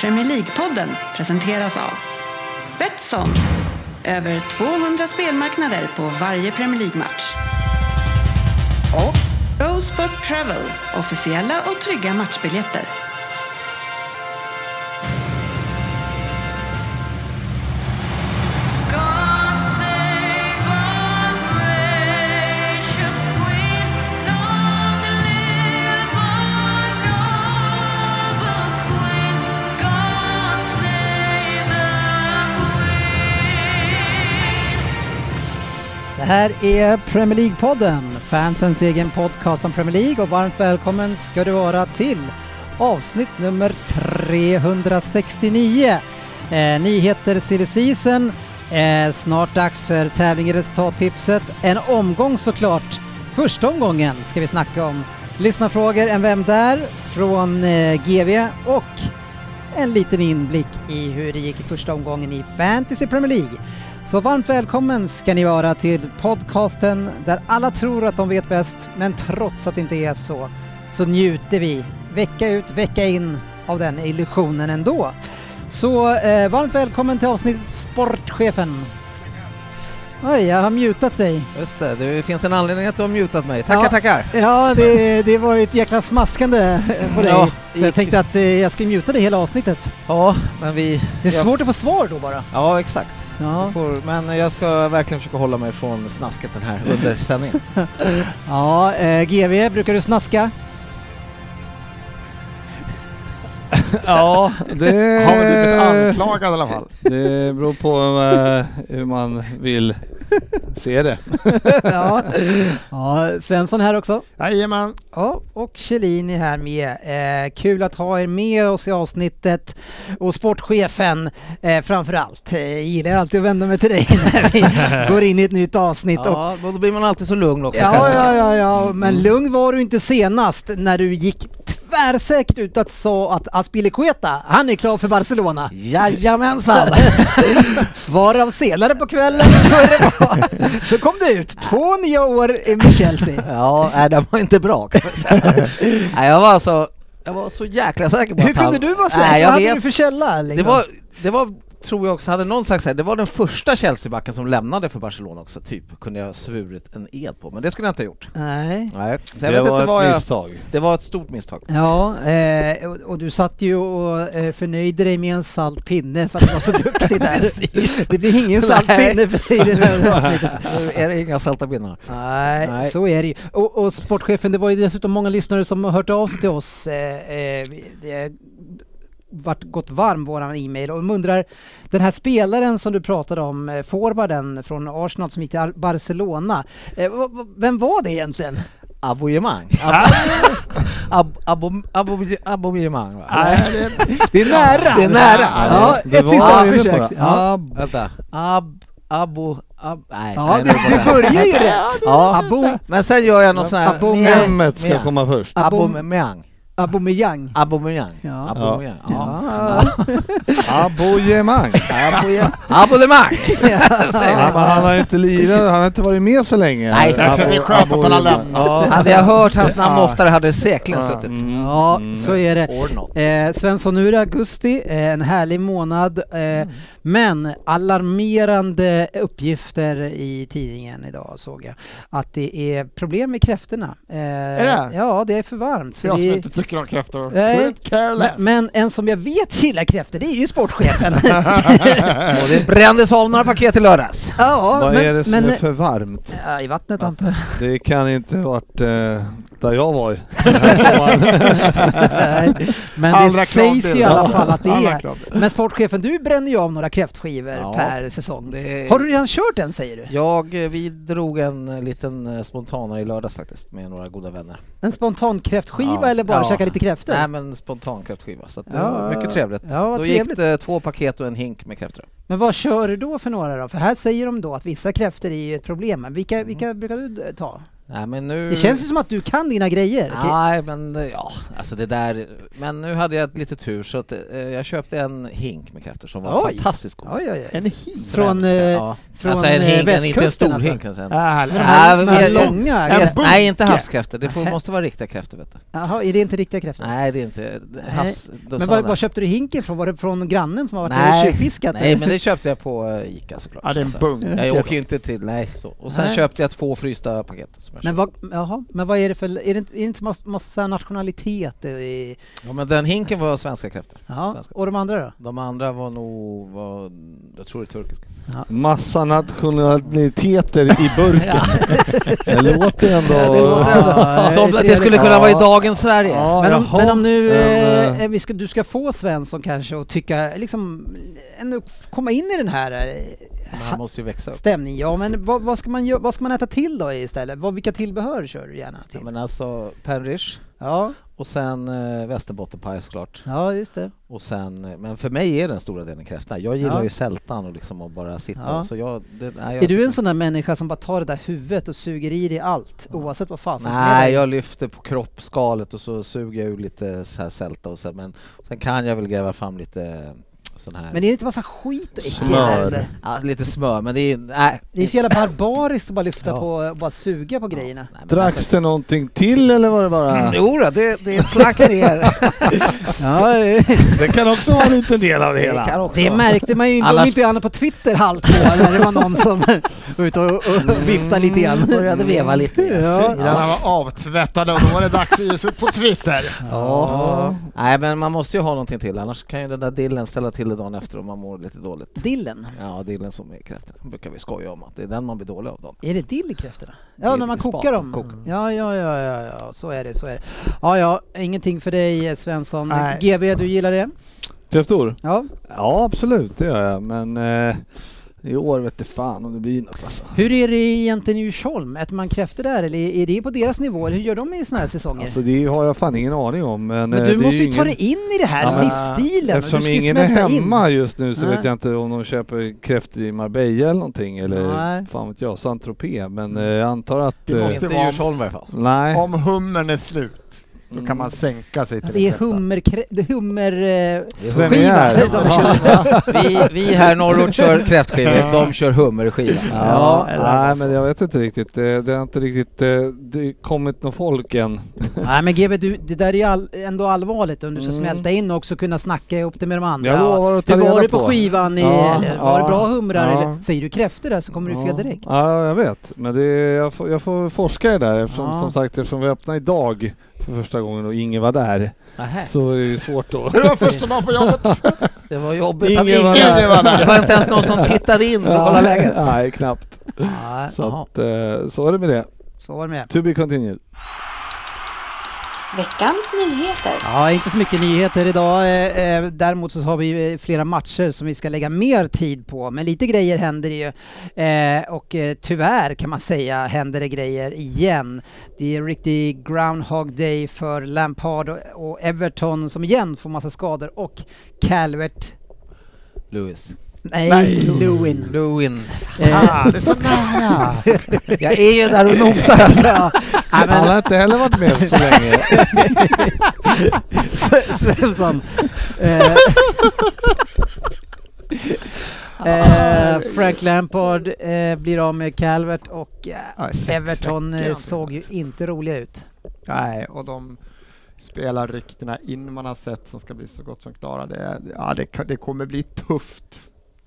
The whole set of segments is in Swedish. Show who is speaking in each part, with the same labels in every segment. Speaker 1: Premier League-podden presenteras av Betsson. Över 200 spelmarknader på varje Premier League-match. Och Go Sport Travel. Officiella och trygga matchbiljetter.
Speaker 2: God save our gracious Queen. Long live our noble Queen. God save the Queen.
Speaker 3: Det här är Premier League-podden, fansens egen podcast om Premier League och varmt välkommen ska du vara till avsnitt nummer 369. Eh, nyheter silly season, eh, snart dags för tävling i resultattipset, en omgång såklart. Första omgången ska vi snacka om. Lyssnarfrågor, en Vem Där? från eh, GV och en liten inblick i hur det gick i första omgången i Fantasy Premier League. Så varmt välkommen ska ni vara till podcasten där alla tror att de vet bäst, men trots att det inte är så, så njuter vi vecka ut, vecka in av den illusionen ändå. Så eh, varmt välkommen till avsnittet Sportchefen. Oj, jag har mutat dig.
Speaker 4: Just det, det finns en anledning att du har mutat mig. Tackar, tackar!
Speaker 3: Ja, det, det var ju ett jäkla smaskande på dig.
Speaker 4: Ja,
Speaker 3: så jag tänkte att eh, jag skulle muta dig hela avsnittet.
Speaker 4: Ja, men vi...
Speaker 3: Det är
Speaker 4: jag-
Speaker 3: svårt att få svar då bara.
Speaker 4: Ja, exakt.
Speaker 3: Ja.
Speaker 4: Du Får, men jag ska verkligen försöka hålla mig från snasket den här under sändningen.
Speaker 3: Ja, eh, GV, brukar du snaska?
Speaker 5: Ja, det...
Speaker 6: Har väl du blivit anklagad i alla fall?
Speaker 5: Det beror på eh, hur man vill se det.
Speaker 3: ja. ja, Svensson här också.
Speaker 6: Jajamän.
Speaker 3: Ja, och Kjellin är här med. Eh, kul att ha er med oss i avsnittet och sportchefen eh, framför allt. Eh, jag gillar alltid att vända mig till dig när vi går in i ett nytt avsnitt. och
Speaker 4: ja, då blir man alltid så lugn också. kan jag
Speaker 3: Ja,
Speaker 4: tycka.
Speaker 3: ja, ja, ja, men lugn var du inte senast när du gick tvärsäkert ut att sa att Aspilicueta, han är klar för Barcelona.
Speaker 4: Jajamensan!
Speaker 3: Varav senare på kvällen så är det bara- så kom det ut två nya år med Chelsea.
Speaker 4: ja, nej, den var inte bra kan man säga. nej, jag var alltså... Jag var så jäkla säker på
Speaker 3: Hur
Speaker 4: att han...
Speaker 3: kunde du vara säker?
Speaker 4: Nej, jag
Speaker 3: Vad hade
Speaker 4: vet.
Speaker 3: du för källa? Liksom?
Speaker 4: Det var, det var, tror jag också, hade någon sagt så här, det var den första Chelsea-backen som lämnade för Barcelona också, typ, kunde jag ha svurit en ed på, men det skulle jag inte ha gjort.
Speaker 3: Nej.
Speaker 4: Nej, så jag vet
Speaker 5: Det
Speaker 4: inte
Speaker 5: var
Speaker 4: vad
Speaker 5: ett
Speaker 4: jag...
Speaker 5: misstag.
Speaker 4: Det var ett stort misstag.
Speaker 3: Ja, eh, och, och du satt ju och eh, förnöjde dig med en salt pinne för att du var så duktig där.
Speaker 4: Precis.
Speaker 3: det blir ingen salt
Speaker 4: Nej.
Speaker 3: pinne för dig i det här avsnittet.
Speaker 4: Nu är det inga salta pinnar.
Speaker 3: Nej,
Speaker 4: Nej.
Speaker 3: så är det ju. Och, och sportchefen, det var ju dessutom många lyssnare som har hört av sig till oss. Eh, eh, vi- det har varit gått varm våran e-mail och de undrar, den här spelaren som du pratade om, eh, forwarden från Arsenal som gick till Ar- Barcelona, eh, v- v- vem var det egentligen?
Speaker 4: Abonnemang. Ab- ab- ab- ab- Abonnemang va?
Speaker 6: Nej, det,
Speaker 3: Det är nära!
Speaker 4: Det är nära.
Speaker 3: Ja,
Speaker 5: Det
Speaker 3: ett
Speaker 5: var-
Speaker 3: sista
Speaker 5: Ja,
Speaker 3: försök.
Speaker 5: det
Speaker 3: Ja.
Speaker 4: Ab- Vänta. Ab... Abo... Ab- nej,
Speaker 3: Ja,
Speaker 4: nej,
Speaker 3: du,
Speaker 4: det var
Speaker 3: du
Speaker 4: det.
Speaker 3: börjar ju rätt!
Speaker 4: Ja.
Speaker 3: Abo,
Speaker 4: Men sen gör jag något sån här...
Speaker 3: Abomeyang.
Speaker 5: Hemmet ska komma först.
Speaker 3: Abom-
Speaker 4: Abomeyang.
Speaker 3: Aubameyang.
Speaker 4: Abomeyang.
Speaker 3: Ja.
Speaker 4: Abomeyang. Ja.
Speaker 3: Ja.
Speaker 5: Abonnemang!
Speaker 4: Abonnemang!
Speaker 5: Ja, men han har inte lirat, han har inte varit med så länge.
Speaker 4: Nej,
Speaker 5: Abo-
Speaker 4: alltså, det
Speaker 6: är skönt att han har
Speaker 5: abonnemang.
Speaker 6: lämnat.
Speaker 5: Ja.
Speaker 4: Hade jag hört hans namn
Speaker 5: Ja.
Speaker 4: oftare hade det säkert
Speaker 5: Ja,
Speaker 4: suttit.
Speaker 5: mm,
Speaker 3: Ja,
Speaker 5: mm.
Speaker 3: så är det.
Speaker 4: Or not.
Speaker 3: Eh, Svensson, nu är det augusti, eh, en härlig månad, eh, men alarmerande uppgifter i tidningen idag såg jag. Att det är problem med kräftorna. Eh,
Speaker 6: det?
Speaker 3: Ja, det är för varmt. så
Speaker 6: jag som
Speaker 3: det-
Speaker 6: inte tycker om kräftor.
Speaker 3: Nej.
Speaker 6: Couldn't care less.
Speaker 3: men, men en som jag vet gillar kräftor, det är ju sportchefen.
Speaker 4: Och det brändes av några paket i lördags.
Speaker 3: ja,
Speaker 5: Vad
Speaker 3: men,
Speaker 5: är det som
Speaker 3: men,
Speaker 5: är för varmt?
Speaker 3: ja, I vattnet antar jag.
Speaker 5: Det kan inte varit eh, där jag var den här sommaren.
Speaker 3: Nej, men
Speaker 6: All
Speaker 3: det
Speaker 6: reklam
Speaker 3: sägs
Speaker 6: till
Speaker 3: ju i alla
Speaker 6: det.
Speaker 3: fall att det
Speaker 6: All
Speaker 3: är.
Speaker 6: reklam.
Speaker 3: Men sportchefen, du bränner ju av några kräftskivor
Speaker 4: Ja,
Speaker 3: per säsong.
Speaker 4: det-
Speaker 3: Har du redan kört en säger du?
Speaker 4: Jag, eh, vi drog en eh, liten eh, spontanare i lördags faktiskt med några goda vänner.
Speaker 3: En spontan kräftskiva
Speaker 4: Ja.
Speaker 3: eller bara
Speaker 4: Ja.
Speaker 3: käka lite kräftor?
Speaker 4: Nej men spontan kräftskiva, så att det
Speaker 3: Ja.
Speaker 4: var mycket trevligt.
Speaker 3: Ja, vad
Speaker 4: Då
Speaker 3: trevligt.
Speaker 4: gick det två paket och en hink med kräftor.
Speaker 3: Men vad
Speaker 4: Mm.
Speaker 3: kör du då för några då? För här säger de då att vissa kräftor är ju ett problem. Men vilka, vilka brukar du d- ta?
Speaker 4: Nej men nu...
Speaker 3: Det känns ju som att du kan dina grejer.
Speaker 4: Nej men eh, ja, alltså det där... Men nu hade jag lite tur så att eh, jag köpte en hink med kräftor som var
Speaker 3: Oj.
Speaker 4: fantastiskt god.
Speaker 3: Oj, oj, oj.
Speaker 6: En hink?
Speaker 3: Från, eh,
Speaker 4: Svenska, ja.
Speaker 3: från
Speaker 4: alltså en
Speaker 3: eh,
Speaker 4: hink, en- inte en
Speaker 3: västkusten
Speaker 4: stor
Speaker 3: alltså.
Speaker 4: hink kanske.
Speaker 6: Ah, härligt.
Speaker 3: Men de här,
Speaker 4: Nej,
Speaker 3: de här
Speaker 4: men jag-
Speaker 3: långa
Speaker 6: jag-
Speaker 3: grejerna.
Speaker 6: bunke.
Speaker 4: Nej, inte havskräftor. Det får, måste vara riktiga kräftor vet du.
Speaker 3: Jaha, är det inte riktiga kräftor?
Speaker 4: Nej, det är inte havs... då
Speaker 3: Men
Speaker 4: sa
Speaker 3: var,
Speaker 4: de-
Speaker 3: var köpte du hinken från? Var det från grannen som har varit nere
Speaker 4: Nej.
Speaker 3: och tjuvfiskat?
Speaker 4: Nej, men det köpte jag på eh, Ica såklart.
Speaker 6: Ja, det är en
Speaker 4: Alltså,
Speaker 6: bunker.
Speaker 4: Jag åker ju inte till... Nej, så. Och sen
Speaker 3: Nej.
Speaker 4: köpte jag två frysta paket. Som jag
Speaker 3: Men
Speaker 4: köpte.
Speaker 3: vad, jaha, men vad är det för... Är det inte, är det inte massa, massa nationaliteter i...
Speaker 4: Ja, men den hinken var svenska kräftor.
Speaker 3: Jaha,
Speaker 4: Svenska.
Speaker 3: och de andra då?
Speaker 4: De andra var nog... Var, jag tror det är turkiska.
Speaker 5: Massa nationaliteter i burken. Det låter ändå...
Speaker 4: Ja, det låter
Speaker 3: Ja,
Speaker 4: ändå som att det
Speaker 3: trevligt.
Speaker 4: skulle kunna vara i
Speaker 5: Ja.
Speaker 4: dagens Sverige. Ja.
Speaker 3: Men om,
Speaker 5: jaha.
Speaker 3: men om nu
Speaker 5: Men,
Speaker 3: eh,
Speaker 5: eh,
Speaker 3: vi ska, du ska få Svensson kanske och tycka liksom, ändå f- komma in i den här eh,
Speaker 4: Man måste ju växa upp.
Speaker 3: stämningen. Ja, men vad, vad, ska man, gö- vad ska man äta till då istället? Vad, vilka tillbehör kör du gärna
Speaker 4: Ja,
Speaker 3: till?
Speaker 4: men alltså, Penrish
Speaker 3: Ja,
Speaker 4: och sen eh, västerbottenpaj såklart.
Speaker 3: ja just det.
Speaker 4: Och sen, eh, men för mig är den stora delen kräfta. Jag gillar
Speaker 3: Ja.
Speaker 4: ju sältan och liksom att bara sitta
Speaker 3: Ja.
Speaker 4: och så jag... Det, nej, jag
Speaker 3: Är du en sån där människa som bara tar det där huvudet och suger i dig allt oavsett vad fasen som är
Speaker 4: Nej,
Speaker 3: där?
Speaker 4: jag lyfter på kroppsskalet och så suger jag ur lite så här sälta och så, men sen kan jag väl gräva fram lite eh, sån här...
Speaker 3: Men är det inte massa skit och äckligt
Speaker 5: Smör.
Speaker 3: där under?
Speaker 4: ja, lite smör, men det är... Nej.
Speaker 3: Det är så jävla barbariskt att bara lyfta
Speaker 4: Ja.
Speaker 3: på och bara suga på
Speaker 4: Ja,
Speaker 3: grejerna.
Speaker 4: nej, men
Speaker 5: Dracks det någonting till eller var det bara...
Speaker 4: Alltså, jo, då, det, det är slakt ner.
Speaker 3: Ja,
Speaker 5: Det kan också vara en liten del av det
Speaker 4: det kan
Speaker 5: hela.
Speaker 4: också.
Speaker 3: Det märkte man ju inte om
Speaker 4: Annars-
Speaker 3: inte annat på Twitter halvt år när det var någon som var ute och, och viftade lite grann.
Speaker 4: Började veva lite.
Speaker 3: Ja.
Speaker 6: Fingrarna var avtvättade och då var det dags att ge sig ut på Twitter.
Speaker 4: Ja. Nej, men man måste ju ha någonting till, annars kan ju den där dillen ställa till det dagen efter om man mår lite dåligt.
Speaker 3: Dillen.
Speaker 4: Ja, dillen som är kräftor. brukar vi skoja om att det är den man blir dålig av. Då.
Speaker 3: Är det dill i kräftorna? Ja,
Speaker 4: Dill
Speaker 3: när man
Speaker 4: i
Speaker 3: kokar
Speaker 4: spat,
Speaker 3: dem.
Speaker 4: kokar.
Speaker 3: Ja, ja, ja, ja, ja, så är det, så är det. Ja, ja, ingenting för dig eh, Svensson.
Speaker 6: Nej.
Speaker 3: GB, du gillar det?
Speaker 5: Kräftor?
Speaker 3: Ja.
Speaker 5: Ja, absolut, det gör jag. Men eh, i år vet det fan om det blir något alltså.
Speaker 3: Hur är det egentligen i Djursholm? Äter man kräftor där eller är det på deras nivå? Eller hur gör de i sådana här säsonger?
Speaker 5: Alltså det har jag fan ingen aning om. Men,
Speaker 3: Men
Speaker 5: eh,
Speaker 3: du
Speaker 5: det är
Speaker 3: måste ju ta
Speaker 5: ingen-
Speaker 3: dig in i det här
Speaker 5: Ja, men,
Speaker 3: livsstilen.
Speaker 5: Eftersom
Speaker 3: du ska ju
Speaker 5: ingen är
Speaker 3: smälta in.
Speaker 5: hemma just nu så
Speaker 3: Nej.
Speaker 5: vet jag inte om de köper kräftor i Marbella eller någonting eller
Speaker 3: Nej.
Speaker 5: fan vet jag, Saint-Tropez. Men eh, jag antar att...
Speaker 6: Det
Speaker 5: eh,
Speaker 6: måste-
Speaker 4: Inte i
Speaker 6: vara-
Speaker 4: Djursholm i alla fall.
Speaker 5: Nej.
Speaker 6: Om hummern är slut, då kan man sänka sig till
Speaker 3: Det är
Speaker 6: en kräfta.
Speaker 3: hummer... Det är hummer eh,
Speaker 5: Vem är
Speaker 3: skiva
Speaker 5: det?
Speaker 3: de kör.
Speaker 4: Vi, vi här norrut kör kräftskivor, de kör hummerskiva.
Speaker 5: Ja,
Speaker 6: eller
Speaker 5: nej
Speaker 6: något
Speaker 5: men jag vet inte riktigt. Det, det har inte riktigt eh, det kommit någon folk än.
Speaker 3: Nej men GB, du, det där är ju all, ändå allvarligt om du ska
Speaker 5: Mm.
Speaker 3: smälta in och också kunna snacka ihop det med de andra.
Speaker 5: Jag lovar att ta
Speaker 3: Hur var
Speaker 5: reda
Speaker 3: det på
Speaker 5: på.
Speaker 3: skivan? I,
Speaker 5: Ja,
Speaker 3: eller, var det
Speaker 5: ja,
Speaker 3: bra humrar?
Speaker 5: ja.
Speaker 3: Eller, säger du kräftor där så kommer du fel direkt.
Speaker 5: Ja, jag vet. Men det, jag, får, jag får forska i det där eftersom,
Speaker 3: Ja.
Speaker 5: som sagt, eftersom vi öppnade idag för första gången och ingen var där
Speaker 4: Nähä,
Speaker 5: så är det ju svårt då.
Speaker 6: Det var första dagen på jobbet.
Speaker 4: det var jobbigt att
Speaker 5: Ingen
Speaker 4: ingen...
Speaker 5: var
Speaker 6: där.
Speaker 4: Det var, inte ens någon som tittade in för att kolla läget.
Speaker 5: Nej, knappt.
Speaker 3: Ja,
Speaker 5: Så,
Speaker 3: jaha,
Speaker 5: att, eh, så är det med det.
Speaker 3: så var det med det.
Speaker 5: To be continued.
Speaker 2: Veckans nyheter.
Speaker 3: Ja, inte så mycket nyheter idag. Eh, eh, Däremot så har vi eh, flera matcher som vi ska lägga mer tid på. Men lite grejer händer ju. Eh, Och eh, tyvärr kan man säga händer det grejer igen. Det är en riktig Groundhog Day för Lampard och- och Everton som igen får massa skador och Calvert
Speaker 4: Lewis.
Speaker 3: Nej, Lewin. Eh,
Speaker 4: Lewin.
Speaker 6: Ah, det är så nära.
Speaker 4: Jag är ju där och nosar alltså.
Speaker 3: Ja, nej,
Speaker 5: Han
Speaker 3: men
Speaker 5: har inte heller varit med så länge.
Speaker 3: S- Svensson. Eh, Eh, Frank Lampard eh, blir av med Calvert och eh,
Speaker 6: Ja, sex
Speaker 3: Everton eh,
Speaker 6: veckor. alltså.
Speaker 3: såg ju inte roliga ut.
Speaker 6: Nej, och de spelar ryktena in man har sett som ska bli så gott som klara. Det, är- ja, det, kan- det kommer bli tufft.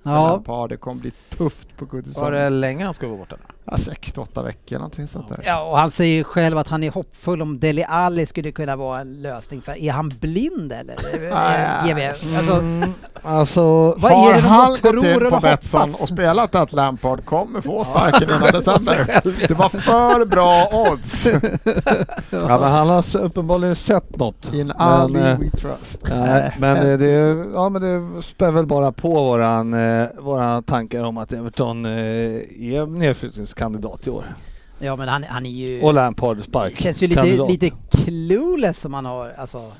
Speaker 3: Ja,
Speaker 6: Ja. Det kommer bli tufft på
Speaker 4: Var det
Speaker 6: Goodison.
Speaker 4: länge han skulle vara borta?
Speaker 6: Ja, 6-8 veckor någonting sånt där.
Speaker 3: ja, och han säger ju själv att han är hoppfull om Deli Alli skulle kunna vara en lösning. För är han blind eller? Eh, GB? Alltså,
Speaker 5: Mm, alltså,
Speaker 3: Vad är
Speaker 6: har
Speaker 3: det de
Speaker 6: han
Speaker 3: tror
Speaker 6: gått
Speaker 3: och
Speaker 6: in på
Speaker 3: hoppas?
Speaker 6: Betsson och spelat att Lampard kommer få sparken innan december? Det var för bra odds.
Speaker 5: ja, men han har s- uppenbarligen sett något.
Speaker 6: In
Speaker 5: men,
Speaker 6: Ali
Speaker 5: eh,
Speaker 6: we trust.
Speaker 5: Nej, men eh, det, ja, men det spär väl bara på våran, eh, våra tankar om att Everton eh, är nedflyttningskandidat i år.
Speaker 3: ja, men han, han är ju...
Speaker 5: Och Lampard spark.
Speaker 3: Känns ju lite, lite clueless som han har. Alltså,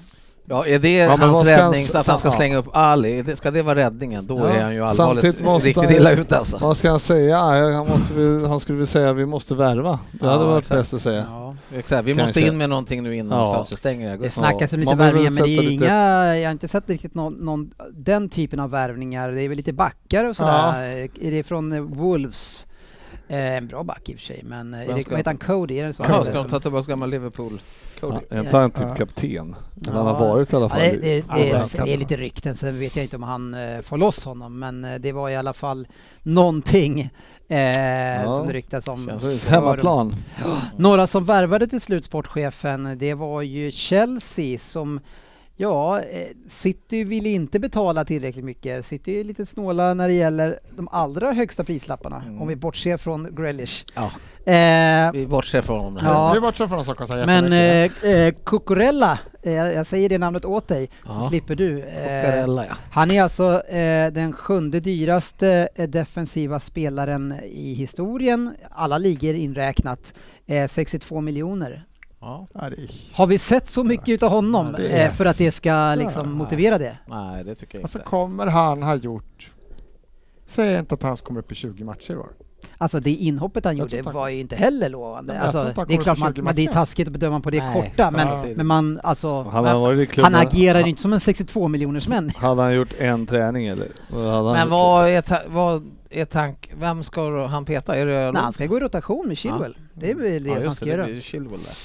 Speaker 4: Ja, är det
Speaker 5: men vad
Speaker 4: hans
Speaker 5: ska han
Speaker 4: räddning,
Speaker 5: s-
Speaker 4: så att han ska
Speaker 5: ja.
Speaker 4: slänga upp Ali? Är det- Ska det vara räddningen? Då
Speaker 5: Ja.
Speaker 4: är han ju
Speaker 5: Samtidigt
Speaker 4: allvarligt
Speaker 5: måste
Speaker 4: riktigt
Speaker 5: han-
Speaker 4: illa ute alltså.
Speaker 5: Vad ska han säga? Han, måste väl, han skulle väl säga vi måste värva. Det hade
Speaker 4: Ja,
Speaker 5: varit
Speaker 4: exakt.
Speaker 5: bäst att säga.
Speaker 3: Ja.
Speaker 4: Exakt, vi
Speaker 5: Kanske.
Speaker 4: måste in med någonting nu innan
Speaker 5: Ja.
Speaker 4: fönstret stänger i
Speaker 3: Det
Speaker 4: augusti.
Speaker 3: snackas om lite
Speaker 5: man behöver
Speaker 3: värvningar men det är
Speaker 5: sätta lite-
Speaker 3: inga, jag har inte sett riktigt någon, någon, den typen av värvningar. Det är väl lite backar och sådär. Är det från eh, Wolves? Eh, en bra back i och för sig men eh, är
Speaker 4: Vem
Speaker 3: det,
Speaker 4: ska-
Speaker 3: vad heter han? Cody? Är det så?
Speaker 4: Jaha, ska de ta tillbaka gammal Liverpool?
Speaker 5: Ja,
Speaker 4: Cody?
Speaker 5: är inte han
Speaker 6: Ja.
Speaker 5: typ kapten? Eller
Speaker 3: Ja.
Speaker 5: han har varit i alla
Speaker 3: Ja,
Speaker 5: fall.
Speaker 3: det, det, det,
Speaker 5: Ja,
Speaker 3: är- det är lite rykten, sen vet jag inte om han eh, får loss honom, men eh, det var i alla fall någonting eh, som det ryktas om.
Speaker 5: Känns
Speaker 3: För-
Speaker 5: Hemmaplan.
Speaker 3: Några som värvade till slut sportchefen, det var ju Chelsea som Ja, eh, City vill inte betala tillräckligt mycket. City är lite snåla när det gäller de allra högsta prislapparna,
Speaker 4: Mm.
Speaker 3: om vi bortser från Grealish.
Speaker 4: Ja.
Speaker 3: Eh,
Speaker 4: Vi bortser från honom här.
Speaker 3: Ja.
Speaker 6: Nu bortser från de som kostar
Speaker 3: men
Speaker 6: jättemycket.
Speaker 3: eh, eh, Cucurella, eh, jag säger det namnet åt dig, så
Speaker 4: Ja.
Speaker 3: slipper du. Eh,
Speaker 4: Cucurella, ja.
Speaker 3: han är alltså eh, den sjunde dyraste eh, defensiva spelaren i historien, alla ligor inräknat, eh, 62 miljoner.
Speaker 4: ja.
Speaker 6: Ja, det är...
Speaker 3: Har vi sett så mycket utav honom
Speaker 6: Ja, det är-
Speaker 3: eh, för att det ska liksom
Speaker 4: Ja.
Speaker 3: motivera det?
Speaker 4: Nej, det tycker jag
Speaker 6: Alltså
Speaker 4: inte.
Speaker 6: kommer han ha gjort... Säg inte att han kommer upp i 20 matcher i år.
Speaker 3: Alltså det inhoppet han
Speaker 6: Jag tror
Speaker 3: gjorde
Speaker 6: inte han-
Speaker 3: var ju inte heller lovande.
Speaker 6: Jag tror
Speaker 3: Alltså,
Speaker 6: inte han
Speaker 3: det är
Speaker 6: kommer
Speaker 3: klart
Speaker 6: på
Speaker 3: man,
Speaker 6: 20
Speaker 3: man, det är
Speaker 6: matcher.
Speaker 3: taskigt att bedöma på det
Speaker 4: Nej,
Speaker 3: korta, men,
Speaker 6: ja.
Speaker 3: men man alltså...
Speaker 5: Han har varit i klubben.
Speaker 3: han agerar ju inte som en 62 miljoners
Speaker 5: Hade han gjort en träning eller? Vad hade han
Speaker 4: Men
Speaker 5: gjort?
Speaker 4: vad är, ta- vad är tank... Vem ska han peta? Är det
Speaker 3: Nej, han ska gå i rotation med Chilwell. Det är väl det
Speaker 4: ja,
Speaker 3: som han
Speaker 4: just
Speaker 3: ska
Speaker 4: det, det
Speaker 3: göra.
Speaker 4: blir Chilwell där.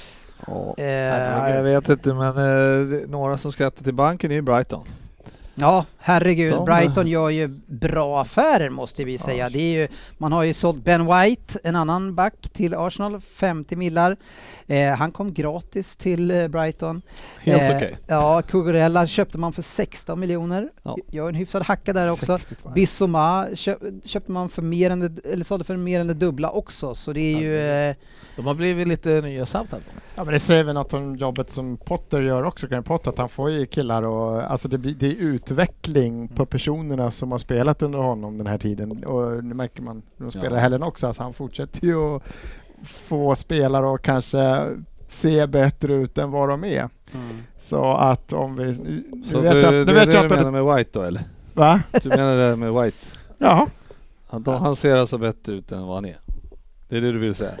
Speaker 5: Ja.
Speaker 3: Eh,
Speaker 5: Nej, jag vet inte men eh, det- några som skrattar till banken är ju Brighton.
Speaker 3: ja, herregud.
Speaker 5: De-
Speaker 3: Brighton gör ju bra affärer måste vi säga. Det är ju, man har ju sålt Ben White, en annan back, till Arsenal, 50 millar. Eh, han kom gratis till eh, Brighton.
Speaker 5: Helt
Speaker 3: eh,
Speaker 5: okej.
Speaker 3: Ja, Cucurella köpte man för 16 miljoner.
Speaker 5: Ja.
Speaker 3: Gör en hyfsad hacka där också.
Speaker 6: 62.
Speaker 3: Bissoma köp, köpte man för mer än det, eller sålde för mer än det dubbla också, så det är ju... Eh,
Speaker 4: De har blivit lite nya Southampton.
Speaker 6: Ja men det säger väl något om jobbet som Potter gör också, Graham Potter, att han får ju killar och alltså det, blir, det är utveckling
Speaker 5: Mm.
Speaker 6: på personerna som har spelat under honom den här tiden och nu märker man när de spelar
Speaker 5: Ja.
Speaker 6: i helgen också, alltså han fortsätter ju att få spelare och kanske se bättre ut än vad de är. Så att om vi... Nu,
Speaker 5: Mm. Så
Speaker 6: nu
Speaker 5: vet
Speaker 6: vet
Speaker 5: du, det
Speaker 6: jag, nu
Speaker 5: är det
Speaker 6: vet jag
Speaker 5: du
Speaker 6: inte... om
Speaker 5: menar
Speaker 6: det-
Speaker 5: med White då eller?
Speaker 6: Va?
Speaker 5: Du menar det med White?
Speaker 6: Jaha.
Speaker 5: Han, han ser alltså bättre ut än vad han är? Det är det du vill säga?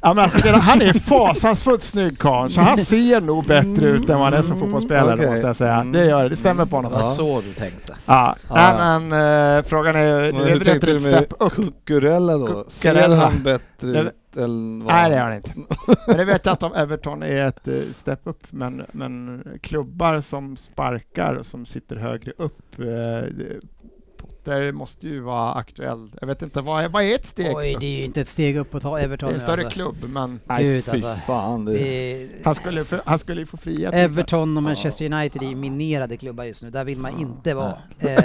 Speaker 6: Ja, men alltså, det- han är fasansfullt snygg karl, så han ser nog bättre ut än vad han är som fotbollsspelare
Speaker 5: Okej.
Speaker 6: måste jag säga. Det gör det, det stämmer på honom.
Speaker 4: Det var
Speaker 5: Ja.
Speaker 4: så du tänkte.
Speaker 6: Ja,
Speaker 5: Ja,
Speaker 6: nej,
Speaker 5: ja.
Speaker 6: men eh, frågan är ju,
Speaker 5: Men
Speaker 6: det är
Speaker 5: hur
Speaker 6: väl
Speaker 5: tänkte
Speaker 6: inte ett
Speaker 5: du med
Speaker 6: step up?
Speaker 5: Cucurella då? Ser
Speaker 6: Cucurella.
Speaker 5: han bättre
Speaker 6: Det-
Speaker 5: ut än vad
Speaker 6: Nej, det har han inte. Men det vet jag inte om Everton är ett eh, step up, men, men klubbar som sparkar, som sitter högre upp, eh, det- Potter måste ju vara aktuell. Jag vet inte, vad är, vad är ett steg
Speaker 3: oj,
Speaker 6: upp?
Speaker 3: det är ju inte ett steg upp att ta
Speaker 6: Det
Speaker 3: Everton
Speaker 6: är en
Speaker 3: nu,
Speaker 6: större
Speaker 3: alltså.
Speaker 6: klubb, men
Speaker 5: Nej,
Speaker 3: Gud,
Speaker 5: fy
Speaker 3: alltså.
Speaker 5: fan. Det...
Speaker 3: Det är-
Speaker 6: han skulle, ju få- han skulle ju få fria tyglar.
Speaker 3: Everton och Manchester United är ju minerade klubbar just nu, där vill man inte vara. Eh,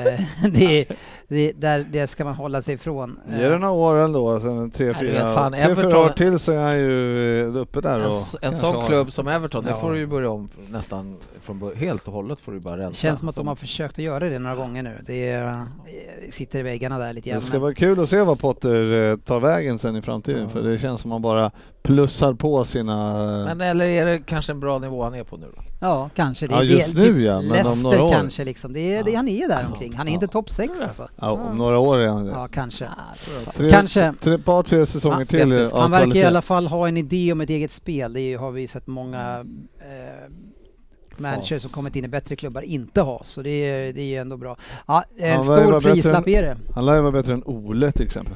Speaker 3: det, är- det, där, där ska man hålla sig ifrån. Eh,
Speaker 5: Ge det några år ändå, sen tre,
Speaker 4: Nej, du
Speaker 5: fyra
Speaker 4: vet fan,
Speaker 5: tre, fyra
Speaker 4: Everton- Alltså,
Speaker 5: år till så är han ju eh, uppe där
Speaker 4: En,
Speaker 5: och...
Speaker 4: s- en
Speaker 5: kanske
Speaker 4: sån
Speaker 5: har-
Speaker 4: klubb som Everton, det
Speaker 5: Ja.
Speaker 4: får du ju börja om nästan från bör- helt och hållet får du bara rensa. Alltså,
Speaker 3: det känns som att de har försökt att göra det några gånger nu. Det är, eh, sitter i väggarna där lite grann.
Speaker 5: Det ska
Speaker 3: men-
Speaker 5: vara kul att se vad Potter eh, tar vägen sen i framtiden
Speaker 4: Ja.
Speaker 5: för det känns som att han bara plussar på sina...
Speaker 4: Men eller är det kanske en bra nivå han är på nu då?
Speaker 3: Ja, kanske. Det
Speaker 5: Ja,
Speaker 3: är
Speaker 5: just
Speaker 3: det,
Speaker 5: nu, ja, men om
Speaker 3: Leicester
Speaker 5: några år.
Speaker 3: kanske liksom. Det är det han är där omkring. Han är
Speaker 5: Ja.
Speaker 3: inte topp 6 alltså.
Speaker 5: ja, om några år är han det.
Speaker 3: Ja, kanske.
Speaker 5: Tre,
Speaker 3: Kanske.
Speaker 5: Tre, ett par, tre säsonger
Speaker 4: Ja,
Speaker 5: till
Speaker 4: skeptisk.
Speaker 5: av
Speaker 3: Han verkar i
Speaker 5: kvalitet.
Speaker 3: alla fall ha en idé om ett eget spel. Det är ju- har vi sett många eh, managers som kommit in i bättre klubbar inte ha. Så det är, det är ju ändå bra. Ja, en
Speaker 5: Han verkar
Speaker 3: stor
Speaker 5: vara bättre
Speaker 3: prislapp är det.
Speaker 5: Han lär ju vara bättre än Ole till exempel.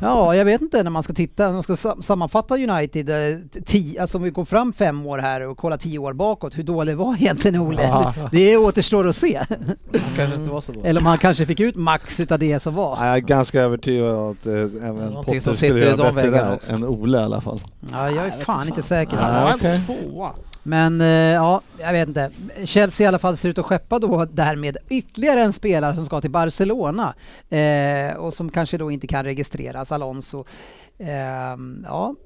Speaker 3: Ja, jag vet inte när man ska titta. När man ska sam- sammanfatta United, eh, t- tio, alltså om vi går fram fem år här och kollar tio år bakåt. Hur dålig var egentligen Ole?
Speaker 6: Ja.
Speaker 3: Det återstår att se.
Speaker 4: Han kanske inte var så dålig.
Speaker 3: Mm. Eller om han kanske fick ut max utav det som var.
Speaker 5: Nej, Jag är ganska övertygad om att eh, även
Speaker 4: Någonting som
Speaker 5: Potter skulle
Speaker 4: sitter i
Speaker 5: göra
Speaker 4: de
Speaker 5: bättre
Speaker 4: väggarna
Speaker 5: där
Speaker 4: också.
Speaker 5: än Ole i alla fall.
Speaker 3: Ja, jag är fan, inte säker.
Speaker 5: Nej.
Speaker 3: Alltså.
Speaker 6: Han var
Speaker 5: okej.
Speaker 6: ändå tvåa.
Speaker 3: Men eh, ja, jag vet inte. Chelsea i alla fall ser ut att skeppa då därmed ytterligare en spelare som ska till Barcelona eh, och som kanske då inte kan registreras, Alonso. Ehm, ja.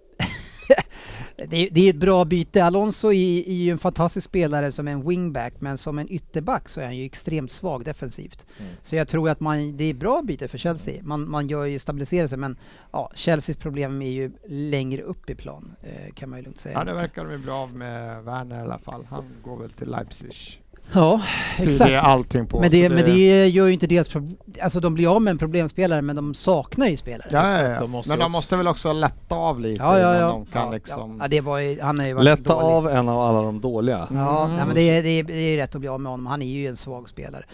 Speaker 3: Det, det är ett bra byte. Alonso är, är ju en fantastisk spelare som en wingback, men som en ytterback så är han ju extremt svag defensivt. Så jag tror att man, det är ett bra byte för Chelsea. Man, man gör ju stabiliserar sig, men ja, Chelseas problem är ju längre upp i plan, eh, kan man ju lugnt säga.
Speaker 6: Ja, nu verkar de ju bli av med Werner i alla fall. Han går väl till Leipzig.
Speaker 3: Ja,
Speaker 6: Exakt. Det är
Speaker 3: exakt.
Speaker 6: allting på.
Speaker 3: Men
Speaker 6: så
Speaker 3: det, men det gör ju inte deras problem. Alltså de blir av med en problemspelare, men de saknar ju spelare.
Speaker 6: Ja, ja, ja.
Speaker 4: Exakt, de måste ju
Speaker 6: men de
Speaker 4: också-
Speaker 6: måste väl också lätta av lite
Speaker 3: Ja, ja,
Speaker 6: innan
Speaker 3: ja.
Speaker 6: de kan
Speaker 3: ja,
Speaker 6: liksom...
Speaker 3: ja. ja det var ju, han har ju varit
Speaker 5: Lätta
Speaker 3: dålig.
Speaker 5: av en av alla de dåliga.
Speaker 3: Ja,
Speaker 6: Mm.
Speaker 3: nej, men det är, det, är, det är rätt att bli av med honom. Han är ju en svag spelare.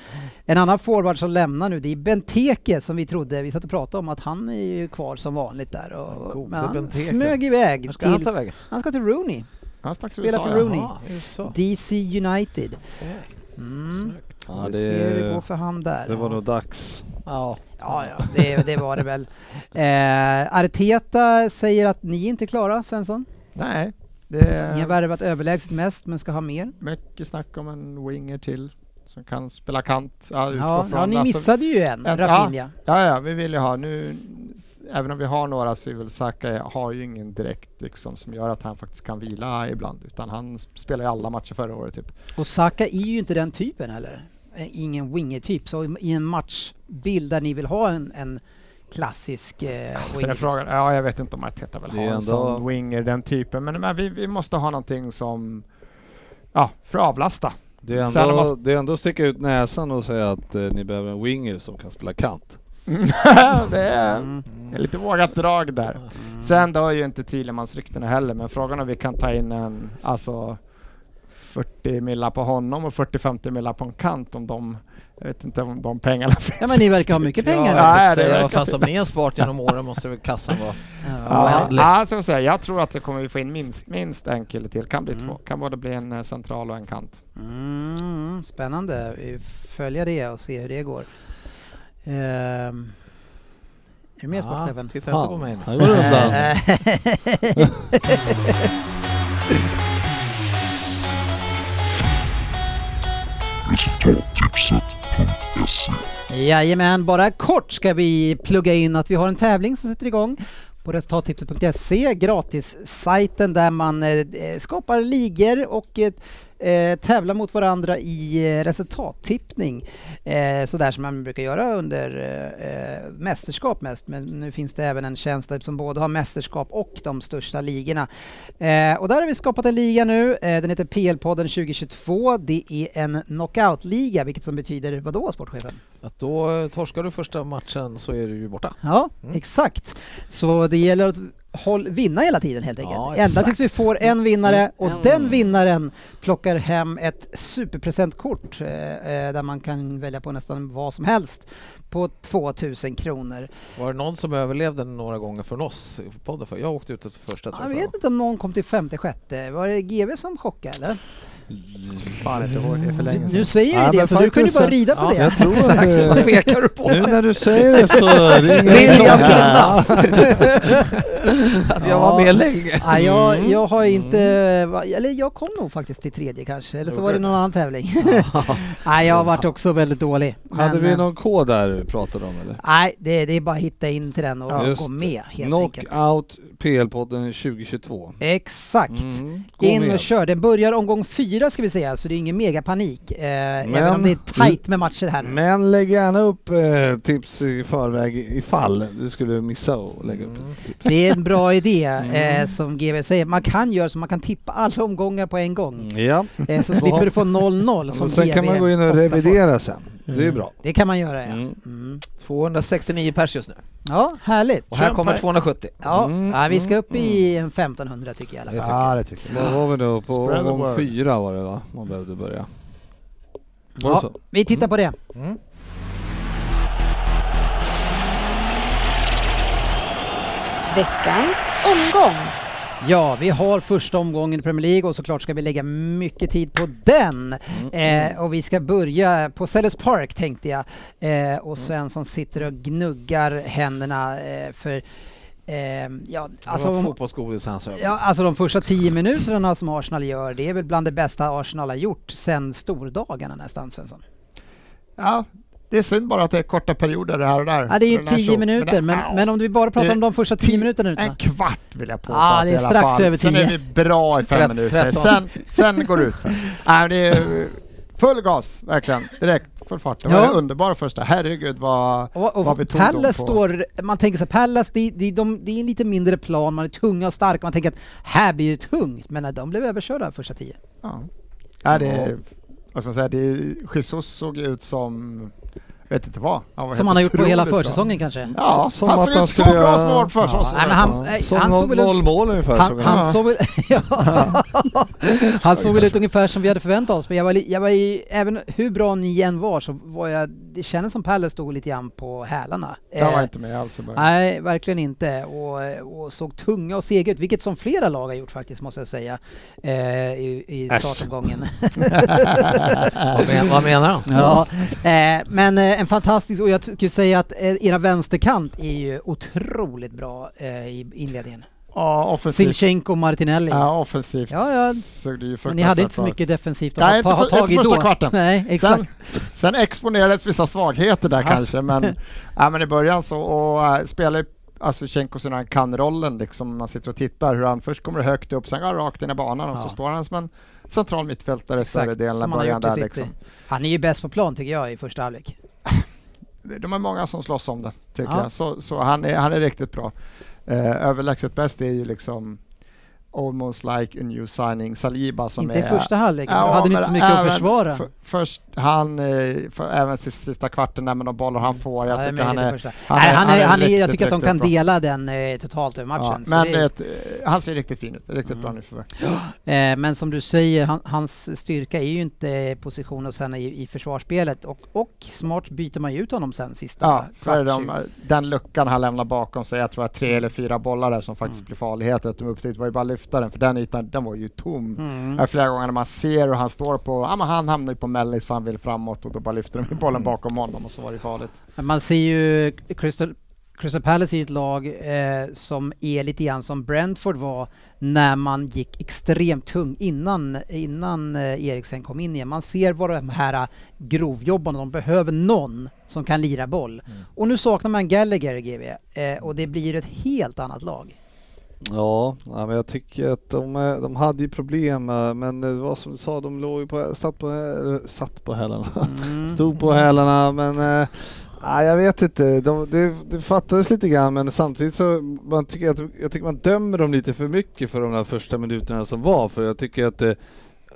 Speaker 3: En annan forward som lämnar nu, det är Benteke som vi trodde, vi satt och pratade om att han är ju kvar som vanligt där. Och,
Speaker 4: Gode
Speaker 3: men han
Speaker 4: Benteke.
Speaker 3: smög iväg
Speaker 4: Var ska han
Speaker 3: till,
Speaker 4: ta vägen?
Speaker 3: han ska till Rooney,
Speaker 6: Han stack till
Speaker 3: Spela
Speaker 6: USA,
Speaker 3: för Rooney.
Speaker 4: Jaha, USA.
Speaker 3: DC United. Mm.
Speaker 5: Ja,
Speaker 3: Vi
Speaker 5: det,
Speaker 3: ser hur det går för han där.
Speaker 5: det var nog dags.
Speaker 4: Ja.
Speaker 3: Ja, ja, det, det var det väl. Eh, Arteta säger att ni inte är klara, Svensson.
Speaker 6: Nej, det
Speaker 3: Ni har
Speaker 6: är
Speaker 3: värvat överlägset mest, men ska ha mer.
Speaker 6: mycket snack om en winger till som kan spela kant. Ja, utgå
Speaker 3: Ja,
Speaker 6: från
Speaker 3: ja ni
Speaker 6: det. Alltså,
Speaker 3: missade ju en,
Speaker 6: en- ja.
Speaker 3: Rafinha.
Speaker 6: ja, ja, vi vill ju ha nu. Även om vi har några så är väl Saka har ju ingen direkt liksom, som gör att han faktiskt kan vila ibland. Utan han s- spelade ju alla matcher förra året typ.
Speaker 3: Och Saka är ju inte den typen heller. Eh, Ingen winger-typ. Så i- i en matchbild där ni vill ha en, en klassisk eh,
Speaker 6: Sen är
Speaker 3: winger.
Speaker 6: frågan, ja jag vet inte om Arteta vill
Speaker 5: Det är
Speaker 6: ha en
Speaker 5: ändå-
Speaker 6: sån winger, den typen. Men, men vi, vi måste ha någonting som, ja, för att avlasta.
Speaker 5: Det är,
Speaker 6: Sen
Speaker 5: ändå,
Speaker 6: måste-
Speaker 5: det är ändå att sticka ut näsan och säga att eh, ni behöver en winger som kan spela kant.
Speaker 6: det
Speaker 5: Mm.
Speaker 6: är ett lite vågat drag där. Sen dör ju inte Thielemans ryktena heller, men frågan är om vi kan ta in en, alltså 40 millar på honom och 40-50 millar på en kant om de, jag vet inte om de pengarna finns.
Speaker 3: Ja men ni verkar ha mycket pengar.
Speaker 6: Ja,
Speaker 3: Ja,
Speaker 6: nej, det
Speaker 4: det
Speaker 6: verkar
Speaker 4: vad fan som ni har sparat genom åren måste väl kassan vara...
Speaker 6: Ja,
Speaker 4: oändligt.
Speaker 6: ja, så att säga. Jag tror att vi kommer få in minst, minst en kille till, kan
Speaker 5: Mm.
Speaker 6: bli två. Kan både bli en eh, central och en kant.
Speaker 3: Mm, spännande. Vi följer det och se hur det går. Ehm, är du med sportchefen?
Speaker 4: titta inte på mig nu.
Speaker 5: Han går
Speaker 3: Eh,
Speaker 5: undan.
Speaker 3: Jajamän, bara kort ska vi plugga in att vi har en tävling som sätter igång på resultattipset.se, gratissajten där man eh, skapar ligor och eh, eh, tävlar mot varandra i eh, resultattipning. Eh, sådär som man brukar göra under eh, eh, mästerskap mest. Men nu finns det även en tjänst där som både har mästerskap och de största ligorna. Eh, och där har vi skapat en liga nu. Eh, den heter PL-podden 2022. Det är en knockout-liga, vilket som betyder vad då, sportchefen?
Speaker 4: Att då eh, torskar du första matchen så är du ju borta.
Speaker 3: Ja, exakt. Så det gäller att håll, vinna hela tiden helt enkelt.
Speaker 4: Ja,
Speaker 3: Ända
Speaker 4: exakt.
Speaker 3: tills vi får en vinnare och den vinnaren plockar hem ett superpresentkort eh, eh, där man kan välja på nästan vad som helst på 2000 kronor.
Speaker 4: Var det någon som överlevde några gånger från oss i podden? För jag åkte ut efter första tror
Speaker 3: Jag
Speaker 4: jag.
Speaker 3: vet inte om någon kom till femte, sjätte. Var det GV som chockade eller?
Speaker 6: Fan inte ihåg, det är för länge
Speaker 3: Nu
Speaker 6: sedan.
Speaker 3: säger
Speaker 5: Ja,
Speaker 3: vi det,
Speaker 5: men
Speaker 3: så du kunde
Speaker 5: faktiskt
Speaker 3: bara
Speaker 5: så-
Speaker 3: rida på
Speaker 4: Ja,
Speaker 3: det.
Speaker 5: Jag tror att
Speaker 4: Vad
Speaker 5: eh,
Speaker 4: tvekar du på?
Speaker 5: nu när du säger det så ringer
Speaker 4: Vill jag
Speaker 5: klockan.
Speaker 4: minnas? Att jag var
Speaker 3: Ja.
Speaker 4: med länge.
Speaker 3: Ja,
Speaker 5: Mm.
Speaker 3: jag, jag har inte, va- eller jag kom nog faktiskt till tredje kanske, eller så var det någon annan tävling. Nej, jag har varit också väldigt dålig.
Speaker 5: Hade
Speaker 3: men,
Speaker 5: vi
Speaker 3: eh,
Speaker 5: någon kod där vi pratade om eller?
Speaker 3: Nej, det, det är bara att hitta in till den och
Speaker 5: Ja, just
Speaker 3: gå med helt enkelt.
Speaker 5: Knockout PL-podden 2022.
Speaker 3: Exakt.
Speaker 5: Mm, gå
Speaker 3: In
Speaker 5: med.
Speaker 3: och kör. Den börjar omgång fyra ska vi säga, så det är ingen megapanik. Eh, även om det är tajt med matcher här nu.
Speaker 5: Men lägg gärna upp eh, tips i förväg ifall du skulle missa att lägga upp
Speaker 3: Mm.
Speaker 5: ett tips.
Speaker 3: Det är en bra idé,
Speaker 5: Mm.
Speaker 3: eh, som GV säger. Man kan göra så, man kan tippa alla omgångar på en gång.
Speaker 5: Mm, Ja,
Speaker 3: Eh, så slipper du få 0-0 som
Speaker 5: och sen kan
Speaker 3: GV
Speaker 5: man gå in och
Speaker 3: ofta Mm. får.
Speaker 5: revidera sen. Det är bra.
Speaker 3: Det kan man göra, ja.
Speaker 5: Mm.
Speaker 3: Mm.
Speaker 4: 269 pers just nu.
Speaker 3: Ja, härligt.
Speaker 4: Och här
Speaker 6: Kämpa.
Speaker 4: kommer Mm. 270.
Speaker 3: Ja,
Speaker 5: Mm,
Speaker 3: ja, vi ska upp i en 1500 tycker jag i alla fall.
Speaker 6: Ja, det tycker jag.
Speaker 5: Liksom. Vad var vi då? På
Speaker 6: Spread the
Speaker 5: omgång
Speaker 6: word.
Speaker 5: fyra var det va? Man behövde börja. Var det
Speaker 3: Ja,
Speaker 5: så?
Speaker 3: vi tittar på det.
Speaker 4: Mm.
Speaker 7: Veckans omgång.
Speaker 3: Ja, vi har första omgången i Premier League och såklart ska vi lägga mycket tid på den.
Speaker 4: Mm.
Speaker 3: Eh, och vi ska börja på Sellers Park tänkte jag. Eh, och Svensson sitter och gnuggar händerna eh, för eh, ja, alltså,
Speaker 4: det var
Speaker 3: om-
Speaker 4: fotbollsgodis i hans ögon.
Speaker 3: ja, alltså de första tio minuterna som Arsenal gör, det är väl bland det bästa Arsenal har gjort sedan stordagarna nästan Svensson.
Speaker 6: Ja, Det är synd bara att det är korta perioder det här och där.
Speaker 3: Ja, det är ju
Speaker 6: Den här
Speaker 3: 10
Speaker 6: showen.
Speaker 3: minuter, men, men om vi bara pratar om de första 10 minuterna nu
Speaker 6: En
Speaker 3: då?
Speaker 6: kvart vill jag påstå
Speaker 3: Ja,
Speaker 6: att
Speaker 3: det är
Speaker 6: i alla
Speaker 3: strax
Speaker 6: fall.
Speaker 3: över
Speaker 6: Sen är
Speaker 3: 10.
Speaker 6: vi bra i fem
Speaker 4: Trett-
Speaker 6: minuter.
Speaker 4: tretton.
Speaker 6: Sen, sen går det ut. Nej, men det är full gas, verkligen. Direkt, full fart. Det var
Speaker 3: Ja.
Speaker 6: det underbara första. Herregud vad,
Speaker 3: Och,
Speaker 6: vad vi
Speaker 3: och
Speaker 6: tog dem på.
Speaker 3: Palace står, man tänker sig Palace, det, det, de, det är en lite mindre plan, man är tunga och starka, man tänker att här blir det tungt, men nej, de blev överkörda första tio.
Speaker 6: Ja. Ja, det är, vad ska man säga, det är, Jesus såg ju ut som, jag vet inte vad. Han var
Speaker 3: Som
Speaker 6: helt
Speaker 3: han har gjort på hela
Speaker 6: otroligt bra.
Speaker 3: försäsongen kanske.
Speaker 6: Ja,
Speaker 5: Som
Speaker 6: han
Speaker 5: att
Speaker 6: såg
Speaker 5: han
Speaker 6: ut så
Speaker 5: skulle
Speaker 6: bra
Speaker 5: göra-
Speaker 6: snart för
Speaker 3: Ja,
Speaker 6: oss.
Speaker 3: nej, men han- nej,
Speaker 5: Som
Speaker 3: han såg
Speaker 5: noll,
Speaker 3: väl ut-
Speaker 5: noll mål ungefär.
Speaker 3: Han,
Speaker 5: såg jag.
Speaker 3: han såg väl... ja. han såg väl ut ungefär som vi hade förväntat oss, men jag var, li- jag var i, även hur bra ni än var så var jag, det kändes som Palace stod lite grann på hälarna.
Speaker 6: Jag var
Speaker 3: Eh,
Speaker 6: inte med alls i början.
Speaker 3: Nej, verkligen inte. Och, och såg tunga och sega ut, vilket som flera lag har gjort faktiskt, måste jag säga, eh, i, i
Speaker 4: Äsch.
Speaker 3: startomgången.
Speaker 4: Vad, men, vad menar han?
Speaker 3: ja, eh, men eh, en fantastisk, och jag tycker säga att eh, era vänsterkant är ju otroligt bra eh, i inledningen.
Speaker 6: Ja, offensivt.
Speaker 3: Silchenko och Martinelli.
Speaker 6: Ja, offensivt
Speaker 3: Ja, ja.
Speaker 6: såg det ju
Speaker 3: Men ni hade inte så
Speaker 6: fruktansvärt bra ut.
Speaker 3: mycket defensivt
Speaker 6: Nej,
Speaker 3: att
Speaker 6: inte
Speaker 3: ta, ha
Speaker 6: för-
Speaker 3: tag i
Speaker 6: inte första
Speaker 3: då.
Speaker 6: kvarten.
Speaker 3: Nej, exakt.
Speaker 6: Sen, sen exponerades vissa svagheter där
Speaker 3: Ja.
Speaker 6: kanske, men, ja, men i början så och, äh, spelar ju alltså Tjenko sin han kan-rollen, liksom, man sitter och tittar hur han först kommer högt upp, sen går han rakt in i banan och
Speaker 3: Ja.
Speaker 6: så står han som en central mittfältare större
Speaker 3: Exakt,
Speaker 6: delen av
Speaker 3: som han har
Speaker 6: början
Speaker 3: gjort i
Speaker 6: där.
Speaker 3: City.
Speaker 6: Liksom.
Speaker 3: Han är ju bäst på plan tycker jag i första halvlek.
Speaker 6: De är många som slåss om det, tycker
Speaker 3: Ja.
Speaker 6: jag. Så, så han, är, han är riktigt bra. Eh, överlägset bäst är ju liksom Almost like a new signing, Saliba som
Speaker 3: Inte
Speaker 6: är...
Speaker 3: i första halvlek,
Speaker 6: Ja,
Speaker 3: då hade ni
Speaker 6: men
Speaker 3: inte så mycket
Speaker 6: även
Speaker 3: att försvara.
Speaker 6: för- Först han, eh, för, även sista, sista kvarten där med de bollar han får. Jag
Speaker 3: Mm. Ja,
Speaker 6: tycker
Speaker 3: men
Speaker 6: han
Speaker 3: det
Speaker 6: är...
Speaker 3: första. Nej, han är, han är, jag
Speaker 6: riktigt,
Speaker 3: tycker att de
Speaker 6: riktigt
Speaker 3: kan
Speaker 6: bra.
Speaker 3: dela den eh, totalt över
Speaker 6: Ja,
Speaker 3: matchen. så
Speaker 6: men
Speaker 3: det är- Mm.
Speaker 6: ett, eh, han ser riktigt fin ut, riktigt bra nu för
Speaker 3: Eh, men som du säger, han, hans styrka är ju inte position och sen i, i försvarsspelet och, och smart byter man ju ut honom sen sista
Speaker 6: Ja, för
Speaker 3: kvart,
Speaker 6: de, eh, den luckan han lämnar bakom sig, jag tror att tre eller fyra bollar där som
Speaker 3: Mm.
Speaker 6: faktiskt blir farligheter, att de upptäckte var ju bara att lyfta den, för den ytan, den var ju tom.
Speaker 3: Mm.
Speaker 6: Mm. Flera gånger när man ser hur han står på, ja men han hamnar ju på mellis för han vill framåt och då bara lyfter de bollen
Speaker 3: Mm.
Speaker 6: bakom honom och så var det farligt.
Speaker 3: Men Man ser ju Crystal, Crystal Palace är ju ett lag eh, som är lite grann som Brentford var när man gick extremt tung innan, innan eh, Eriksen kom in igen. Man ser vad de här eh, grovjobbarna, de behöver någon som kan lira boll. Och nu saknar man Gallagher i GB eh, och det blir ett helt annat lag.
Speaker 5: Ja, ja, men jag tycker att de, eh, de hade ju problem, eh, men det var som du sa, de låg ju på, satt på, eh, satt på hälarna. Stod på hälarna, men eh, nej, jag vet inte. De, det, det fattades lite grann, men samtidigt så man tycker jag, jag tycker man dömer dem lite för mycket för de där första minuterna som var, för jag tycker att det,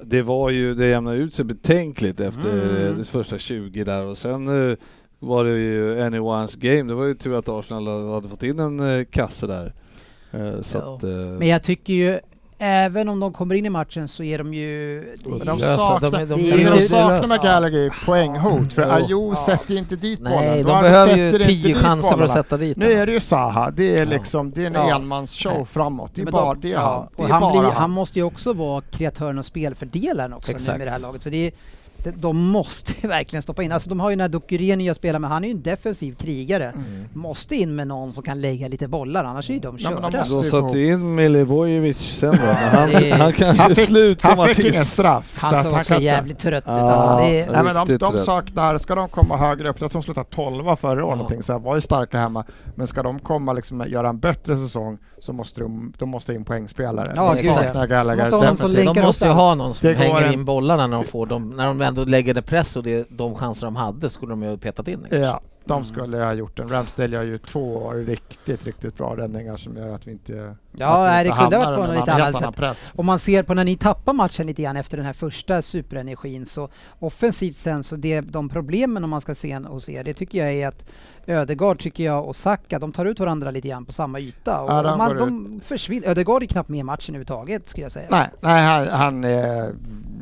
Speaker 5: det var ju, det jämnade ut sig betänkligt efter
Speaker 3: Mm.
Speaker 5: de första 20 där och sen eh, var det ju anyone's game. Det var ju tur att Arsenal hade fått in en eh, kasse där. Eh, Så
Speaker 3: Ja.
Speaker 5: att, eh,
Speaker 3: Men jag tycker ju, även om de kommer in i matchen så är de ju... det är
Speaker 6: Men
Speaker 3: ju-
Speaker 6: de
Speaker 4: Lösa,
Speaker 6: saknar,
Speaker 4: de
Speaker 6: de,
Speaker 4: är- de
Speaker 3: är
Speaker 6: de
Speaker 3: ju-
Speaker 6: saknar
Speaker 4: lösa.
Speaker 6: med Gallagher i poänghot, för
Speaker 5: Ja.
Speaker 6: Ayew
Speaker 3: Ja.
Speaker 6: sätter ju inte dit bollen.
Speaker 4: Nej,
Speaker 6: Då
Speaker 4: de
Speaker 6: hade
Speaker 4: behöver
Speaker 6: sätter
Speaker 4: ju
Speaker 6: inte
Speaker 4: tio
Speaker 6: dit
Speaker 4: chanser för att
Speaker 6: bollarna.
Speaker 4: sätta dit
Speaker 6: Nu
Speaker 4: den.
Speaker 6: är det ju Zaha, det är
Speaker 4: Ja.
Speaker 6: liksom, det är en
Speaker 3: Ja.
Speaker 6: enmansshow framåt. Det är
Speaker 3: Men
Speaker 6: bara
Speaker 3: de-
Speaker 6: det
Speaker 3: ja,
Speaker 6: han. Det
Speaker 3: och
Speaker 6: är
Speaker 3: han,
Speaker 6: bara
Speaker 3: blir,
Speaker 6: han.
Speaker 3: han måste ju också vara kreatören och spelfördelaren också nu
Speaker 4: Exakt.
Speaker 3: med det här laget. Så det är, de, de måste verkligen stoppa in. Alltså de har ju den här Dukureni jag spelar med, han är ju en defensiv krigare. Måste in med någon som kan lägga lite bollar, annars är ju de
Speaker 6: Nej, men de
Speaker 3: körda.
Speaker 6: måste-
Speaker 5: Då
Speaker 6: ju få-
Speaker 5: satte ju in Milivojevic sen då, men han,
Speaker 3: Det-
Speaker 5: han kanske
Speaker 6: han
Speaker 5: är
Speaker 6: fick-
Speaker 5: slut som
Speaker 6: han fick ingen
Speaker 5: artist.
Speaker 6: straff. så
Speaker 3: han
Speaker 6: att
Speaker 3: såg också
Speaker 6: kan inte-
Speaker 3: jävligt trött ut.
Speaker 5: Ja.
Speaker 3: Alltså, det är,
Speaker 6: Nej, men de,
Speaker 5: Riktigt
Speaker 6: de
Speaker 5: rätt.
Speaker 6: saknar, ska de komma högre upp, jag tror de slutade 12 förra året någonting, så här, var ju starka hemma, men ska de komma liksom göra en bättre säsong så måste de, de måste in poängspelare.
Speaker 3: Ja,
Speaker 6: de
Speaker 4: exakt.
Speaker 6: saknar Gallagher.
Speaker 3: Måste ha någon som
Speaker 6: definitivt.
Speaker 3: länkar
Speaker 4: De måste ju
Speaker 3: upp den.
Speaker 4: ha någon som
Speaker 6: Det går
Speaker 4: hänger
Speaker 6: en-
Speaker 4: in bollarna när de får dem. När de ändå lägger ner press och det är de chanser de hade skulle de ju ha petat in. kanske.
Speaker 6: Ja, de skulle ha gjort den. Ramsdale gör ju två riktigt, riktigt bra räddningar som gör att vi inte
Speaker 3: Ja,
Speaker 6: att vi
Speaker 3: nej,
Speaker 6: inte
Speaker 3: det kunde ha
Speaker 6: hamnar
Speaker 3: varit på
Speaker 6: i en
Speaker 3: något
Speaker 6: annan-
Speaker 3: annat
Speaker 6: helt annan
Speaker 3: sätt.
Speaker 6: press.
Speaker 3: Om man ser på när ni tappar matchen lite grann efter den här första superenergin så offensivt sen så det, de problemen om man ska se en hos er, det tycker jag är att Ödegard tycker jag och Saka, de tar ut varandra lite grann på samma yta och
Speaker 6: Ja, de
Speaker 3: man,
Speaker 6: går
Speaker 3: de försvinner. Ödegard är knappt med i matchen överhuvudtaget skulle jag säga.
Speaker 6: Nej, nej han, han är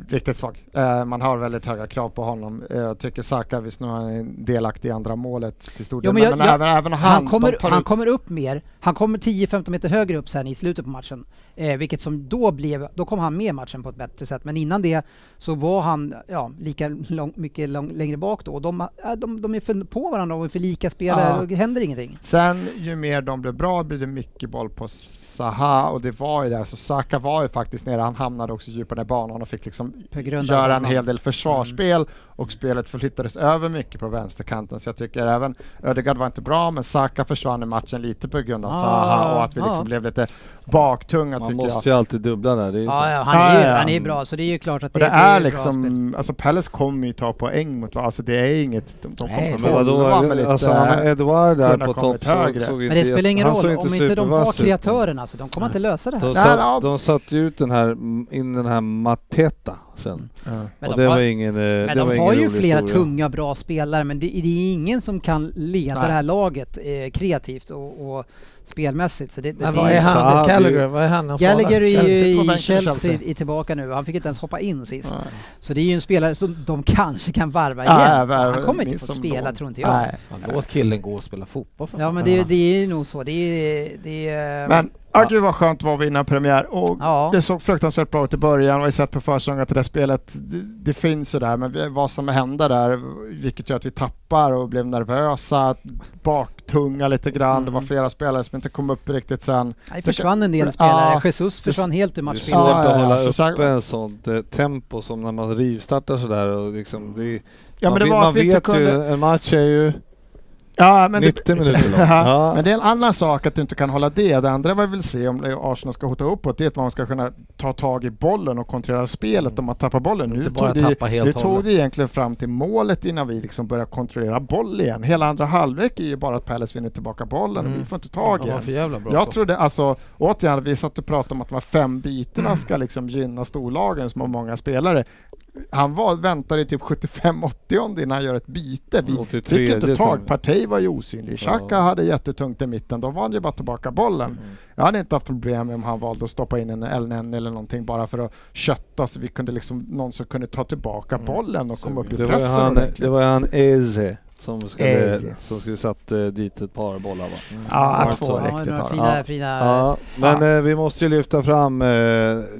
Speaker 6: riktigt svag. Eh, man har väldigt höga krav på honom. Eh, Jag tycker Saka, visst nu är han är delaktig i andra målet till stor
Speaker 3: Jo,
Speaker 6: del,
Speaker 3: men jag-
Speaker 6: men,
Speaker 3: jag-
Speaker 6: även, även han,
Speaker 3: Han, kommer,
Speaker 6: de tar
Speaker 3: han
Speaker 6: ut-
Speaker 3: kommer upp mer, han kommer 10-15 meter högre upp sen i slutet på matchen. Eh, vilket som då blev, då kom han med i matchen på ett bättre sätt. Men innan det så var han ja, lika lång, mycket lång, längre bak då. Och de, äh, de, de är för på varandra och är för lika spelare,
Speaker 6: Ja.
Speaker 3: och det händer ingenting.
Speaker 6: Sen ju mer de blev bra blir det mycket boll på Saha och det var ju där, så Saka var ju faktiskt nere, han hamnade också djupare ner i banan och fick liksom
Speaker 3: På grund av
Speaker 6: göra en
Speaker 3: honom. Mm.
Speaker 6: hel del försvarsspel och spelet förflyttades över mycket på vänsterkanten så jag tycker även Ödegaard var inte bra men Saka försvann i matchen lite på grund av
Speaker 3: Ja,
Speaker 6: Zaha och att vi
Speaker 3: ja.
Speaker 6: liksom blev lite baktunga
Speaker 5: Man
Speaker 6: tycker jag.
Speaker 5: måste ju alltid dubbla där. Det är ju
Speaker 3: Ja,
Speaker 5: så.
Speaker 3: ja, han är ju
Speaker 6: Ja, ja.
Speaker 3: han är ju bra, så det är ju klart att
Speaker 6: Och
Speaker 3: det,
Speaker 6: det är
Speaker 3: ju bra spel.
Speaker 6: liksom, alltså Palace kommer ju ta poäng mot lag, alltså det är inget, de, de
Speaker 4: Nej,
Speaker 6: kommer
Speaker 5: Ja, Men vadå,
Speaker 6: tolva med lite...
Speaker 5: alltså han Edouard där
Speaker 6: kunna
Speaker 5: på
Speaker 6: kommit
Speaker 5: topp såg,
Speaker 6: högre.
Speaker 5: såg
Speaker 3: Men det spelar ingen
Speaker 5: han
Speaker 3: roll,
Speaker 5: såg
Speaker 3: om inte de har
Speaker 5: supervass ut.
Speaker 3: kreatören alltså, de kommer inte lösa det här.
Speaker 5: De,
Speaker 6: Nej, ja.
Speaker 5: satt, de satte ju ut den här, m- in den här Mateta sen.
Speaker 6: Ja.
Speaker 3: Men
Speaker 5: och
Speaker 3: de
Speaker 5: det
Speaker 3: har-
Speaker 5: var ingen eh, det
Speaker 3: Men
Speaker 5: var
Speaker 3: de
Speaker 5: ingen
Speaker 3: har ju
Speaker 5: rolig
Speaker 3: flera
Speaker 5: historia.
Speaker 3: tunga bra spelare men det, det är ingen som kan leda
Speaker 6: Nej.
Speaker 3: det här laget eh, kreativt och, och spelmässigt. Så det, det,
Speaker 4: Men
Speaker 3: det
Speaker 4: vad är
Speaker 3: är
Speaker 5: Zaha
Speaker 4: han?
Speaker 5: hade ju-
Speaker 4: Gallagher, vad är han? han? skadad?
Speaker 3: Gallagher är
Speaker 6: Chelsea på
Speaker 3: ju i
Speaker 6: bänken i
Speaker 3: Chelsea,
Speaker 6: Chelsea.
Speaker 3: är tillbaka nu, han fick inte ens hoppa in sist.
Speaker 6: Nej.
Speaker 3: Så det är ju en spelare som de kanske kan varva igen.
Speaker 6: Ja,
Speaker 3: För
Speaker 6: värva-
Speaker 3: han kommer inte
Speaker 6: minst
Speaker 3: få
Speaker 6: som
Speaker 3: spela
Speaker 6: lån.
Speaker 3: tror inte jag.
Speaker 6: Nej.
Speaker 4: Fan, Låt killen gå och spela fotboll för
Speaker 3: Ja
Speaker 4: fan.
Speaker 3: men det, det är ju nog så. Det är... Det är eh,
Speaker 6: Men ja. gud vad skönt det var att vinna en premiär. Och
Speaker 3: Ja.
Speaker 6: Det såg fruktansvärt bra ut i början, vi har ju sett på försäsongen att det där spelet, det, det finns ju där, men vi, vad som hände där, vilket gör att vi tappar och blev nervösa, baktunga lite grann, det var
Speaker 3: Mm.
Speaker 6: flera spelare som inte kom upp riktigt sen.
Speaker 3: det försvann en del spelare. Jesus försvann helt ur
Speaker 5: Det är svårt
Speaker 3: matchbilden.
Speaker 6: Ja, ja,
Speaker 5: att
Speaker 6: ja,
Speaker 5: hålla
Speaker 6: så sagt-
Speaker 5: uppe en sånt eh, tempo som när man rivstartar sådär. Och liksom, det, är-
Speaker 6: Ja,
Speaker 5: man
Speaker 6: men det
Speaker 5: vet-
Speaker 6: var
Speaker 5: man
Speaker 6: att vi inte
Speaker 5: vet ju,
Speaker 6: kunde...
Speaker 5: en match är ju
Speaker 6: Ja, men det-
Speaker 5: 90 minuter lång.
Speaker 6: Ja.
Speaker 5: Ja.
Speaker 6: Men det är en annan sak att du inte kan hålla det. Det andra vi vill se om Arsenal ska hota uppåt, det är att man ska kunna ta tag i bollen och kontrollera spelet om man tappar bollen. Nu
Speaker 4: Inte bara
Speaker 6: tog, det,
Speaker 4: tappa helt
Speaker 6: nu
Speaker 4: och
Speaker 6: tog
Speaker 4: hållet.
Speaker 6: det egentligen fram till målet innan vi liksom började kontrollera boll igen. Hela andra halvlek är ju bara att Palace vinner tillbaka bollen och
Speaker 4: Mm.
Speaker 6: vi får inte tag i
Speaker 4: Ja,
Speaker 6: den.
Speaker 4: för jävla bra
Speaker 6: Jag trodde, alltså återigen, vi satt och pratade om att de här fem bitarna ska
Speaker 5: Mm.
Speaker 6: liksom gynna storlagen som har många spelare. Han var, väntade i typ 75-80 innan han gör ett byte. Vi
Speaker 5: 83
Speaker 6: fick inte
Speaker 5: tror
Speaker 6: tag.
Speaker 5: jag.
Speaker 6: Partey var ju osynlig.
Speaker 5: Ja.
Speaker 6: Xhaka hade jättetungt i mitten. Då var han ju bara tillbaka bollen.
Speaker 5: Mm.
Speaker 6: Jag hade inte haft problem om han valde att stoppa in en LNN eller någonting bara för att kötta så vi kunde liksom, någon som kunde ta tillbaka
Speaker 4: Mm.
Speaker 6: bollen och
Speaker 4: Så
Speaker 6: komma upp i
Speaker 5: Det var ju
Speaker 6: pressen
Speaker 5: han,
Speaker 6: ordentligt.
Speaker 5: det var ju han Eze som skulle,
Speaker 6: Eze.
Speaker 5: som skulle satt eh, dit ett par bollar va? Mm.
Speaker 6: Ja,
Speaker 5: Ja,
Speaker 6: två
Speaker 5: så.
Speaker 3: Ja,
Speaker 6: riktigt
Speaker 3: några
Speaker 6: har han.
Speaker 3: fina,
Speaker 5: Ja.
Speaker 3: fina...
Speaker 5: Ja, men eh, vi måste ju lyfta fram eh,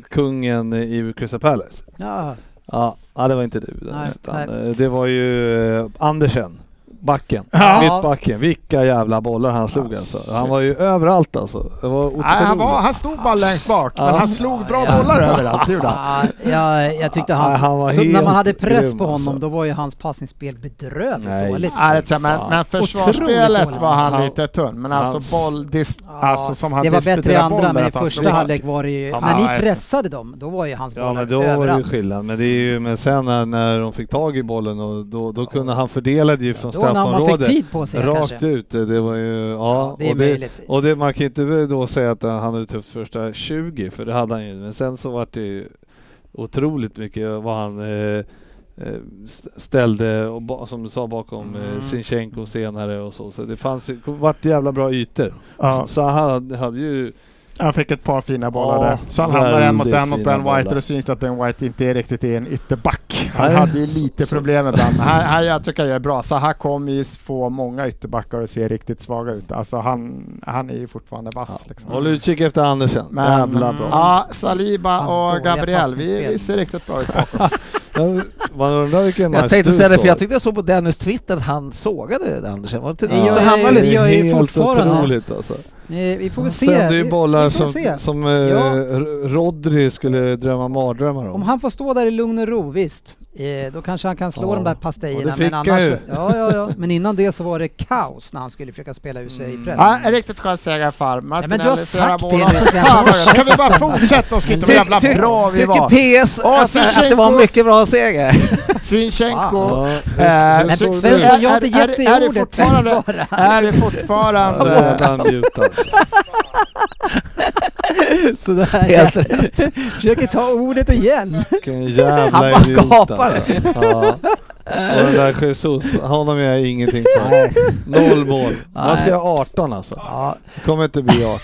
Speaker 5: kungen i Crystal Palace.
Speaker 3: Ja.
Speaker 5: Ja, ja det var inte du Dennis,
Speaker 3: Nej,
Speaker 5: utan, eh, det var ju eh, Andersen, backen,
Speaker 3: Ja.
Speaker 5: mittbacken. Vilka jävla bollar han slog alltså. Han var ju överallt alltså. Det var otroligt.
Speaker 6: Nej, han, var, han stod bara längst bak, men
Speaker 5: Ja.
Speaker 6: han slog bra
Speaker 3: Ja.
Speaker 6: bollar överallt. det gjorde han.
Speaker 3: Ja, jag, jag tyckte
Speaker 5: Ja,
Speaker 3: hans,
Speaker 5: han var
Speaker 3: så när
Speaker 5: helt
Speaker 3: man hade press
Speaker 5: grym,
Speaker 3: på honom
Speaker 5: alltså.
Speaker 3: då var ju hans passningsspel bedrövligt
Speaker 5: Nej.
Speaker 3: dåligt.
Speaker 6: Ja, det tror jag, men,
Speaker 5: Fan.
Speaker 6: men
Speaker 3: Otroligt
Speaker 6: försvarsspelet
Speaker 3: dåligt.
Speaker 6: var han
Speaker 5: Han-
Speaker 6: lite tunn, men
Speaker 5: hans-
Speaker 6: alltså boll... Dis,
Speaker 3: Ja,
Speaker 6: alltså som han
Speaker 3: det var bättre i
Speaker 6: disputerar
Speaker 3: andra
Speaker 6: bollen,
Speaker 3: men i
Speaker 6: att han
Speaker 3: första
Speaker 6: slog-
Speaker 3: halvlek var det ju,
Speaker 6: Ja,
Speaker 3: när ni
Speaker 6: nej.
Speaker 3: pressade dem, då var ju hans
Speaker 5: Ja
Speaker 3: bollar
Speaker 5: men då var det ju
Speaker 3: överallt.
Speaker 5: skillnad. Men, det är ju, men sen när, när de fick tag i bollen och då, då kunde han fördela det ju från
Speaker 3: Då när man fick
Speaker 5: straffområdet.
Speaker 3: tid på sig
Speaker 5: Rakt
Speaker 3: kanske.
Speaker 5: ut. eh, Det var ju, ja,
Speaker 3: Ja, det är
Speaker 5: och, det,
Speaker 3: möjligt.
Speaker 5: och det, man kan ju inte då säga att han hade tufft första 20 för det hade han ju. Men sen så var det ju otroligt mycket vad han eh, eh, st- ställde och ba, som du sa bakom eh,
Speaker 4: Mm.
Speaker 5: Sinchenko senare och så. Så det fanns ju, vart jävla bra ytor.
Speaker 6: Ja.
Speaker 5: Så, så han hade, hade ju
Speaker 6: Han fick ett par fina bollar
Speaker 5: Ja,
Speaker 6: där. Så han hamnar
Speaker 5: väldigt
Speaker 6: en mot en mot
Speaker 5: fina
Speaker 6: Ben White
Speaker 5: bollar.
Speaker 6: och det syns att Ben White inte är riktigt är en ytterback. Han
Speaker 5: Nej.
Speaker 6: hade ju lite
Speaker 5: Så-
Speaker 6: problem ibland. men Här, här, jag tycker jag är bra. Så här kommer ju få många ytterbackar att se riktigt svaga ut. Alltså han, han är ju fortfarande vass. Liksom.
Speaker 5: Håll utkik efter Andersen.
Speaker 6: Men-
Speaker 5: Jävla bra.
Speaker 6: Ja, Saliba
Speaker 3: Hans
Speaker 6: och
Speaker 3: dåliga
Speaker 6: Gabriel, vi,
Speaker 3: passningsspel.
Speaker 6: vi ser riktigt bra ut.
Speaker 5: Ja, Man undrar vilken match
Speaker 4: Jag tänkte
Speaker 5: du
Speaker 4: säga det, för
Speaker 5: såg.
Speaker 4: jag tyckte jag såg på Dennis Twitter att han sågade Andersen. Var det inte
Speaker 3: Ja.
Speaker 4: det?
Speaker 3: Jag-
Speaker 4: Han var
Speaker 3: jag-
Speaker 4: lite-
Speaker 3: jag- är
Speaker 5: helt
Speaker 3: fortfarande-
Speaker 5: otroligt alltså.
Speaker 3: Eh, Vi får väl se.
Speaker 5: Sänder
Speaker 3: Vi-
Speaker 5: ju bollar
Speaker 3: vi får
Speaker 5: som,
Speaker 3: se.
Speaker 5: som eh,
Speaker 3: Ja.
Speaker 5: R- Rodri skulle drömma mardrömmar
Speaker 3: Om
Speaker 5: om.
Speaker 3: han får stå där i lugn och ro, visst. Eh, då kanske han kan slå
Speaker 5: Ja.
Speaker 3: de där
Speaker 5: Och det
Speaker 3: pastejerna.
Speaker 5: fick
Speaker 3: Men,
Speaker 5: han
Speaker 3: annars,
Speaker 5: ju.
Speaker 3: ja, ja, ja. men innan det så var det kaos när han skulle försöka spela ur
Speaker 5: Mm.
Speaker 3: sig i press.
Speaker 6: Ja, en riktigt skön seger i alla fall.
Speaker 3: Mm. men du har
Speaker 6: Martinelli, fyra
Speaker 3: sagt
Speaker 6: mål.
Speaker 3: det nu, Sven.
Speaker 6: Fan, vad- Kan vi bara fortsätta och skriva hur jävla
Speaker 4: Tyck-
Speaker 6: bra vi
Speaker 4: tycker
Speaker 6: var?
Speaker 4: PS att, att det var en mycket bra seger.
Speaker 6: Zinchenko.
Speaker 5: Ja,
Speaker 6: Eh,
Speaker 5: hur- hur
Speaker 3: Men
Speaker 5: såg
Speaker 6: Sven-
Speaker 5: du?
Speaker 3: Svensson, jag har inte
Speaker 6: Är- är-
Speaker 3: gett
Speaker 6: är
Speaker 3: dig
Speaker 6: det
Speaker 3: ordet.
Speaker 6: fortfarande-
Speaker 3: Svara.
Speaker 6: Är det
Speaker 5: Ja,
Speaker 6: fortfarande...
Speaker 5: redan mute alltså.
Speaker 3: Sådär, ja. Försöker ta ordet igen.
Speaker 5: Vilken jävla
Speaker 4: bara
Speaker 5: idiot
Speaker 4: gapade.
Speaker 5: alltså. Ja. Och den där Jesus, honom är jag ingenting för. Noll mål. Man ska ha 18 alltså.
Speaker 3: Ja,
Speaker 5: Kommer inte bli 18.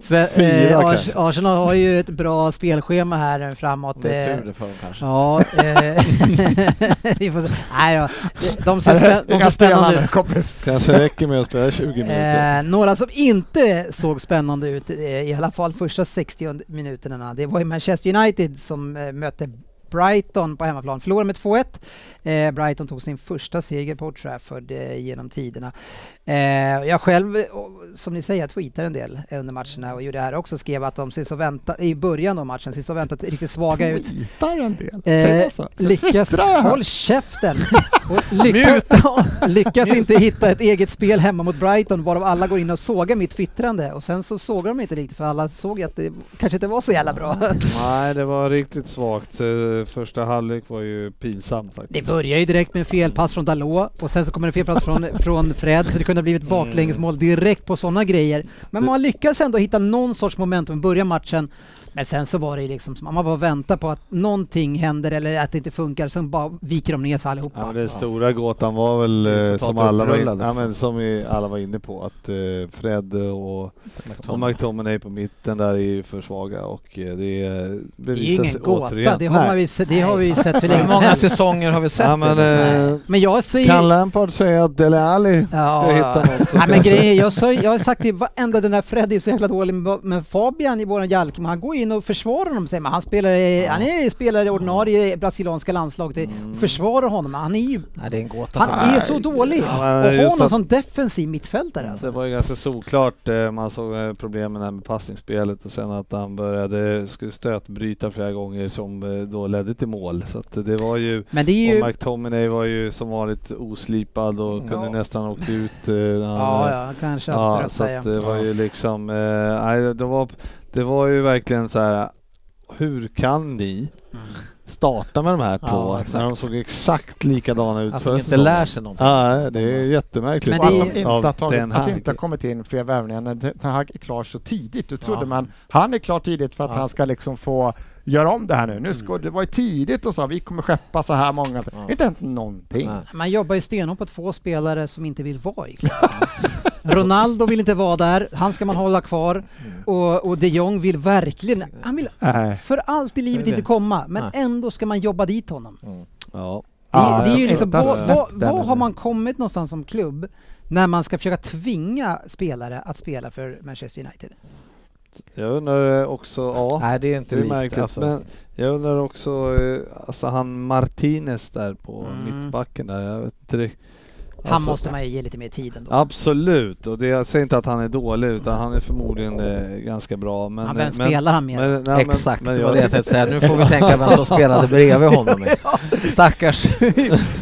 Speaker 3: Sve-
Speaker 5: Fyra
Speaker 3: eh, Ars-
Speaker 5: kanske.
Speaker 3: Arsenal har ju ett bra spelschema här framåt.
Speaker 4: Det
Speaker 3: eh,
Speaker 4: är tur det för dem kanske.
Speaker 3: Ja, eh, vi får se. Nej då. De ser, spä- de ser spännande
Speaker 6: Inga spelare,
Speaker 3: ut.
Speaker 6: kompis.
Speaker 5: Kanske räcker med att spela 20 minuter.
Speaker 3: Eh, några som inte såg spännande ut, eh, i alla fall första 60 minuterna, det var ju Manchester United som eh, mötte Brighton på hemmaplan. Förlorade med 2-1. Eh, Brighton tog sin första seger på Old Trafford eh, genom tiderna. Eh, jag själv, eh, och som ni säger, jag tweetar en del eh, under matcherna och gjorde det här också. Skrev att de ser så vänta, i början av matchen, ser så väntat riktigt svaga ut.
Speaker 6: Tweetar en del.
Speaker 3: Eh,
Speaker 6: Säg så.
Speaker 3: lyckas,
Speaker 6: twittrar jag.
Speaker 3: håll käften! Och lyckas, lyckas inte hitta ett eget spel hemma mot Brighton varav alla går in och sågar mitt twittrande och sen så sågar de inte riktigt för alla såg ju att det kanske inte var så jävla bra.
Speaker 5: Nej, det var riktigt svagt. Eh, Första halvlek var ju pinsam faktiskt.
Speaker 3: Det börjar ju direkt med en felpass från Dalot och sen så kommer en felpass från, från Fred så det kunde ha
Speaker 6: Mm.
Speaker 3: blivit baklängesmål direkt på sådana grejer. Men man lyckas ändå hitta någon sorts momentum i början av matchen. Men sen så var det ju liksom, som att man bara väntar på att någonting händer eller att det inte funkar, sen bara viker de ner sig allihopa.
Speaker 5: Ja, men den stora gåtan var väl eh,
Speaker 4: Totalt
Speaker 5: som, alla var, in,
Speaker 4: upprullade.
Speaker 5: ja, men som i- alla var inne på att eh, Fred och, och McTominay på mitten där är ju för svaga och eh, det eh,
Speaker 3: Det är ju
Speaker 5: bevisas
Speaker 3: ingen gåta,
Speaker 5: återigen.
Speaker 3: det har, man ju sett, det har vi ju sett hur länge
Speaker 4: Hur
Speaker 3: som
Speaker 4: många
Speaker 3: helst.
Speaker 4: säsonger har vi sett
Speaker 5: ja, men,
Speaker 4: det?
Speaker 5: eh,
Speaker 3: Men jag ser
Speaker 5: Kan Lampard säga att Dele Alli
Speaker 3: Ja.
Speaker 5: ska hitta något? så
Speaker 3: Nej men
Speaker 5: kanske-
Speaker 3: grejen är, jag, sa, jag har sagt det i varenda den här Freddy är så jäkla dålig men- men Fabian i våran Jalkemo, han går in och försvarar honom säger man. Han spelar, i- han är spelare i ordinarie brasilianska landslaget
Speaker 5: Mm.
Speaker 3: och försvarar honom. Han är ju,
Speaker 4: Nej, det är en gåta.
Speaker 3: han
Speaker 4: för mig.
Speaker 3: är ju så dålig! Och
Speaker 5: men
Speaker 3: har
Speaker 5: just
Speaker 3: honom
Speaker 5: att-
Speaker 3: som defensiv mittfältare alltså.
Speaker 5: Det var ju ganska solklart, eh, man såg eh, problemen här med passningsspelet och sen att han började skulle stötbryta flera gånger som eh, då ledde till mål. Så att det var ju
Speaker 3: Men det är ju...
Speaker 5: Och McTominay var ju som vanligt oslipad och kunde
Speaker 3: Ja.
Speaker 5: nästan åkt ut. eh, när han,
Speaker 3: Ja,
Speaker 5: eh,
Speaker 3: ja, kanske
Speaker 5: ja,
Speaker 3: haft
Speaker 5: så
Speaker 3: det att
Speaker 5: att
Speaker 3: säga.
Speaker 5: det var ju liksom, eh, nej, det, var, det var ju verkligen så här, hur kan ni starta med de här
Speaker 4: Ja,
Speaker 5: två när de
Speaker 4: exakt.
Speaker 5: såg exakt likadana ut
Speaker 4: Att
Speaker 5: förra
Speaker 4: de inte
Speaker 5: säsongen?
Speaker 4: lär sig någonting.
Speaker 5: Ja, det är jättemärkligt.
Speaker 3: Men
Speaker 6: Och att
Speaker 3: det
Speaker 6: de
Speaker 3: är-
Speaker 6: inte
Speaker 5: av
Speaker 6: har, tagit,
Speaker 5: Ten
Speaker 6: att det
Speaker 5: Hag.
Speaker 6: inte har kommit in fler värvningar när Ten Hag är klar så tidigt. Då trodde
Speaker 4: Ja.
Speaker 6: man han är klar tidigt för att
Speaker 4: Ja.
Speaker 6: han ska liksom få göra om det här nu.
Speaker 3: Mm.
Speaker 6: nu ska, det var ju tidigt och sa vi kommer skeppa så här många. Det har inte hänt någonting.
Speaker 4: Nej.
Speaker 3: Man jobbar ju stenhårt på två spelare som inte vill vara i klubben. Ronaldo vill inte vara där, han ska man hålla kvar. Och, och de Jong vill verkligen, han vill
Speaker 6: Nej.
Speaker 3: för allt i livet
Speaker 4: det.
Speaker 3: inte komma, men
Speaker 4: Nej.
Speaker 3: ändå ska man jobba dit honom.
Speaker 5: Ja.
Speaker 3: Det,
Speaker 6: Ja,
Speaker 3: det är
Speaker 6: jag
Speaker 3: ju
Speaker 6: vet
Speaker 3: liksom,
Speaker 6: inte.
Speaker 3: vad, vad, vad har
Speaker 6: Den-
Speaker 3: man kommit någonstans som klubb när man ska försöka tvinga spelare att spela för Manchester United?
Speaker 5: Jag undrar eh, också, ja.
Speaker 4: Nej, det är inte
Speaker 5: Det är
Speaker 4: likt.
Speaker 5: märkligt,
Speaker 4: alltså.
Speaker 5: men jag undrar också, eh, alltså han Martinez där på
Speaker 3: Mm.
Speaker 5: mittbacken där, jag vet inte riktigt.
Speaker 3: Han
Speaker 5: Alltså-
Speaker 3: måste man ju ge lite mer tid ändå.
Speaker 5: Absolut, och det, jag säger inte att han är dålig utan han är förmodligen eh, ganska bra. Men,
Speaker 3: Men, vem
Speaker 5: men,
Speaker 3: spelar han med?
Speaker 5: men- nej,
Speaker 4: Exakt,
Speaker 5: men,
Speaker 4: det
Speaker 5: men
Speaker 4: var det jag
Speaker 5: jag,
Speaker 4: tänkte säga. Nu får vi tänka vem som spelade bredvid honom. Stackars.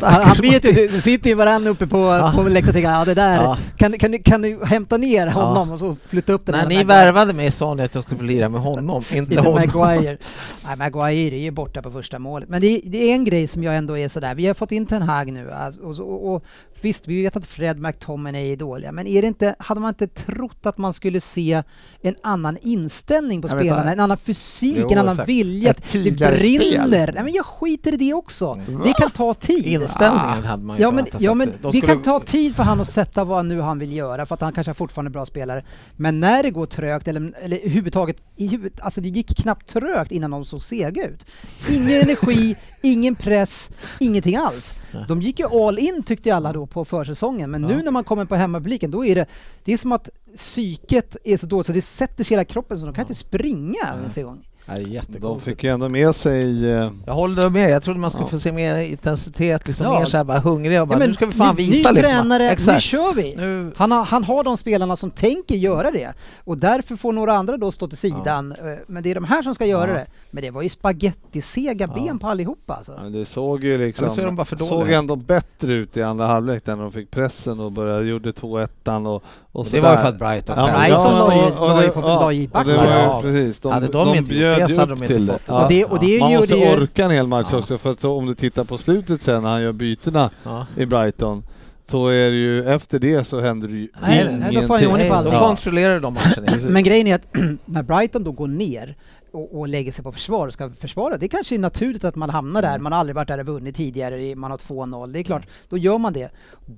Speaker 3: han, han vet ju, det- det sitter ju varandra uppe på,
Speaker 4: Ja.
Speaker 3: på läktaren och tänker ja det där,
Speaker 4: Ja.
Speaker 3: kan, kan, du- kan du hämta ner honom och så flytta upp den
Speaker 4: När
Speaker 3: här
Speaker 4: ni
Speaker 3: Maguire-
Speaker 4: värvade mig sa ni att jag skulle få lira med honom, inte
Speaker 3: Inte
Speaker 4: honom.
Speaker 3: Maguire. Nej, Maguire är ju borta på första målet. Men det, det är en grej som jag ändå är sådär, vi har fått in Ten Hag nu alltså, och, så- och, och visst, vi vet att Fred McTominay är dåliga, men är det inte, hade man inte trott att man skulle se en annan inställning på
Speaker 6: Jag vet
Speaker 3: spelarna,
Speaker 6: inte.
Speaker 3: en annan fysik,
Speaker 4: Jo,
Speaker 3: en annan
Speaker 4: exakt.
Speaker 3: vilja,
Speaker 6: Ett
Speaker 3: att det
Speaker 6: tydligare
Speaker 3: brinner.
Speaker 6: spel. Mm.
Speaker 3: Nej men jag skiter i det också. Det kan ta tid.
Speaker 4: Inställningen hade man ju
Speaker 3: Ja men,
Speaker 4: förväntat sig
Speaker 3: ja,
Speaker 4: att
Speaker 3: men
Speaker 4: de
Speaker 3: det
Speaker 4: skulle-
Speaker 3: kan ta tid för han att sätta vad nu han vill göra för att han kanske fortfarande är bra spelare. Men när det går trögt eller, eller överhuvudtaget, i huvudet, alltså det gick knappt trögt innan de såg sega ut. Ingen energi, ingen press, ingenting alls. De gick ju all in tyckte ju alla då på försäsongen men nu när man kommer på hemmapubliken då är det, det är som att psyket är så dåligt så det sätter sig i hela kroppen så de kan inte springa ens en gång.
Speaker 4: Ja, det är
Speaker 5: de
Speaker 4: jättekonstigt.
Speaker 5: fick ju ändå med sig eh,
Speaker 4: Jag håller med, jag trodde man skulle
Speaker 5: Ja.
Speaker 4: få se mer intensitet, liksom
Speaker 3: Ja.
Speaker 4: mer såhär bara hungriga och bara
Speaker 3: Ja, men
Speaker 4: nu ska vi fan
Speaker 3: ny,
Speaker 4: visa
Speaker 3: ny
Speaker 4: liksom.
Speaker 3: tränare, nu
Speaker 4: Exakt.
Speaker 3: kör vi!
Speaker 4: Nu,
Speaker 3: Han har, han har de spelarna som tänker göra det och därför får några andra då stå till sidan. Eh, Men det är de här som ska göra
Speaker 4: Ja.
Speaker 3: det. Men det var ju spagettisega
Speaker 4: Ja.
Speaker 3: ben på allihopa alltså.
Speaker 5: ja, det såg ju liksom,
Speaker 4: Eller så är de bara för dåliga.
Speaker 5: såg ändå bättre ut i andra halvlek där när de fick pressen och började, gjorde 2-1 och, och
Speaker 4: det var ju
Speaker 5: sådär.
Speaker 4: för att Brighton
Speaker 5: Ja, men-
Speaker 4: själva-
Speaker 3: Brighton
Speaker 5: ja,
Speaker 3: la ju-
Speaker 5: och- och
Speaker 3: la ju
Speaker 5: det-
Speaker 3: på-
Speaker 5: ja,
Speaker 3: la ju i
Speaker 5: och det
Speaker 3: backen.
Speaker 5: var ju-
Speaker 4: Ja.
Speaker 5: Precis, de,
Speaker 4: Hade de
Speaker 5: de,
Speaker 4: inte gjort det
Speaker 5: bjöd
Speaker 4: så
Speaker 5: ju
Speaker 4: hade de
Speaker 5: upp
Speaker 4: inte
Speaker 5: till
Speaker 4: fått det.
Speaker 5: Ja.
Speaker 3: Och det, och det
Speaker 5: Man måste
Speaker 3: gjorde ju...
Speaker 5: orka en hel match
Speaker 4: Ja.
Speaker 5: också för att så, om du tittar på slutet sen när han gör bytena
Speaker 4: Ja.
Speaker 5: i Brighton så är det ju efter det så händer det ju
Speaker 3: Nej, nej,
Speaker 5: ingenting.
Speaker 3: nej, då får han ju ordning på
Speaker 4: de
Speaker 3: allting.
Speaker 5: Ja.
Speaker 4: kontrollerade de matcherna.
Speaker 3: Men grejen är att när Brighton då går ner och, och lägger sig på försvar och ska försvara, det kanske är naturligt att man hamnar
Speaker 4: Mm.
Speaker 3: där, man har aldrig varit där och vunnit tidigare, i- man har 2-0, det är klart, då gör man det.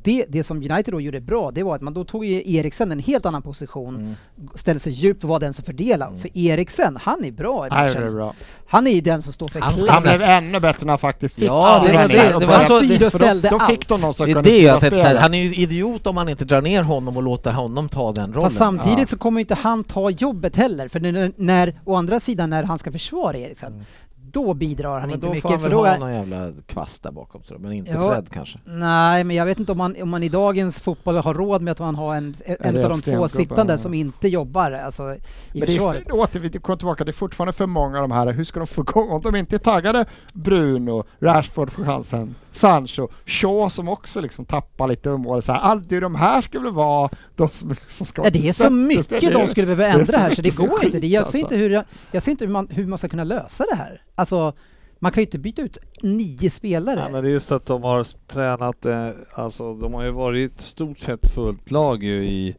Speaker 3: det. Det som United då gjorde bra, det var att man då tog ju Eriksen en helt annan position,
Speaker 4: Mm.
Speaker 3: ställde sig djupt och var den som fördelade. För Eriksen, han är bra i
Speaker 6: Nej, det är
Speaker 3: matchen.
Speaker 6: bra.
Speaker 3: Han är ju den som står för
Speaker 4: Han ska-
Speaker 6: Han
Speaker 3: klass.
Speaker 6: blev ännu bättre när han faktiskt fick
Speaker 4: Ja,
Speaker 6: alla
Speaker 4: det var
Speaker 6: räddningar
Speaker 4: det.
Speaker 6: och
Speaker 4: Det var
Speaker 6: började-
Speaker 4: så-
Speaker 3: Han styrde och
Speaker 6: för då-
Speaker 3: ställde
Speaker 6: Då fick de
Speaker 3: allt.
Speaker 6: någon som
Speaker 4: Det är
Speaker 6: kunde
Speaker 4: det
Speaker 6: styra
Speaker 4: jag tänkte säga,
Speaker 6: spelet.
Speaker 4: han är ju idiot om han inte drar ner honom och låter honom ta den rollen.
Speaker 3: Fast samtidigt så kommer ju inte han ta jobbet heller, för när, när, å andra sidan när han ska försvara Eriksen, då bidrar han
Speaker 4: Mm. men
Speaker 3: inte
Speaker 4: då får
Speaker 3: mycket.
Speaker 4: han
Speaker 3: För
Speaker 4: väl
Speaker 3: då
Speaker 4: ha
Speaker 3: är,
Speaker 4: någon jävla kvast där bakom sig då, men inte
Speaker 3: Ja.
Speaker 4: Fred kanske.
Speaker 3: Nej, men jag vet inte om man, om man i dagens fotboll har råd med att man har en, en av de två
Speaker 6: stenklubbar,
Speaker 3: sittande
Speaker 6: ja.
Speaker 3: som inte jobbar alltså, i
Speaker 6: Men det
Speaker 3: försvaret.
Speaker 6: är, åter, vi kommer tillbaka, det är fortfarande för många av de här. Hur ska de få igång? Om de inte är taggade, Bruno, Rashford får chansen, Sancho, Shaw som också liksom tappar lite av målet. Så här, all, det är de här skulle väl vara de som, som ska
Speaker 3: Ja, det är så
Speaker 6: sätta spel.
Speaker 3: mycket
Speaker 6: Det är-
Speaker 3: de skulle behöva
Speaker 6: det är Alltså.
Speaker 3: ändra
Speaker 6: så
Speaker 3: här så det
Speaker 6: mycket som
Speaker 3: går inte. Det- Jag ser
Speaker 6: skit,
Speaker 3: inte hur, jag, jag ser inte hur, man, hur man ska kunna lösa det här. Alltså, man kan ju inte byta ut nio spelare.
Speaker 5: Ja, men det är just att de har s- tränat, eh, alltså de har ju varit stort sett fullt lag ju i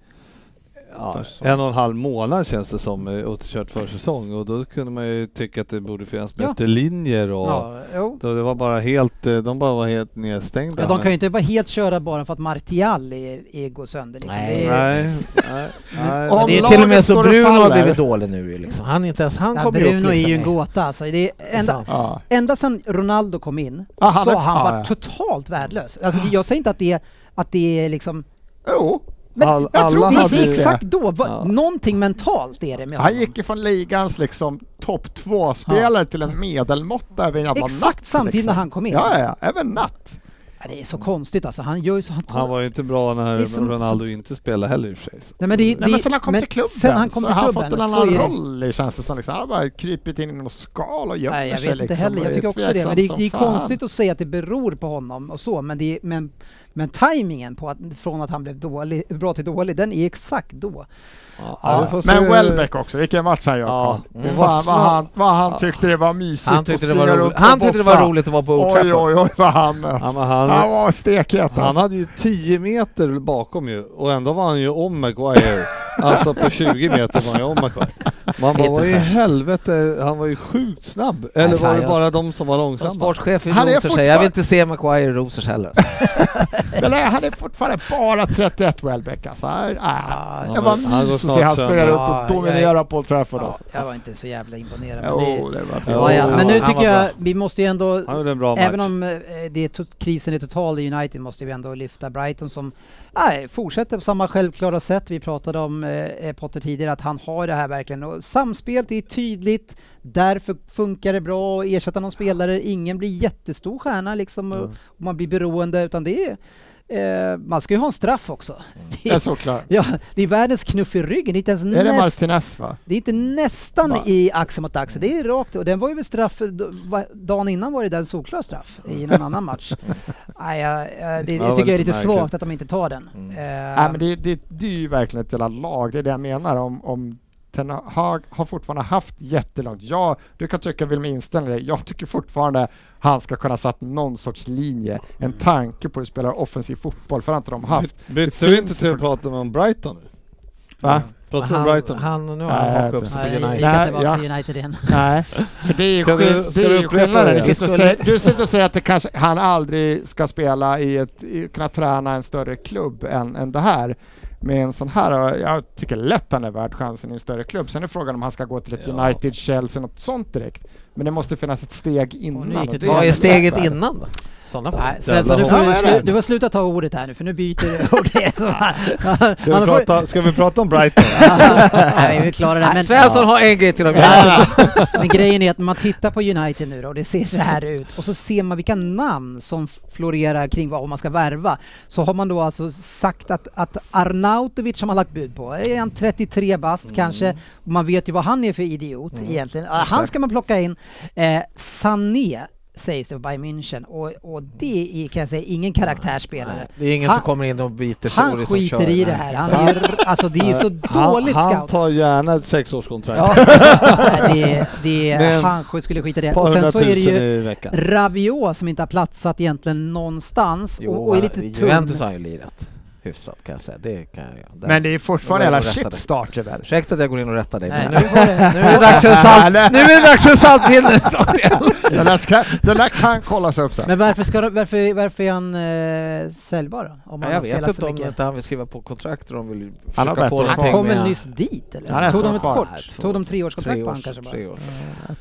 Speaker 5: ja,
Speaker 6: Försäsong.
Speaker 5: en och en halv månad känns det som eh, och kört försäsong och då kunde man ju tycka att det borde finnas
Speaker 3: Ja.
Speaker 5: bättre linjer och
Speaker 3: ja, jo.
Speaker 5: då det var bara helt, eh, de bara var helt nedstängda.
Speaker 3: Ja, de kan ju inte bara helt köra bara för att Martial är, är går sönder. Liksom.
Speaker 4: Nej.
Speaker 3: Det är-
Speaker 5: Nej, nej, nej.
Speaker 6: Om
Speaker 4: det är till
Speaker 6: laget
Speaker 4: och med så
Speaker 6: står och
Speaker 4: Bruno har
Speaker 6: faller.
Speaker 4: blivit dålig nu ju liksom. Han är inte ens, han
Speaker 3: Ja,
Speaker 4: kommer
Speaker 3: Bruno
Speaker 4: upp liksom.
Speaker 3: är ju en gåta alltså. Det är ända,
Speaker 6: Ja.
Speaker 3: ända sedan Ronaldo kom in
Speaker 6: Ja, Ah, han
Speaker 3: så
Speaker 6: är-
Speaker 3: har han
Speaker 6: ja,
Speaker 3: varit
Speaker 6: ja.
Speaker 3: totalt värdelös. Alltså, det- jag säger inte att det, är- att det är liksom...
Speaker 6: Jo,
Speaker 3: Men
Speaker 5: All-
Speaker 3: jag tror
Speaker 5: alla
Speaker 3: det
Speaker 5: hade
Speaker 3: är
Speaker 5: ju-
Speaker 3: exakt då, va,
Speaker 5: Ja.
Speaker 3: någonting mentalt är det med
Speaker 6: han
Speaker 3: honom.
Speaker 6: gick ifrån ligans liksom topp två-spelare till en medelmåtta över en jävla
Speaker 3: Exakt
Speaker 6: natt.
Speaker 3: samtidigt
Speaker 6: liksom.
Speaker 3: när han kom in.
Speaker 6: Ja, ja, ja, över en natt.
Speaker 3: Ja, det är så konstigt alltså, han gör ju så han tar...
Speaker 5: Han var ju inte bra
Speaker 3: Det
Speaker 5: när
Speaker 3: är som-
Speaker 5: Ronaldo inte spelade heller i och för sig. så.
Speaker 3: Nej, men det, det,
Speaker 6: Nej, men sen han kom
Speaker 3: men
Speaker 6: till klubben,
Speaker 3: sen han kom
Speaker 6: så
Speaker 3: till
Speaker 6: har han
Speaker 3: klubben
Speaker 6: fått en
Speaker 3: så
Speaker 6: annan
Speaker 3: är det-
Speaker 6: roll känns det som. Liksom. Han har bara krypit in i något skal och gömmer
Speaker 3: Nej, jag
Speaker 6: sig.
Speaker 3: vet inte
Speaker 6: liksom,
Speaker 3: heller.
Speaker 6: och
Speaker 3: Jag
Speaker 6: är
Speaker 3: tycker också det. Men
Speaker 6: tveksam
Speaker 3: det,
Speaker 6: som
Speaker 3: det är
Speaker 6: fan.
Speaker 3: konstigt att säga att det beror på honom och så, men, det, är- men, men tajmingen på att, från att han blev dålig, bra till dålig, den är exakt då.
Speaker 5: Ja,
Speaker 3: Ja,
Speaker 5: vi får se
Speaker 6: Men
Speaker 5: hur-
Speaker 6: Welbeck också, vilken match han gör
Speaker 5: Ja.
Speaker 6: ja.
Speaker 5: Mm.
Speaker 6: Fan vad han, vad han
Speaker 5: Ja.
Speaker 6: tyckte det var mysigt
Speaker 4: Han tyckte
Speaker 6: att
Speaker 4: det var
Speaker 6: springa
Speaker 4: roligt.
Speaker 6: runt och
Speaker 4: Han tyckte det var
Speaker 6: boffa.
Speaker 4: roligt att vara på Old
Speaker 6: Oj,
Speaker 4: Trafford.
Speaker 6: oj, oj vad han
Speaker 5: Ja,
Speaker 6: alltså.
Speaker 5: men han,
Speaker 6: Han var stekhet
Speaker 5: Han
Speaker 6: alltså.
Speaker 5: hade ju 10 meter bakom ju och ändå var han ju om Maguire. alltså på 20 meter var han ju om Maguire. Man bara,
Speaker 4: Inte
Speaker 5: vad i
Speaker 4: sant.
Speaker 5: helvete, han var ju sjukt snabb. Eller
Speaker 4: Nej, fan,
Speaker 5: var det
Speaker 4: jag-
Speaker 5: bara de som var
Speaker 4: Som
Speaker 5: långsamma?
Speaker 4: sportchef i
Speaker 6: Han är
Speaker 4: Rosers säger jag vill
Speaker 6: fortfarande-
Speaker 4: inte se Maguire i Rosers heller. alltså.
Speaker 6: Eller han är fortfarande bara 31 Welbeck alltså. Ah,
Speaker 5: Ja,
Speaker 6: det
Speaker 5: men
Speaker 6: var
Speaker 5: han går
Speaker 6: mys att
Speaker 5: snart
Speaker 6: se han
Speaker 5: sönder.
Speaker 6: spela
Speaker 3: Ja,
Speaker 6: runt och
Speaker 3: jag-
Speaker 6: dominera på Old Trafford alltså.
Speaker 3: jag var inte så jävla imponerad. Men,
Speaker 6: Jo,
Speaker 3: det,
Speaker 6: det var
Speaker 5: Jo,
Speaker 3: ja, ja.
Speaker 5: han
Speaker 3: men nu
Speaker 4: var
Speaker 3: tycker
Speaker 4: bra.
Speaker 3: jag vi måste ju ändå,
Speaker 5: Han gjorde en bra
Speaker 3: även
Speaker 5: match.
Speaker 3: om eh, det är tot- krisen är total i United, måste vi ändå lyfta Brighton som nej, fortsätter på samma självklara sätt. Vi pratade om eh, Potter tidigare, att han har det här verkligen. Och samspelet är tydligt, därför funkar det bra att ersätta någon spelare. Ingen blir jättestor stjärna liksom,
Speaker 5: Mm.
Speaker 3: och, och man blir beroende, utan det är Eh, man ska ju ha en straff också.
Speaker 5: Mm.
Speaker 3: Det
Speaker 6: Det är
Speaker 3: är,
Speaker 6: såklart.
Speaker 3: ja, det är världens knuff i ryggen, det är inte ens
Speaker 6: Alltså- Är det
Speaker 3: näst-
Speaker 6: Martinez va?
Speaker 3: det är inte nästan
Speaker 6: Va?
Speaker 3: i axel mot axel, det
Speaker 5: Mm.
Speaker 3: är rakt. Och den var ju väl straff, d- va- dagen innan var det där en solklar straff i någon annan match. Nej, jag, jag, det,
Speaker 5: Ja, det
Speaker 3: jag tycker
Speaker 5: var
Speaker 3: jag är lite
Speaker 5: lite
Speaker 3: svagt
Speaker 5: märkligt.
Speaker 3: att de inte tar den.
Speaker 4: Mm.
Speaker 3: Eh,
Speaker 6: Nej, men det, det, det är ju verkligen ett jävla lag, det är det jag menar. Om, om Ten Hag har fortfarande haft jättelångt. Ja, du kan tycka Wilmer inställer dig. Jag tycker fortfarande han ska kunna satt någon sorts linje, en tanke på hur du spelar offensiv fotboll, för det har inte de haft.
Speaker 5: Byt- Bytte
Speaker 6: Det
Speaker 5: vi
Speaker 6: finns
Speaker 5: inte till att
Speaker 6: för-
Speaker 5: prata om Brighton nu?
Speaker 6: Va?
Speaker 5: Pratar vi om
Speaker 4: han,
Speaker 5: Brighton?
Speaker 4: Han, nu har
Speaker 6: Nej,
Speaker 4: han hakat
Speaker 6: jag
Speaker 4: upp sig
Speaker 3: Nej, jag
Speaker 4: på
Speaker 3: gick
Speaker 4: United.
Speaker 3: inte
Speaker 6: Nej,
Speaker 3: tillbaka till
Speaker 6: jag-
Speaker 3: United igen.
Speaker 6: Nej, för det är ju
Speaker 5: Ska du-
Speaker 6: skill-
Speaker 5: ska
Speaker 6: det är
Speaker 5: du
Speaker 6: ju
Speaker 5: upprepa
Speaker 6: skillnaden.
Speaker 5: det?
Speaker 6: Du sitter, och
Speaker 4: Skulle-
Speaker 6: säger, du sitter och säger att det kanske, han aldrig ska spela i ett, i, kunna träna en större klubb än, än det här. Med en sån här, jag tycker lätt han är värd chansen i en större klubb. Sen är frågan om han ska gå till ett
Speaker 5: Ja.
Speaker 6: United, Chelsea, något sånt direkt. Men det måste finnas ett steg innan.
Speaker 3: gick det
Speaker 6: och det
Speaker 3: tillbaka.
Speaker 4: Vad är
Speaker 6: han
Speaker 4: steget
Speaker 6: lätt värd.
Speaker 4: innan då? I Sådana fall.
Speaker 3: Nej, Svensson, du
Speaker 5: Jävla
Speaker 3: får,
Speaker 6: hopp.
Speaker 3: du,
Speaker 6: Ja, vad är
Speaker 3: slu,
Speaker 6: det?
Speaker 3: du får sluta ta ordet här nu, för nu byter du. Okay, så man,
Speaker 5: Ska vi,
Speaker 3: man får,
Speaker 5: prata, ska vi prata om Brighton?
Speaker 3: nej, vi klarar det.
Speaker 4: Nej,
Speaker 3: Men,
Speaker 4: Svensson har en grej till att göra.
Speaker 3: Ja, men grejen är att när man tittar på United nu då, och det ser så här ut och så ser man vilka namn som florerar kring vad man ska värva. Så har man då alltså sagt att, att Arnautovic har man lagt bud på. Är han 33 bast kanske? Och man vet ju vad han är för idiot egentligen. Ja, Han ska man plocka in. Eh, Sané sägs det på Bayern München och, och det är kan jag säga ingen karaktärsspelare.
Speaker 4: Det är ingen
Speaker 3: Han-
Speaker 4: som kommer in och biter sig och
Speaker 3: Han
Speaker 4: liksom
Speaker 3: skiter
Speaker 4: kör.
Speaker 3: i det här.
Speaker 4: Nej.
Speaker 3: Han är, ju- alltså det är ju så dåligt
Speaker 5: han, han
Speaker 3: scout.
Speaker 5: tar gärna ett sexårskontrakt.
Speaker 3: Ja, det, det,
Speaker 5: Men-
Speaker 3: han skulle skita i det.
Speaker 5: Ett par
Speaker 3: Och sen så är det
Speaker 5: hundratusen
Speaker 3: ju
Speaker 5: i veckan.
Speaker 3: Rabiot som inte har platsat egentligen någonstans
Speaker 4: Jo,
Speaker 3: och, och är lite
Speaker 4: i
Speaker 3: tunn.
Speaker 4: Juventus har han ju lirat hyfsat kan jag säga. Det kan jag göra. Där.
Speaker 6: Men det är fortfarande
Speaker 4: Då går
Speaker 6: hela
Speaker 4: jag och rättar dig.
Speaker 6: shitstarter väl?
Speaker 4: Ursäkta att jag går in och rättar dig,
Speaker 3: Nej,
Speaker 4: men nu, nu är det dags för en salt, nu är det dags för en saltpinne snart igen.
Speaker 6: Den där, ska, den där kan kollas upp sen.
Speaker 3: Men varför, ska, de- varför, varför är han eh, säljbar då? Om han
Speaker 4: Jag
Speaker 3: har
Speaker 4: vet
Speaker 3: spelat
Speaker 4: inte
Speaker 3: så
Speaker 4: om
Speaker 3: mycket.
Speaker 4: inte han vill skriva på kontrakt och de vill
Speaker 6: Han har
Speaker 4: försöka få
Speaker 6: bättre
Speaker 3: Han
Speaker 4: någonting
Speaker 3: kom väl
Speaker 4: med-
Speaker 3: nyss dit eller?
Speaker 6: Han har ett
Speaker 3: Tog de
Speaker 6: år
Speaker 3: ett
Speaker 6: kvar.
Speaker 3: kort?
Speaker 4: Nej, två-
Speaker 3: Tog de treårskontrakt på honom
Speaker 4: treårs-
Speaker 3: kanske bara?
Speaker 4: treårs.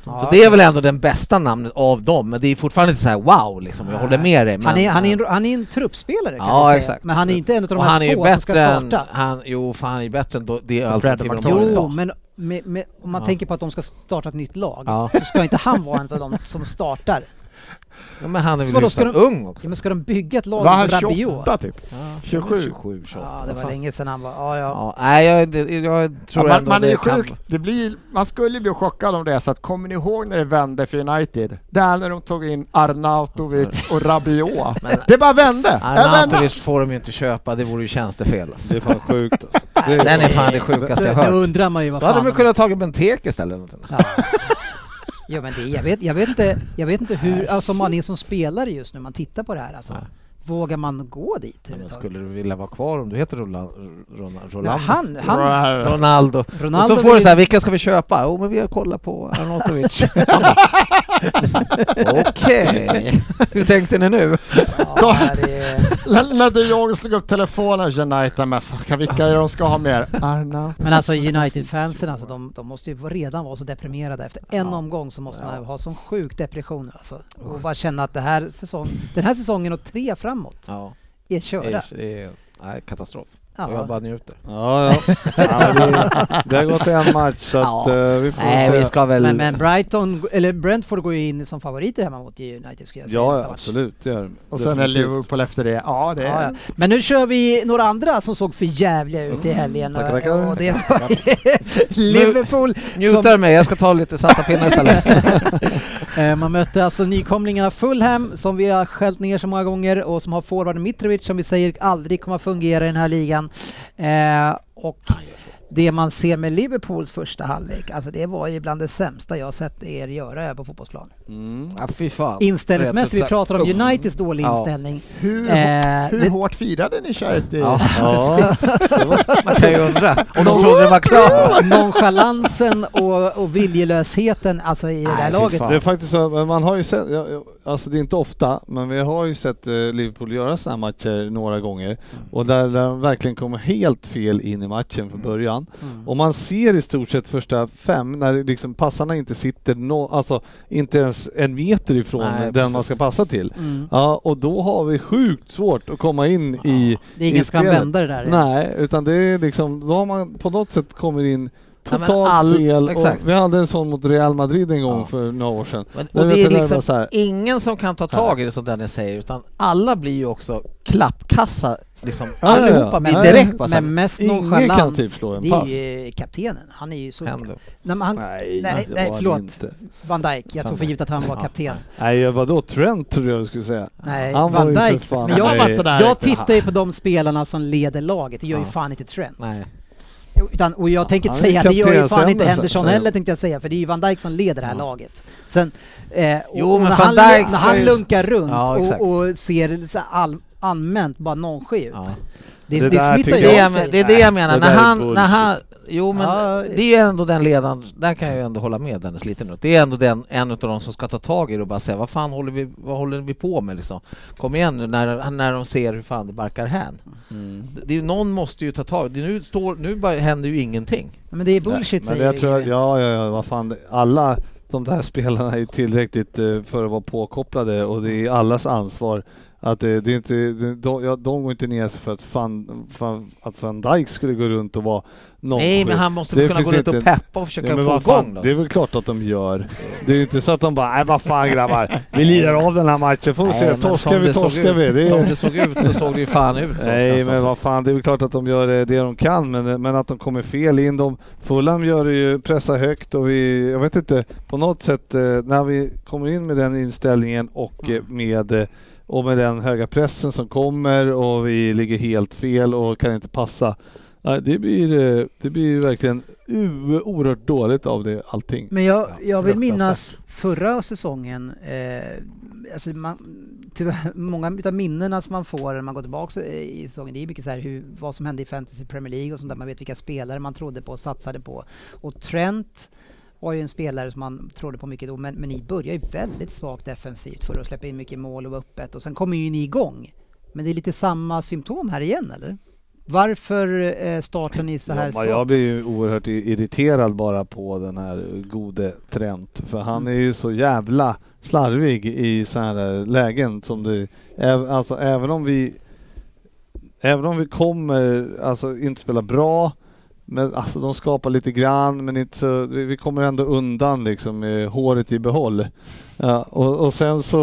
Speaker 3: Ja.
Speaker 4: Så det är väl ändå den bästa namnet av dem, men det är fortfarande inte så här wow liksom, jag håller med dig. Men,
Speaker 3: han, är, han, är en, han är en truppspelare kan
Speaker 4: Ja,
Speaker 3: jag säga.
Speaker 4: exakt.
Speaker 3: Men han är inte en av de
Speaker 4: och han
Speaker 3: här
Speaker 4: är ju
Speaker 3: två som ska
Speaker 4: bättre än,
Speaker 3: starta.
Speaker 4: han, jo fan han är ju bättre än då- det
Speaker 6: Fred
Speaker 4: alternativet de har
Speaker 6: McTominay.
Speaker 3: Jo,
Speaker 4: idag.
Speaker 3: men med, med, om man
Speaker 4: Ja.
Speaker 3: tänker på att de ska starta ett nytt lag,
Speaker 4: Ja.
Speaker 3: så ska inte han vara en av de som startar.
Speaker 4: Ja, men han är väl
Speaker 3: Vadå, ska
Speaker 4: hyfsat
Speaker 3: de-
Speaker 4: ung också?
Speaker 3: Ja, men ska de bygga ett lag
Speaker 6: Var han
Speaker 3: med Rabiot?
Speaker 6: 28 typ?
Speaker 4: Ja,
Speaker 6: 27.
Speaker 4: 27 28.
Speaker 3: Ja, det
Speaker 4: vad
Speaker 3: var
Speaker 4: fan.
Speaker 3: länge sedan han var... Ja, ja.
Speaker 4: Ja, nej, jag, det, jag tror
Speaker 6: Ja, man,
Speaker 4: ändå
Speaker 6: man är
Speaker 4: det
Speaker 6: ju
Speaker 4: kan-
Speaker 6: sjuk. Det blir, man skulle bli chockad om det är så att kommer ni ihåg när det vände för United? Där när de tog in Arnautovic och Rabiot.
Speaker 4: Men-
Speaker 6: det bara vände! Även,
Speaker 4: Arnautovic får de ju inte köpa, det vore ju tjänstefel. Alltså.
Speaker 5: Det är fan sjukt alltså. Det
Speaker 4: Den är fan det sjukaste jag
Speaker 3: Då
Speaker 4: hört.
Speaker 3: undrar man ju vad
Speaker 4: Då hade
Speaker 3: fan...
Speaker 4: de ju kunnat tagit Benteke istället. eller någonting.
Speaker 3: Ja. Jo, men det, jag, vet, jag, vet inte, jag vet inte hur... Alltså man är som spelare just nu, man tittar på det här alltså.
Speaker 4: Nej.
Speaker 3: Vågar man gå dit?
Speaker 4: Men
Speaker 3: överhuvudtaget?
Speaker 4: skulle du vilja vara kvar om du heter Roland, Roland,
Speaker 3: Nej,
Speaker 4: Roland,
Speaker 3: han, han,
Speaker 4: Ronaldo?
Speaker 3: Ronaldo
Speaker 4: och så får du
Speaker 3: vill-
Speaker 4: så här, vilka ska vi köpa? Jo men vi har kollat på Arnautovic. Okej, hur tänkte ni nu?
Speaker 3: ja, det är,
Speaker 6: när, när de Jong slog upp telefonen, United med "Vilka- vilka är det de ska ha mer? Arna.
Speaker 3: men alltså United-fansen alltså, de, de måste ju redan vara så deprimerade. Efter en omgång så måste man ha sån sjuk depression alltså. Och bara känna att det här säsong, den här säsongen och tre framåt
Speaker 4: Ja,
Speaker 3: är
Speaker 4: det
Speaker 3: körda.
Speaker 4: är, det är, nej, katastrof.
Speaker 3: Ja.
Speaker 4: Och jag bara njuter.
Speaker 5: Ja, ja. ja det, det har gått en match så att
Speaker 4: Ja.
Speaker 5: eh, vi får
Speaker 4: Nej
Speaker 5: se.
Speaker 4: vi ska väl...
Speaker 3: Men, men Brighton, eller Brentford går ju in som favoriter hemma mot United skulle jag säga
Speaker 6: Alltså,
Speaker 5: Ja,
Speaker 3: nästa
Speaker 5: ja,
Speaker 3: match.
Speaker 5: absolut. Det gör det.
Speaker 6: Och sen är
Speaker 5: Definitivt.
Speaker 6: Liverpool efter det. Ja, det
Speaker 3: Ja,
Speaker 6: är...
Speaker 3: ja. Men nu kör vi några andra som såg för jävliga ut i helgen.
Speaker 5: Mm, Tackar, tackar.
Speaker 3: Och det var Liverpool.
Speaker 4: Njuter
Speaker 3: som-
Speaker 4: mig, jag ska ta lite satta pinnar istället.
Speaker 3: Eh, Man mötte alltså nykomlingarna Fulham som vi har skällt ner så många gånger och som har forwarden Mitrovic som vi säger aldrig kommer att fungera i den här ligan. Eh, och det man ser med Liverpools första halvlek, alltså det var ju bland det sämsta jag sett er göra här på fotbollsplan.
Speaker 5: Mm.
Speaker 4: ja, fy fan. typ
Speaker 3: Inställningsmässigt, vi pratar om Uniteds dålig
Speaker 4: Ja.
Speaker 3: inställning.
Speaker 6: Hur,
Speaker 3: Eh,
Speaker 6: hur
Speaker 3: det-
Speaker 6: hårt firade ni Charity?
Speaker 4: Ja.
Speaker 5: Ja,
Speaker 4: Man kan ju undra om de trodde det var klart.
Speaker 3: Nonchalansen och, och viljelösheten alltså i det där
Speaker 4: Nej, fy
Speaker 3: laget.
Speaker 4: fan.
Speaker 5: det är faktiskt så, men man har ju sett, ja, ja, alltså det är inte ofta, men vi har ju sett eh, Liverpool göra sådana matcher några gånger
Speaker 3: Mm.
Speaker 5: och där, där de verkligen kommer helt fel in i matchen från början.
Speaker 3: Mm.
Speaker 5: Och man ser i stort sett första fem när liksom passarna inte sitter nå, alltså inte ens en meter ifrån
Speaker 4: Nej,
Speaker 5: den man
Speaker 4: precis.
Speaker 5: ska passa till.
Speaker 3: Mm.
Speaker 5: Ja, och då har vi sjukt svårt att komma in i
Speaker 3: Det är ingen
Speaker 5: i
Speaker 3: som kan
Speaker 5: spelet.
Speaker 3: vända det där.
Speaker 5: Nej, utan det är liksom, då har man på något sätt kommit in
Speaker 4: Ja, men
Speaker 5: totalt
Speaker 4: all-
Speaker 5: fel.
Speaker 4: exakt.
Speaker 5: Och vi hade en sån mot Real Madrid en gång
Speaker 4: Ja.
Speaker 5: för några år sedan.
Speaker 4: Men,
Speaker 5: Men
Speaker 4: och
Speaker 5: vet
Speaker 4: det är
Speaker 5: du, det var så
Speaker 4: liksom
Speaker 5: här.
Speaker 4: ingen som kan ta tag i det som Dennis säger, utan alla blir ju också klappkassa, liksom
Speaker 5: Ja, ja, ja.
Speaker 4: allihopa blir
Speaker 5: Ja,
Speaker 3: Men,
Speaker 5: ja.
Speaker 4: direkt bara
Speaker 3: men mest
Speaker 5: Ingen
Speaker 3: nonchalant,
Speaker 5: kan typ slå en
Speaker 3: det är
Speaker 5: pass.
Speaker 3: ju kaptenen. Han är ju så...
Speaker 4: Händer.
Speaker 3: Nej, men han,
Speaker 5: Nej,
Speaker 3: nej,
Speaker 5: det
Speaker 3: nej,
Speaker 5: var det
Speaker 3: förlåt.
Speaker 5: inte.
Speaker 3: Van Dijk, jag tog för givet att han var
Speaker 4: Ja.
Speaker 3: kapten.
Speaker 5: Nej, vadå Trent trodde jag du skulle säga.
Speaker 3: Nej,
Speaker 5: Han var
Speaker 3: Van
Speaker 5: ju för
Speaker 3: Dijk.
Speaker 5: fan-
Speaker 3: Men jag,
Speaker 5: Nej.
Speaker 3: jag,
Speaker 5: Fattar
Speaker 3: tittar ju på de spelarna som leder laget, det gör ju
Speaker 4: Ja.
Speaker 3: fan inte Trent.
Speaker 4: Nej.
Speaker 3: Utan, och jag tänker inte
Speaker 5: Han är
Speaker 3: säga, det gör ju
Speaker 5: kapten
Speaker 3: fan
Speaker 5: sen
Speaker 3: inte
Speaker 5: då, så-
Speaker 3: Henderson
Speaker 4: alltså.
Speaker 5: så-
Speaker 3: heller tänkte jag säga, för det är ju Van Dijk som leder det här laget. Sen, eh, och,
Speaker 4: Jo,
Speaker 3: och
Speaker 4: men
Speaker 3: när,
Speaker 4: Van
Speaker 3: han,
Speaker 4: Dijk
Speaker 3: när
Speaker 4: ska
Speaker 3: han
Speaker 4: ju-
Speaker 3: lunkar runt
Speaker 4: Ja, exakt.
Speaker 3: och, och ser så här all, allmänt bara nonchig ut.
Speaker 4: Ja.
Speaker 3: Det,
Speaker 5: Det
Speaker 3: det,
Speaker 5: där
Speaker 3: smittar
Speaker 5: tycker
Speaker 3: ju
Speaker 4: Det,
Speaker 3: av
Speaker 4: är,
Speaker 3: sig.
Speaker 4: men- det är det jag menar,
Speaker 5: det
Speaker 4: när
Speaker 5: där är
Speaker 4: han,
Speaker 5: bullshit.
Speaker 4: när han Jo men
Speaker 3: Ja.
Speaker 4: det är ju ändå den ledaren, där kan jag ju ändå hålla med Dennis lite nu, det är ändå den, en av de som ska ta tag i det och bara säga vad fan håller vi, vad håller vi på med liksom? Kom igen nu när, när de ser hur fan det barkar hän.
Speaker 5: Mm.
Speaker 4: Det är, någon måste ju ta tag det, nu, står, nu bara händer ju ingenting.
Speaker 3: Men det är bullshit
Speaker 5: Nej, men
Speaker 3: säger
Speaker 5: jag tror,
Speaker 3: jag,
Speaker 5: ja, ja, ja, vad fan. det- Alla de där spelarna är tillräckligt eh, för att vara påkopplade och det är allas ansvar. Att eh, det är inte, det, de, ja, de går inte ner sig för att, fan, fan, att van Dijk skulle gå runt och vara någon
Speaker 4: Nej men han måste
Speaker 5: Det
Speaker 4: väl kunna gå
Speaker 5: finns
Speaker 4: ut och
Speaker 5: inte-
Speaker 4: peppa och försöka
Speaker 5: Ja, men
Speaker 4: få
Speaker 5: vad
Speaker 4: igång
Speaker 5: fan,
Speaker 4: då.
Speaker 5: det är väl klart att de gör. Det är ju inte så att de bara nej vad fan grabbar, vi lirar av den här matchen, får vi
Speaker 4: Nej,
Speaker 5: se,
Speaker 4: men som
Speaker 5: torskar
Speaker 4: det
Speaker 5: vi,
Speaker 4: såg
Speaker 5: torskar
Speaker 4: ut-
Speaker 5: vi. Det
Speaker 4: Som
Speaker 5: är...
Speaker 4: det såg ut så såg det ju fan ut så.
Speaker 5: Nej
Speaker 4: nästan
Speaker 5: men
Speaker 4: så.
Speaker 5: vad fan, det är väl klart att de gör det, det de kan men, men att de kommer fel in. De, Fulham gör det ju, pressar högt och vi, jag vet inte, på något sätt eh, när vi kommer in med den inställningen och
Speaker 4: Mm.
Speaker 5: eh, med eh, och med den höga pressen som kommer och vi ligger helt fel och kan inte passa. Nej, Det blir, eh, det blir ju verkligen u- oerhört dåligt av det allting.
Speaker 3: Men jag,
Speaker 4: Ja,
Speaker 3: jag vill
Speaker 4: fruktansvärt.
Speaker 3: minnas förra säsongen, eh, alltså man, tyvärr, många utav minnena som man får när man går tillbaka eh, i säsongen, det är mycket så här hur, vad som hände i Fantasy Premier League och sånt där, man vet vilka spelare man trodde på och satsade på. Och Trent var ju en spelare som man trodde på mycket då, men, men ni börjar ju väldigt svagt defensivt för att släppa in mycket mål och vara öppet och sen kommer ju ni igång. Men det är lite samma symptom här igen eller? Varför eh, startar ni så här
Speaker 5: ja, men
Speaker 3: svagt?
Speaker 5: jag blir ju oerhört i- irriterad bara på den här gode Trent. För han är ju så jävla slarvig i så här eh, lägen som det äv, Alltså även om vi Även om vi kommer, alltså inte spela bra Men alltså de skapar lite grann men inte så, vi vi kommer ändå undan liksom med håret i behåll. Ja, och, och sen så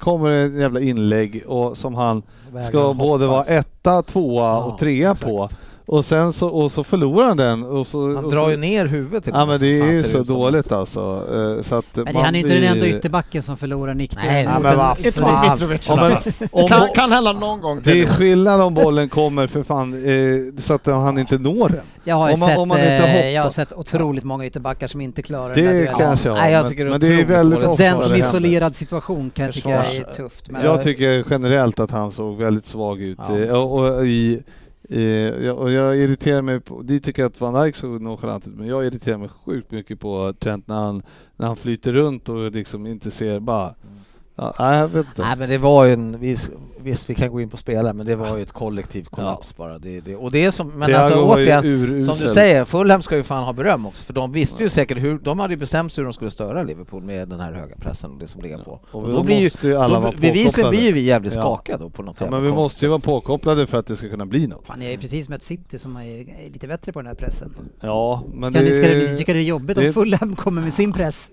Speaker 5: kommer det ett jävla inlägg och, som han ska både vara etta, tvåa och trea på. Och sen så, och så förlorar han den. Och så,
Speaker 4: Han
Speaker 5: och
Speaker 4: drar
Speaker 5: så,
Speaker 4: ju ner huvudet.
Speaker 5: Ja men det är ju så dåligt
Speaker 4: Då.
Speaker 5: alltså. Eh, Så att
Speaker 3: Men det-
Speaker 5: man
Speaker 3: han är ju inte den enda
Speaker 5: blir-
Speaker 3: ytterbacken som förlorar nickduell.
Speaker 4: Nej,
Speaker 5: Ja,
Speaker 3: mot
Speaker 5: men
Speaker 3: en-
Speaker 5: vad
Speaker 6: Inte
Speaker 5: fan.
Speaker 6: Mitrovic i
Speaker 5: Om,
Speaker 6: alla
Speaker 5: en-
Speaker 6: fall.
Speaker 5: om,
Speaker 6: Kan, kan hända någon gång
Speaker 5: det är
Speaker 6: till.
Speaker 5: skillnad om bollen kommer för fan eh, så att han inte når den.
Speaker 3: Jag har, ju
Speaker 5: Om man-
Speaker 3: sett,
Speaker 5: om man inte
Speaker 3: eh,
Speaker 5: hoppar.
Speaker 3: jag har sett otroligt många ytterbackar som inte klarar den där
Speaker 5: Det
Speaker 3: duellen.
Speaker 5: kanske jag
Speaker 4: Nej, jag
Speaker 5: men-
Speaker 4: tycker det är
Speaker 5: Men det är
Speaker 4: otroligt
Speaker 5: väldigt
Speaker 4: dåligt.
Speaker 5: ofta
Speaker 3: Den som
Speaker 5: det händer.
Speaker 3: isolerad situation kan jag tycka är
Speaker 4: Försvars-
Speaker 3: tufft. Men
Speaker 5: Jag tycker generellt att han såg väldigt svag ut
Speaker 4: Ja.
Speaker 5: eh, och, och, i, i, jag- och jag irriterar mig på, de tycker jag att Van Dijk såg nonchalant ut men jag irriterar mig sjukt mycket på Trent när han, när han flyter runt och liksom inte ser bara
Speaker 3: Mm.
Speaker 5: ja, Nej jag vet inte.
Speaker 4: Nej men det var ju en, visst, visst vi kan gå in på spelare men det var ju ett kollektiv kollaps bara. Det, det, och det är som, men alltså
Speaker 5: Thiago var ju
Speaker 4: återigen,
Speaker 5: urusel.
Speaker 4: som du säger, Fulham ska ju fan ha beröm också för de visste ju säkert hur, de hade ju bestämt sig hur de skulle störa Liverpool med den här höga pressen och det som ligger på.
Speaker 5: Och
Speaker 4: Och
Speaker 5: då
Speaker 4: då blir ju,
Speaker 5: måste ju alla
Speaker 4: då,
Speaker 5: vara
Speaker 4: bevisligen
Speaker 5: påkopplade.
Speaker 4: blir ju vi jävligt
Speaker 5: Ja.
Speaker 4: skakade då på något
Speaker 5: Ja,
Speaker 4: jävla
Speaker 5: men vi
Speaker 4: konstigt.
Speaker 5: måste ju vara påkopplade för att det ska kunna bli något.
Speaker 3: Fan, ni har ju precis mött City som är är lite bättre på den här pressen.
Speaker 5: Ja, men
Speaker 3: Ska
Speaker 5: det,
Speaker 3: ni, ska det bli, tycker det är jobbigt om
Speaker 5: det-
Speaker 3: Fulham kommer med sin press?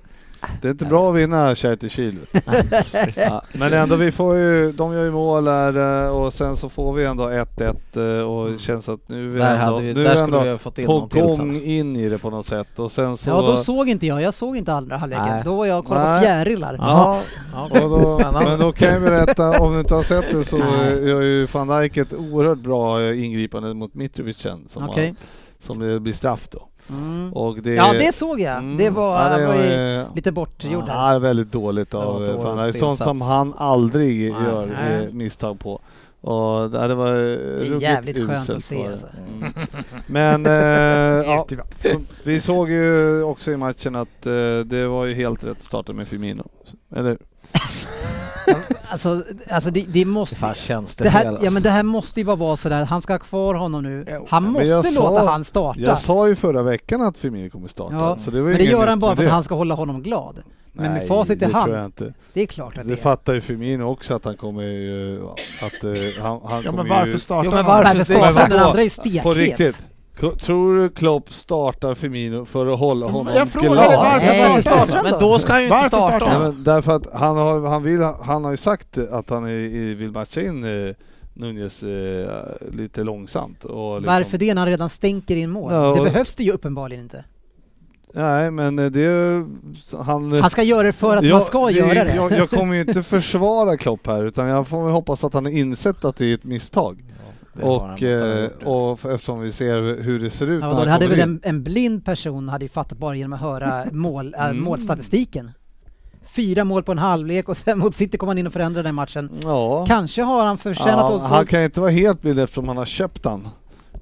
Speaker 5: det är inte bra att vinna Charity Shield. ja, men ändå, vi får ju, de gör ju mål här eh, och sen så får vi ändå 1-1 eh, och känns att nu är vi
Speaker 4: Där,
Speaker 5: ändå,
Speaker 4: hade vi,
Speaker 5: nu
Speaker 4: där
Speaker 5: är vi
Speaker 4: skulle vi
Speaker 5: ändå
Speaker 4: ha fått in
Speaker 5: på
Speaker 4: någon till
Speaker 5: gång
Speaker 4: sen.
Speaker 5: in i det på något sätt och sen så...
Speaker 3: Ja, då såg inte jag. Jag såg inte andra halvleken.
Speaker 4: Nej.
Speaker 3: Då var jag och kollade
Speaker 5: Nej.
Speaker 3: på fjärilar.
Speaker 5: Ja,
Speaker 4: Ja,
Speaker 5: och då,
Speaker 4: spännande.
Speaker 5: men då kan jag berätta, om du inte har sett det så eh, gör ju van Dijk ett oerhört bra eh, ingripande mot Mitrovic sen, som,
Speaker 3: Okej.
Speaker 5: har, som det blir straff då.
Speaker 3: Mm.
Speaker 5: Och det,
Speaker 3: Ja, det såg jag.
Speaker 5: Mm.
Speaker 3: Det var,
Speaker 5: Ja,
Speaker 3: han var ju
Speaker 5: eh,
Speaker 3: lite bortgjord där.
Speaker 5: Ja, det är väldigt dåligt
Speaker 4: var
Speaker 5: av
Speaker 4: ett
Speaker 5: eh, van Dijk.
Speaker 4: dåligt
Speaker 5: Sånt
Speaker 4: insats.
Speaker 5: som han aldrig
Speaker 4: Nej.
Speaker 5: gör
Speaker 3: Nej.
Speaker 5: eh, misstag på. Och det det var eh,
Speaker 3: Det är
Speaker 5: ruggigt
Speaker 3: jävligt skönt
Speaker 5: uselt
Speaker 3: att se
Speaker 5: var det.
Speaker 3: alltså.
Speaker 5: Mm. Men eh, ja, så vi såg ju också i matchen att eh, det var ju helt rätt att starta med Firmino. Eller
Speaker 3: Alltså, alltså det, det måste...
Speaker 4: Fan känns det,
Speaker 3: Det
Speaker 4: fel
Speaker 3: här,
Speaker 4: alltså.
Speaker 3: ja men det här måste ju bara vara sådär, han ska ha kvar honom nu. Han
Speaker 5: men jag
Speaker 3: måste
Speaker 5: sa-
Speaker 3: låta han starta.
Speaker 5: Jag sa ju förra veckan att Firmino kommer starta.
Speaker 3: Ja,
Speaker 5: Så det var ju
Speaker 3: men det
Speaker 5: inget
Speaker 3: gör
Speaker 5: nytt
Speaker 3: han bara
Speaker 5: med
Speaker 3: för att
Speaker 5: det.
Speaker 3: han ska hålla honom glad. Men med
Speaker 5: Nej,
Speaker 3: facit i
Speaker 5: det tror
Speaker 3: hand,
Speaker 5: jag inte.
Speaker 3: det är klart att det,
Speaker 5: Det fattar ju Firmino också att han kommer ju... Att eh, han, han
Speaker 6: Ja,
Speaker 5: kommer
Speaker 6: men varför
Speaker 5: ju...
Speaker 6: startar
Speaker 4: Jo, men
Speaker 6: han?
Speaker 3: Varför
Speaker 4: det är
Speaker 3: startar
Speaker 4: exakt-
Speaker 3: den andra i
Speaker 5: På
Speaker 3: stekhet?
Speaker 5: riktigt. Ko- Tror du Klopp startar Firmino för att hålla honom
Speaker 6: Jag frågade
Speaker 5: glad?
Speaker 6: varför
Speaker 4: Nej,
Speaker 6: han startar
Speaker 3: den
Speaker 4: Men
Speaker 3: då?
Speaker 4: då ska han ju inte
Speaker 6: Varför
Speaker 4: starta.
Speaker 6: startar
Speaker 5: Nej,
Speaker 4: honom.
Speaker 5: men därför att han har, han vill, han har ju sagt att han är, i- vill matcha in eh, Nunez eh, lite långsamt. Och liksom,
Speaker 3: Varför det när han redan stänker in mål?
Speaker 5: Ja,
Speaker 3: Det
Speaker 5: och-
Speaker 3: behövs det ju uppenbarligen inte.
Speaker 5: Nej men eh, det... är- Han,
Speaker 3: Han ska göra det för att
Speaker 5: Jag-
Speaker 3: man ska
Speaker 5: det-
Speaker 3: göra det.
Speaker 5: Jag, jag kommer ju inte försvara Klopp här utan jag får väl hoppas att han har insett att det är ett misstag.
Speaker 4: Det har han
Speaker 5: Och,
Speaker 4: måste ha
Speaker 5: eh,
Speaker 4: gjort det.
Speaker 5: och f- eftersom vi ser hur det ser ut
Speaker 3: Ja,
Speaker 5: när
Speaker 3: vadå,
Speaker 5: han
Speaker 3: det hade
Speaker 5: kommer
Speaker 3: väl
Speaker 5: in.
Speaker 3: en, en blind person hade ju fattat bara genom att höra mål, äh,
Speaker 5: Mm.
Speaker 3: målstatistiken. Fyra mål på en halvlek och sen mot City kom han in och förändrade den matchen.
Speaker 5: Ja.
Speaker 3: Kanske har han förtjänat
Speaker 5: Ja,
Speaker 3: ja,
Speaker 5: han kan ju inte vara helt blind eftersom han har köpt han.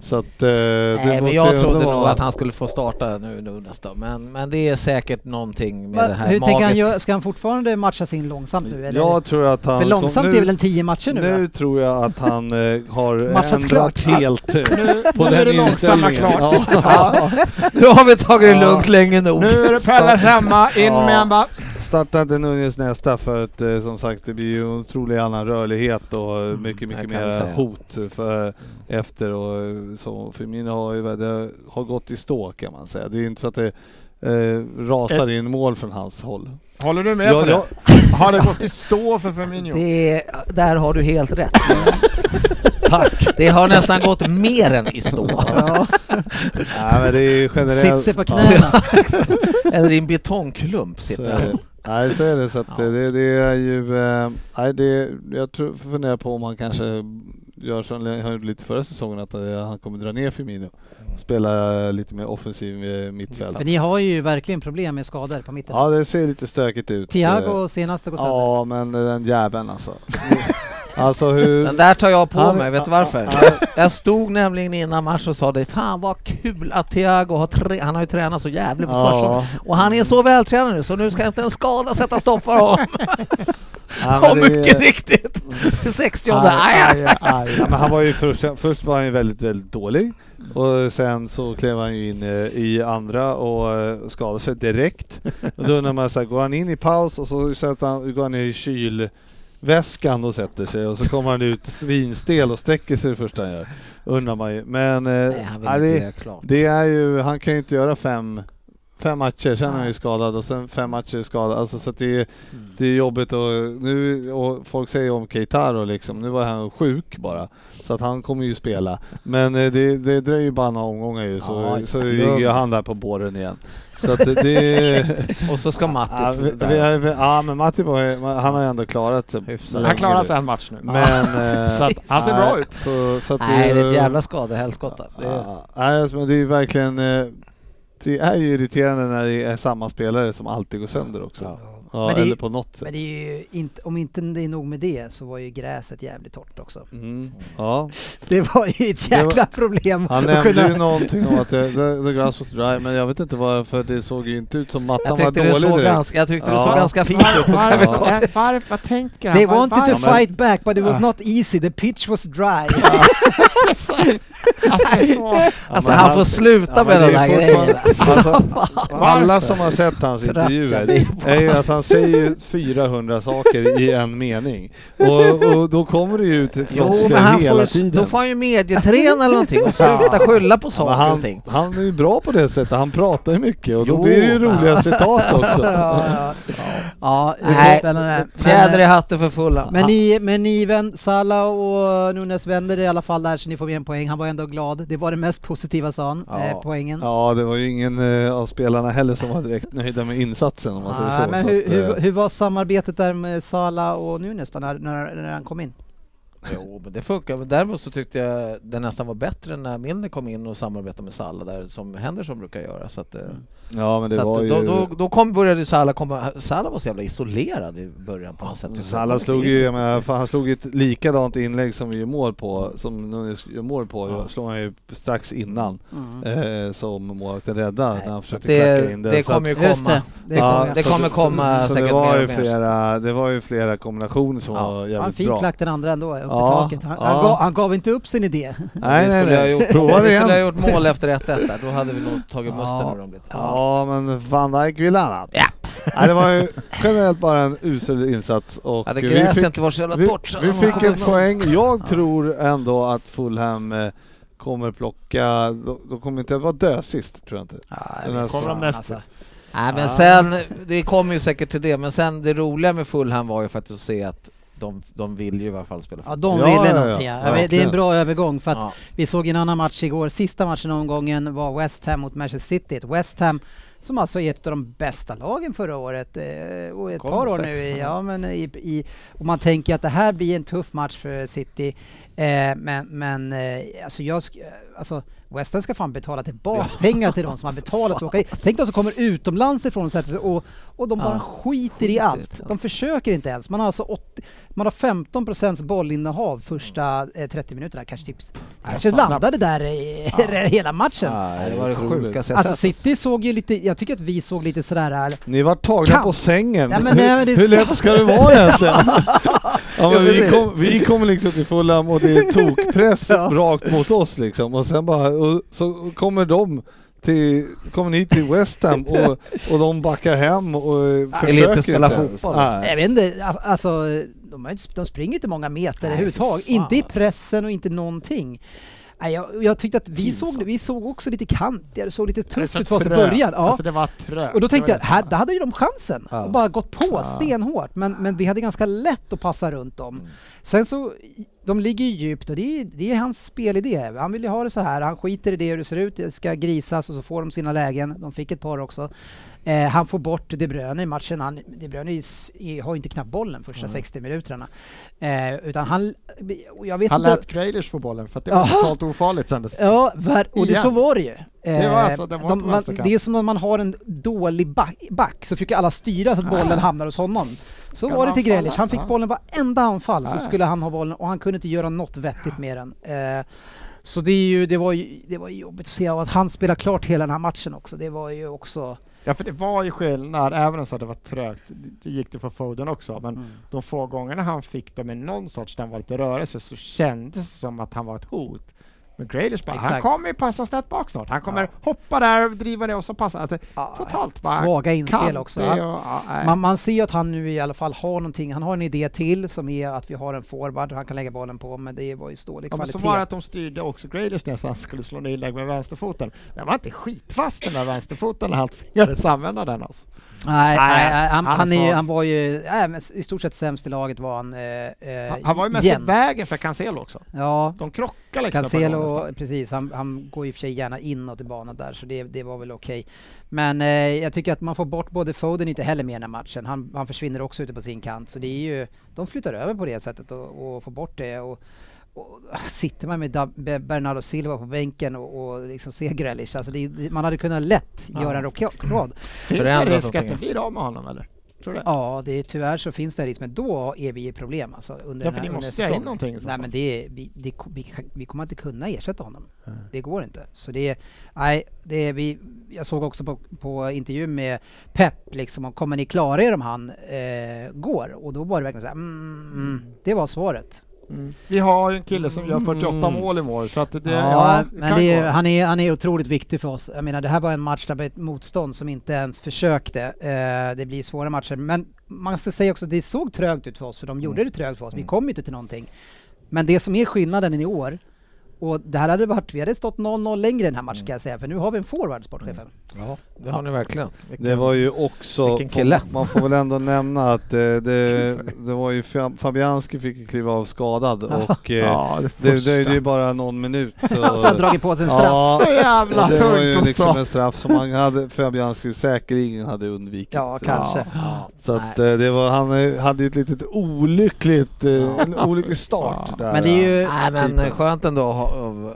Speaker 5: Så att, eh, det
Speaker 4: Nej, men
Speaker 5: måste
Speaker 4: jag
Speaker 5: ju
Speaker 4: trodde
Speaker 5: ändå
Speaker 4: nog
Speaker 5: vara-
Speaker 4: att han skulle få starta nu, nu nästa. Men, men det är säkert någonting med det här
Speaker 3: Hur tänker han
Speaker 4: magiska.
Speaker 3: göra? Ska han fortfarande matchas in långsamt nu? Eller?
Speaker 5: Jag tror att han...
Speaker 3: För långsamt
Speaker 5: kom-
Speaker 3: är väl en tio matcher nu?
Speaker 5: Nu
Speaker 3: va?
Speaker 5: tror jag att han eh, har
Speaker 3: Matchat
Speaker 5: ändrat
Speaker 3: klart.
Speaker 5: helt eh, på
Speaker 6: nu
Speaker 5: den
Speaker 6: är det långsamma
Speaker 5: inställningen.
Speaker 6: klart.
Speaker 5: Ja.
Speaker 4: Nu har vi tagit det
Speaker 5: Ja.
Speaker 4: lugnt länge nog.
Speaker 6: Nu är det Pelle hemma, in
Speaker 5: Ja.
Speaker 6: med en bara.
Speaker 5: Starta inte Nunez nästa för att eh, som sagt det blir ju en otrolig annan rörlighet och eh, mycket,
Speaker 4: Mm, det
Speaker 5: mycket
Speaker 4: kan vi
Speaker 5: mer
Speaker 4: säga.
Speaker 5: hot för, efter och eh, så Firmino har ju det har gått i stå kan man säga. Det är inte så att det eh, rasar in mål från hans håll.
Speaker 6: Håller du med
Speaker 5: Ja,
Speaker 6: på det?
Speaker 5: ja.
Speaker 6: Har det gått i stå för Firmino?
Speaker 4: Det, där har du helt rätt. Tack. Det har nästan gått mer än i stå.
Speaker 5: Nej men det är ju generellt.
Speaker 3: Sitter på
Speaker 5: Ja.
Speaker 3: knäna.
Speaker 4: Eller i en betongklump
Speaker 5: Så
Speaker 4: sitter
Speaker 5: är det.
Speaker 4: han.
Speaker 5: Nej, så är det. Så att
Speaker 4: Ja.
Speaker 5: eh, det, det är ju... eh, Nej, det, jag tror, funderar på om han kanske gör som han gjorde lite förra säsongen, att eh, han kommer dra ner Firmino och spela eh, lite mer offensiv eh, mittfält.
Speaker 3: För ni har ju verkligen problem med skador på mitten.
Speaker 5: Ja, det ser lite stökigt ut.
Speaker 3: Thiago senast och
Speaker 5: Eh,
Speaker 3: går sönder.
Speaker 5: Ja, men den jäveln alltså. alltså hur...
Speaker 4: Den där tar jag på
Speaker 5: Han-
Speaker 4: mig, vet du varför?
Speaker 5: Ja.
Speaker 4: Jag, jag stod nämligen innan match och sa det, fan vad kul att Thiago har, trä- han har ju tränat så jävligt på försäsongen.
Speaker 5: Ja,
Speaker 4: Och han är så vältränad nu så nu ska inte en skada sätta stopp för honom.
Speaker 5: nej, men
Speaker 4: Och
Speaker 5: det- Mm.
Speaker 4: mycket riktigt! 60
Speaker 5: Aj,
Speaker 4: aj, aj.
Speaker 5: aj, aj. Ja, men han var ju först, först var han ju väldigt, väldigt dålig och sen så klev han ju in eh, i andra och eh, skadade sig direkt. Och då undrar man så här, går han in i paus och så sätter han, går han ner i kyl väskan och sätter sig och så kommer han ut svinstel och sträcker sig det första han gör. Undrar man ju. Men eh,
Speaker 4: Nej, han vill
Speaker 5: ja,
Speaker 4: inte
Speaker 5: det,
Speaker 4: göra klart.
Speaker 5: det är ju, han kan ju inte göra fem, fem matcher, sen är han
Speaker 4: Nej.
Speaker 5: ju skadad och sen fem matcher skadad. Alltså, så att det, är-
Speaker 4: Mm.
Speaker 5: det är jobbigt och, nu, och folk säger om Keitaro liksom, nu var han sjuk bara. Så att han kommer ju spela. Men eh, det, det dröjer ju bara några omgångar ju så,
Speaker 4: Ja,
Speaker 5: så
Speaker 4: lugn.
Speaker 5: ligger ju han där på båren igen. Så att det, det
Speaker 4: Och så ska
Speaker 5: Ja,
Speaker 4: Matti...
Speaker 5: vi, vi, har ju- ja men Matti var ju- han har ju ändå klarat sig.
Speaker 4: Hyfsat.
Speaker 6: Han klarar sig alltså en match nu.
Speaker 5: Men... eh,
Speaker 6: Så att han ser bra
Speaker 5: nej,
Speaker 6: ut.
Speaker 5: Så, så att
Speaker 4: Nej, det är ett jävla skadehälskott. där. Det är-
Speaker 5: Ja, nej, alltså, men det är ju verkligen... eh, Det är ju irriterande när det är samma spelare som alltid går sönder också. Ja.
Speaker 3: Men det är-
Speaker 5: eller på något sätt.
Speaker 3: Men det är ju inte, om inte det är nog med det så var ju gräset jävligt torrt också.
Speaker 5: Mm. Ja.
Speaker 3: Det var ju ett
Speaker 5: Det var-
Speaker 3: jävla problem
Speaker 5: Han
Speaker 3: att
Speaker 5: nämnde ju
Speaker 3: kunna...
Speaker 5: någonting om att det, the, the grass was dry, men jag vet inte varför det såg ju inte ut som
Speaker 4: Jag
Speaker 5: mattan var
Speaker 4: tyckte, det
Speaker 5: dålig
Speaker 4: såg
Speaker 5: direkt.
Speaker 4: ganska, jag tyckte det såg
Speaker 5: Ja.
Speaker 4: ganska fint ut på
Speaker 5: varför-
Speaker 4: överkottet.
Speaker 5: Ja.
Speaker 6: Varför? Vad tänker han?
Speaker 3: They
Speaker 6: Var-
Speaker 3: wanted to
Speaker 6: var-
Speaker 5: men-
Speaker 3: fight back but it was
Speaker 5: Ja.
Speaker 3: not easy, the pitch was dry.
Speaker 6: Alltså, alltså, det är så-
Speaker 5: Ja,
Speaker 4: Alltså
Speaker 5: men
Speaker 4: han
Speaker 5: han-
Speaker 4: får sluta
Speaker 5: Ja, men
Speaker 4: med
Speaker 5: det
Speaker 4: de
Speaker 5: är
Speaker 4: här
Speaker 5: fortfarande-
Speaker 4: grejerna.
Speaker 5: Alltså, alla som har sett hans
Speaker 4: Tröttjar
Speaker 5: intervjuer
Speaker 4: mig
Speaker 5: är ju att han säger ju 400 saker i en mening. Och, och då kommer det ju ut
Speaker 4: Jo,
Speaker 5: floskler
Speaker 4: men han
Speaker 5: hela
Speaker 4: får, ju-
Speaker 5: tiden.
Speaker 4: då får han ju medieträna eller någonting och sluta skylla på
Speaker 5: Ja, men
Speaker 4: saker och
Speaker 5: han,
Speaker 4: ting.
Speaker 5: han är ju bra på det sättet, han pratar ju mycket och då
Speaker 4: Jo,
Speaker 5: blir det ju
Speaker 4: men-
Speaker 5: roliga citat också.
Speaker 3: ja, ja. ja, det
Speaker 4: Nej,
Speaker 3: är spännande.
Speaker 4: Fjäder i
Speaker 3: Men,
Speaker 4: hatten för fulla.
Speaker 5: Ah.
Speaker 3: men ni, men ni vän, Sala och Nunes vänder det i alla fall där så ni får med en poäng. Han var ändå glad. Det var det mest positiva sa han,
Speaker 4: Ja.
Speaker 3: eh, poängen.
Speaker 5: Ja, det var ju ingen eh, av spelarna heller som var direkt nöjda med insatsen om man säger
Speaker 3: Ah,
Speaker 5: så.
Speaker 3: men
Speaker 5: så
Speaker 3: hur,
Speaker 5: att, eh,
Speaker 3: hur, hur var samarbetet där med Sala och Nunes då, när, när, när han kom in?
Speaker 4: Jo, men det funkar. Men däremot så tyckte jag det nästan var bättre när Milner kom in och samarbetade med Salla där som Henderson brukar göra. Så att, eh,
Speaker 5: Mm. ja, men det
Speaker 4: så
Speaker 5: var
Speaker 4: att
Speaker 5: ju...
Speaker 4: då, då, då kom, började Salla komma... Salla var så jävla isolerad i början på något sätt. Typ.
Speaker 5: Salla slog ju, jag menar, fan, han slog ju ett likadant inlägg som vi gör mål på, som Nunes gör mål på,
Speaker 4: Ja. Mm.
Speaker 5: slog han ju strax innan eh, som målvakten räddade
Speaker 4: Nej,
Speaker 5: när han
Speaker 4: så att
Speaker 5: försökte
Speaker 4: det,
Speaker 5: knacka in den.
Speaker 4: det
Speaker 5: så att-
Speaker 4: kommer ju komma.
Speaker 3: det.
Speaker 4: Ja,
Speaker 3: såg jag.
Speaker 4: det
Speaker 5: så-
Speaker 4: kommer
Speaker 5: så-
Speaker 4: komma
Speaker 5: så, så
Speaker 4: säkert
Speaker 5: det var
Speaker 4: mer
Speaker 5: ju
Speaker 4: och mer.
Speaker 5: flera, Det var ju flera kombinationer som
Speaker 4: Ja.
Speaker 5: var
Speaker 3: Han en
Speaker 5: jävligt
Speaker 3: fin
Speaker 5: bra.
Speaker 3: klack den andra ändå, uppe i
Speaker 5: Ja,
Speaker 3: taket. Han, han,
Speaker 5: ja.
Speaker 3: gav, han gav inte upp sin idé.
Speaker 5: Nej,
Speaker 4: vi
Speaker 5: nej,
Speaker 4: skulle,
Speaker 5: nej.
Speaker 4: Ha gjort,
Speaker 5: Prova
Speaker 4: vi
Speaker 5: det
Speaker 4: skulle ha
Speaker 5: igen.
Speaker 4: gjort mål efter 1-1 där, då hade vi nog tagit musten
Speaker 3: Ja.
Speaker 4: ur dem lite.
Speaker 5: Ja, men van Dijk ville annat. Nej, det var ju generellt bara en usel insats och
Speaker 4: Hade
Speaker 5: vi
Speaker 4: gräset
Speaker 5: fick,
Speaker 4: inte varit så jävla
Speaker 5: vi,
Speaker 4: torrt så
Speaker 5: vi
Speaker 4: hade man
Speaker 5: fick en
Speaker 4: kunnat-
Speaker 5: poäng. Jag tror ändå att Fulham eh, kommer plocka, de, de kommer inte vara dösist tror jag inte. Den här
Speaker 6: Kommer de
Speaker 5: säsongen.
Speaker 6: näst-
Speaker 3: Alltså,
Speaker 4: Nej men
Speaker 5: Ja.
Speaker 4: sen, det kommer ju säkert till det, men sen det roliga med Fulham var ju faktiskt att se att de, de vill ju i alla fall spela
Speaker 3: Ja,
Speaker 4: fotboll.
Speaker 3: de
Speaker 5: Ja,
Speaker 3: ville
Speaker 5: ja, ja.
Speaker 3: någonting. Ja. Jag vet, det är en
Speaker 5: Verkligen.
Speaker 3: bra övergång för att
Speaker 4: Ja.
Speaker 3: vi såg en annan match igår. Sista matchen i omgången var West Ham mot Manchester City. Ett West Ham som alltså är ett av de bästa lagen förra året eh, och ett
Speaker 4: Kom
Speaker 3: par år
Speaker 4: sexa.
Speaker 3: nu. i- Ja, men i, i, och man tänker att det här blir en tuff match för City. Eh, men men eh, alltså jag sk- alltså West Ham ska fan betala tillbaka pengar till de som har betalat för att åka hit. Tänk de som kommer utomlands ifrån och sätter sig och, och de bara
Speaker 4: Ja.
Speaker 3: skiter i allt. De försöker inte ens. Man har alltså 80, man har 15 procents bollinnehav första eh, 30 minuterna. Kanske typ, kanske
Speaker 4: Mm. fan,
Speaker 3: landade där i, hela matchen.
Speaker 5: Nej,
Speaker 4: Det var det
Speaker 5: otroligt.
Speaker 4: sjukaste jag
Speaker 3: Alltså
Speaker 4: sett.
Speaker 3: City såg ju lite, jag tycker att vi såg lite sådär... eh,
Speaker 5: Ni var tagna
Speaker 3: Kan-
Speaker 5: på sängen.
Speaker 3: Nej, men nej, men det-
Speaker 5: hur, hur lätt ska det vara egentligen? ja, men vi,
Speaker 4: precis.
Speaker 5: kom, vi kom liksom till Fulham och det är tokpress
Speaker 3: Ja.
Speaker 5: rakt mot oss liksom och sen bara, och så kommer de till, kommer ni till West Ham och, och de backar hem och försöker
Speaker 4: inte spela
Speaker 5: ens.
Speaker 4: fotboll,
Speaker 5: Nej.
Speaker 3: Jag vet inte, a- alltså de, har ju inte, de springer inte många meter
Speaker 4: Nej,
Speaker 3: överhuvudtaget.
Speaker 4: fy fan,
Speaker 3: Inte i
Speaker 4: alltså.
Speaker 3: pressen och inte någonting. Nej, jag, jag tyckte att vi såg, vi såg också lite kantigare, det såg lite
Speaker 6: det är
Speaker 3: tufft
Speaker 6: så
Speaker 3: ut för oss i
Speaker 6: trögt.
Speaker 3: Typ början. Ja.
Speaker 6: Alltså det var trögt.
Speaker 3: Och då tänkte
Speaker 6: Det
Speaker 3: jag,
Speaker 6: var liksom- det
Speaker 3: här,
Speaker 6: som
Speaker 3: där hade ju de chansen
Speaker 4: Ja.
Speaker 3: och bara gått på stenhårt. Men, men vi hade ganska lätt att passa runt dem.
Speaker 6: Mm.
Speaker 3: Sen så, de ligger ju djupt och det är, det är hans spelidé. Han vill ju ha det så här, han skiter i det hur det ser ut, det ska grisas och så får de sina lägen. De fick ett par också. Eh, han får bort De Bruyne i matchen. Han, de Bruyne är ju s- är, har ju inte knappt bollen första
Speaker 6: Mm.
Speaker 3: 60 minuterna. Eh, utan han... och Jag vet
Speaker 6: Han
Speaker 3: inte...
Speaker 6: lät Grealish få bollen för att det var
Speaker 3: Ja.
Speaker 6: totalt ofarligt kändes det.
Speaker 3: Ja, ver- och det,
Speaker 6: Igen.
Speaker 3: så var det ju. Eh,
Speaker 6: Det var alltså- det var
Speaker 3: de,
Speaker 6: på
Speaker 3: man,
Speaker 6: vänsterkant.
Speaker 3: det är som när man har en dålig back, back så försöker alla styra så att bollen hamnar hos honom. Så
Speaker 6: Ah. Ska
Speaker 3: var det
Speaker 6: man
Speaker 3: till Grealish. Han fick
Speaker 6: falla? Ja. Ah.
Speaker 3: bollen varenda anfall så
Speaker 6: Ja.
Speaker 3: skulle han ha bollen och han kunde inte göra något vettigt med den. Eh, så det, är ju, det, var ju, det var ju jobbigt att se och att han spelar klart hela den här matchen också. Det var ju också...
Speaker 6: Ja, för det var ju skillnad, även om så att det var trögt, det gick det för Foden också, men
Speaker 3: Mm.
Speaker 6: de få gångerna han fick dem i någon sorts, den var lite rörelse, så kändes det som att han var ett hot. Men Grealish bara, han
Speaker 3: Exakt.
Speaker 6: kommer ju passa snett bak snart. Han kommer hoppa där och driva ner och så passa. Alltså,
Speaker 3: Ja,
Speaker 6: totalt bara
Speaker 3: svaga inspel
Speaker 6: kantig
Speaker 3: också.
Speaker 6: Och,
Speaker 3: Ja.
Speaker 6: ja, nej.
Speaker 3: Man, man ser ju att han nu i alla fall har någonting. Han har en idé till som är att vi har en forward han kan lägga bollen på, men det var ju dålig
Speaker 6: Ja, men så
Speaker 3: kvalitet.
Speaker 6: var det att de styrde också Grealish när han skulle slå en inlägg med vänsterfoten. Den var inte skitfast den där vänsterfoten när han tvingades använda den alltså.
Speaker 3: Nej,
Speaker 6: Nej,
Speaker 3: nej, nej, han,
Speaker 6: han
Speaker 3: han, är,
Speaker 6: sa-
Speaker 3: ju- han var ju nej, men i stort sett sämst i laget var han. Eh, eh,
Speaker 6: Han, han var ju mest i
Speaker 3: igen.
Speaker 6: vägen för Cancelo också.
Speaker 3: Ja,
Speaker 6: De krockar liksom. ett par gånger nästan.
Speaker 3: Cancelo, precis, han, han går i och för sig gärna inåt i banan där så det, det var väl okej. Men eh, jag tycker att man får bort både Foden inte heller med i den här matchen. Han, han försvinner också ute på sin kant så det är ju, de flyttar över på det sättet och, och får bort det. Och, och sitter man med Dab- Be- Bernardo Silva på bänken och, och liksom ser Grealish, alltså det, det- man hade kunnat lätt göra en rockad.
Speaker 6: Finns det
Speaker 4: förändrat
Speaker 6: risk att
Speaker 4: någonting.
Speaker 6: det blir av med honom eller? Tror du det?
Speaker 3: Ja, det, är- tyvärr så finns det en risk, men då är vi i problem alltså. Under
Speaker 6: Ja,
Speaker 3: den
Speaker 6: för
Speaker 3: här,
Speaker 6: ni
Speaker 3: under
Speaker 6: måste ha in
Speaker 3: säsongen.
Speaker 6: någonting i så
Speaker 3: Nej,
Speaker 6: fall.
Speaker 3: men det, är- vi, det, ko- vi, kan- vi kommer inte kunna ersätta honom. Det går inte. Så det, är- nej, det är vi, jag såg också på, på intervju med Pep, liksom, om kommer ni klara er om han eh, går? Och då var det verkligen så här, mm, mm, det var svaret.
Speaker 6: Mm. Vi har ju en kille som gör 48
Speaker 5: Mm.
Speaker 6: mål i år så att det,
Speaker 3: ja,
Speaker 6: ja,
Speaker 3: men
Speaker 6: kan
Speaker 3: det
Speaker 6: gå.
Speaker 3: är, han, är, han är otroligt viktig för oss. Jag menar, det här var en match där vi ett motstånd som inte ens försökte. Eh, det blir svåra matcher, men man ska säga också att det såg trögt ut för oss, för de gjorde det trögt för oss. Vi kom ju inte till någonting. Men det som är skillnaden i år, och det här hade varit, vi hade stått 0-0 längre i den här matchen kan jag säga, för nu har vi en forward, sportchefen.
Speaker 4: Ja, det har ni verkligen.
Speaker 5: Det var ju också,
Speaker 4: Vilken kille.
Speaker 5: man får väl ändå nämna att eh, det, det var ju Fa- Fabianski fick ju kliva av skadad och eh,
Speaker 6: Ja, det
Speaker 5: det
Speaker 6: första.
Speaker 5: dröjde ju bara någon minut. Så,
Speaker 3: Så han dragit på sig en straff.
Speaker 5: Ja,
Speaker 6: Så jävla
Speaker 5: och det var ju
Speaker 6: tungt
Speaker 5: liksom
Speaker 6: också.
Speaker 5: en straff som han hade, Fabianski säkerligen hade undvikit.
Speaker 3: Ja, kanske.
Speaker 5: Så att, eh, det var, han eh, hade ju ett litet olyckligt, eh, en olycklig start där.
Speaker 3: Men det är ju...
Speaker 4: Nej men eh, skönt ändå att ha- av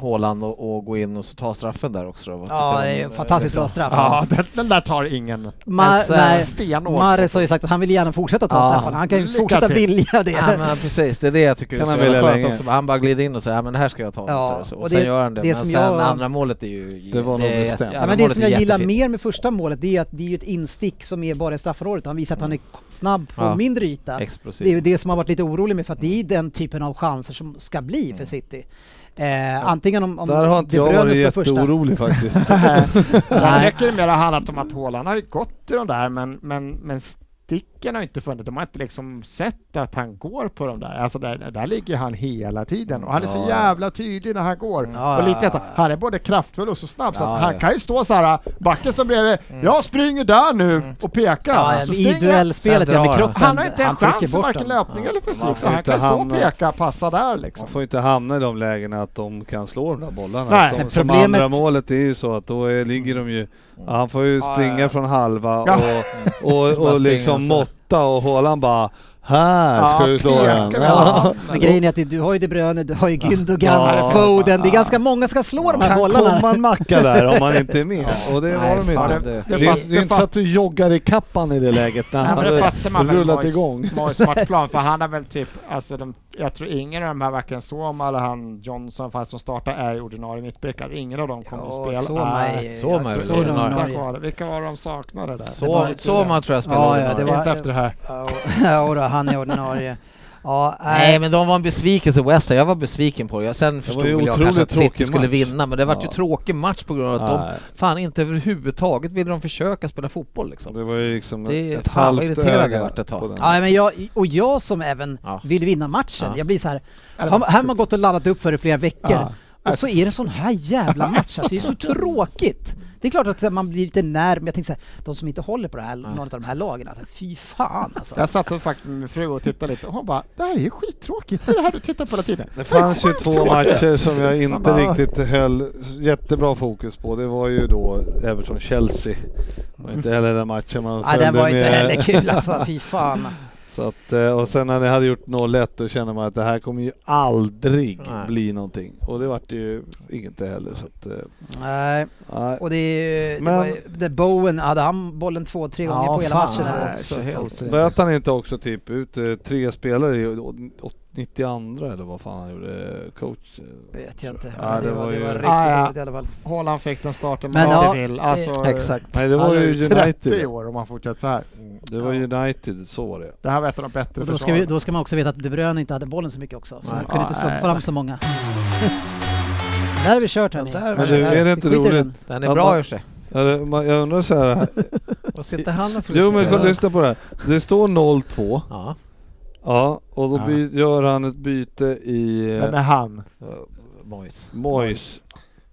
Speaker 4: Haaland och, och gå in och så ta straffen där också. då. Vad tycker
Speaker 3: Ja,
Speaker 4: du
Speaker 3: det är ju
Speaker 4: om,
Speaker 3: en
Speaker 4: eh,
Speaker 3: fantastiskt
Speaker 4: det?
Speaker 3: bra straff.
Speaker 6: Ja, den, den där tar ingen
Speaker 3: Ma-
Speaker 4: sen-
Speaker 3: nej,
Speaker 6: stenhård.
Speaker 3: Mares har ju sagt att han vill gärna fortsätta ta
Speaker 4: Ja.
Speaker 3: straffarna. Han kan ju
Speaker 6: Lycka
Speaker 3: fortsätta
Speaker 6: till.
Speaker 3: vilja det.
Speaker 4: Ja men precis, det är det jag tycker
Speaker 5: Kan
Speaker 4: är så
Speaker 5: han
Speaker 4: jävla
Speaker 5: välja
Speaker 4: skönt
Speaker 5: länge.
Speaker 4: också. Han bara glider in och säger ja men det här ska jag ta.
Speaker 3: Ja,
Speaker 4: så här, så. Och,
Speaker 3: och
Speaker 4: sen
Speaker 3: det-
Speaker 4: gör han det.
Speaker 3: det
Speaker 4: men
Speaker 3: som
Speaker 4: sen
Speaker 3: jag-
Speaker 4: andra målet är ju...
Speaker 5: Det var nog
Speaker 4: är-
Speaker 5: bestämt.
Speaker 4: andra
Speaker 5: Ja,
Speaker 3: Ja, men det
Speaker 4: målet
Speaker 3: som
Speaker 4: är
Speaker 3: jag gillar
Speaker 4: jättefint.
Speaker 3: mer med första målet det är ju att det är ju ett instick som är bara i straffområdet och han visar att han är
Speaker 5: Mm.
Speaker 3: k- snabb på
Speaker 4: Ja.
Speaker 3: mindre yta.
Speaker 4: Explosivt.
Speaker 3: Det är ju det som har varit lite orolig med för att det är ju den typen av chanser som ska bli
Speaker 5: Mm.
Speaker 3: för City. Eh, antingen om, om
Speaker 5: Där har inte
Speaker 3: De
Speaker 5: jag
Speaker 3: Bruyne
Speaker 5: varit
Speaker 3: slår första.
Speaker 5: jätteorolig faktiskt.
Speaker 6: Jag tycker det mer har handlat om att Haaland har ju gått i de där, men, men, men sticken har inte funnits. De har inte liksom sett att han går på de där. Alltså där, där ligger han hela tiden och han är så jävla tydlig när han går.
Speaker 3: Ja,
Speaker 6: och lite
Speaker 3: ja,
Speaker 6: detta. Han är både kraftfull och så snabb så
Speaker 4: Ja,
Speaker 6: att han
Speaker 4: ja.
Speaker 6: kan ju stå så här, backen står bredvid, jag springer där nu och pekar.
Speaker 3: Mm. Ja,
Speaker 6: så
Speaker 3: I
Speaker 6: springer
Speaker 3: duellspelet ja,
Speaker 4: Sen
Speaker 3: med
Speaker 4: drar han.
Speaker 3: kroppen.
Speaker 6: han. han har inte en
Speaker 3: trycker
Speaker 6: chans,
Speaker 3: bort
Speaker 6: varken
Speaker 3: den.
Speaker 6: löpning eller fysik,
Speaker 5: man
Speaker 6: så
Speaker 5: får
Speaker 6: han
Speaker 5: inte
Speaker 6: kan ju stå och
Speaker 3: eh,
Speaker 5: hamna-
Speaker 6: peka, passa där liksom.
Speaker 5: Man får inte hamna i de lägena att de kan slå de där bollarna.
Speaker 6: Nej,
Speaker 5: som, som
Speaker 3: problemet-
Speaker 5: andra målet är ju så att då är, ligger de ju... Ja, han får ju springa från halva och,
Speaker 6: Ja.
Speaker 5: och, och,
Speaker 4: Bara springa
Speaker 5: liksom
Speaker 4: så.
Speaker 5: måtta och Haaland bara Här ska
Speaker 6: Ja,
Speaker 5: du slå
Speaker 6: pekar
Speaker 5: den.
Speaker 6: med
Speaker 5: Ja.
Speaker 6: handen.
Speaker 3: Men grejen är att det- du har ju De Bruyne, du har ju Gündogan,
Speaker 5: Ja.
Speaker 3: Foden. Det är ganska många som ska slå de här
Speaker 5: Kan
Speaker 3: bollarna.
Speaker 5: komma en macka där om man inte är med. Och det var
Speaker 4: Nej,
Speaker 5: de
Speaker 4: fan,
Speaker 5: inte.
Speaker 4: det-
Speaker 5: Det,
Speaker 6: det
Speaker 5: är-
Speaker 6: fatt-
Speaker 5: det är
Speaker 6: det
Speaker 5: inte
Speaker 6: fatt-
Speaker 5: så att du joggar i kappan i det läget när
Speaker 6: Nej,
Speaker 5: han
Speaker 6: men det fattar man
Speaker 5: hade
Speaker 6: väl
Speaker 5: rullat
Speaker 6: Mois-
Speaker 5: igång.
Speaker 6: Mois matchplan, för han har väl typ, alltså de, jag tror ingen av de här, varken Soma eller han Johnson, för han som startar är ju ordinarie mittbackar. Ingen av dem kommer
Speaker 3: Ja,
Speaker 6: att spela.
Speaker 5: Ah,
Speaker 3: Soma är-
Speaker 6: Nej.
Speaker 3: jag
Speaker 4: Soma är
Speaker 3: tror
Speaker 4: väl
Speaker 3: Soma är
Speaker 4: ordinarie.
Speaker 6: Vänta
Speaker 3: ordinarie.
Speaker 6: kvar. Vilka var de saknade där? Det var
Speaker 4: Så,
Speaker 6: ju
Speaker 4: så man tror jag spelar
Speaker 3: Ja, ja,
Speaker 4: ordinarie.
Speaker 3: det var-
Speaker 6: Inte efter det här.
Speaker 3: Ja, och- Ja, då, han är ordinarie. Ja,
Speaker 4: Nej men de var en besvikelse West Ham. jag var besviken på det. Jag- Sen förstod
Speaker 5: var ju
Speaker 4: väl jag
Speaker 5: otroligt
Speaker 4: kanske att City
Speaker 5: tråkig
Speaker 4: skulle
Speaker 5: match.
Speaker 4: vinna men det var ju
Speaker 5: Ja.
Speaker 4: tråkig match på grund av att
Speaker 5: Nej.
Speaker 4: de fan inte överhuvudtaget ville de försöka spela fotboll liksom.
Speaker 5: Det var ju liksom
Speaker 4: Det är-
Speaker 5: ett
Speaker 4: fan, vad
Speaker 5: halvt
Speaker 4: irriterad jag
Speaker 5: öga
Speaker 4: vart ett tag.
Speaker 5: på den.
Speaker 3: Ja, men jag, och jag som även
Speaker 4: Ja.
Speaker 3: vill vinna matchen,
Speaker 4: Ja.
Speaker 3: jag blir så här,
Speaker 6: Ja, det
Speaker 3: har,
Speaker 6: var
Speaker 3: har man gått och laddat upp för det i flera veckor
Speaker 6: Ja.
Speaker 3: och så är det en sån här jävla match, alltså, det är så tråkigt. Det är klart att så här, man blir lite när, men jag tänker så här, de som inte håller på det här, någon av de här lagen, alltså, fy fan alltså.
Speaker 6: Jag satt och faktiskt med min fru och tittade lite och hon bara ”Det här är ju skittråkigt, det är det här du tittar på hela tiden”.
Speaker 5: Det fanns ju två matcher som jag inte
Speaker 6: bara-
Speaker 5: riktigt höll jättebra fokus på. Det var ju då Everton-Chelsea. Det var inte heller den matchen man
Speaker 3: Nej,
Speaker 5: följde
Speaker 3: den var
Speaker 5: med.
Speaker 3: inte heller kul alltså, fy fan.
Speaker 5: Så att, eh, och sen när det hade gjort 0-1 då kände man att det här kommer ju aldrig
Speaker 4: Nej.
Speaker 5: bli någonting. Och det vart det ju inget det heller. Så att, eh,
Speaker 3: Nej,
Speaker 5: nej.
Speaker 3: och det är ju, det
Speaker 5: Men-
Speaker 3: var ju, det Bowen, hade han bollen två, tre gånger på hela matchen? Alltså, eller?
Speaker 6: Så helt
Speaker 5: Bröt han inte också typ ut eh, tre spelare i å- å- 92 eller vad fan han gjorde? eh, Coach? eh,
Speaker 3: Vet jag inte.
Speaker 5: Ja,
Speaker 3: men det,
Speaker 5: det
Speaker 3: var,
Speaker 5: var
Speaker 3: det
Speaker 5: ju-
Speaker 3: var riktigt
Speaker 6: Ja, ja.
Speaker 3: dåligt i alla fall.
Speaker 6: Haaland fick den starten
Speaker 3: Men
Speaker 6: med
Speaker 3: ja,
Speaker 6: ja, vill. Alltså,
Speaker 5: Nej det var
Speaker 6: han är
Speaker 5: ju
Speaker 6: 30 i
Speaker 5: United.
Speaker 6: år om han fortsätter så här.
Speaker 5: Det var United, så var det.
Speaker 6: Det här var ett av de bättre
Speaker 3: Och då, ska vi, då ska man också veta att De Bruyne inte hade bollen så mycket också, så han kunde inte slå
Speaker 6: Nej,
Speaker 3: fram så många. Där har vi kört hörni.
Speaker 4: där
Speaker 5: Men du, är det inte
Speaker 3: Vi skiter i
Speaker 5: roligt?
Speaker 3: den.
Speaker 4: Den är
Speaker 5: Man
Speaker 4: bra
Speaker 5: bara-
Speaker 4: i och för sig.
Speaker 5: Är det- man- Jag undrar så här.
Speaker 4: Vad sitter han och
Speaker 5: Jo men
Speaker 4: friserar?
Speaker 5: kolla, lyssna på det här. Det står 0-2.
Speaker 4: Ja.
Speaker 5: Ja, och då
Speaker 6: Ja.
Speaker 5: by- gör han ett byte i eh,
Speaker 6: Vem är han?
Speaker 4: Boys.
Speaker 5: Moyes.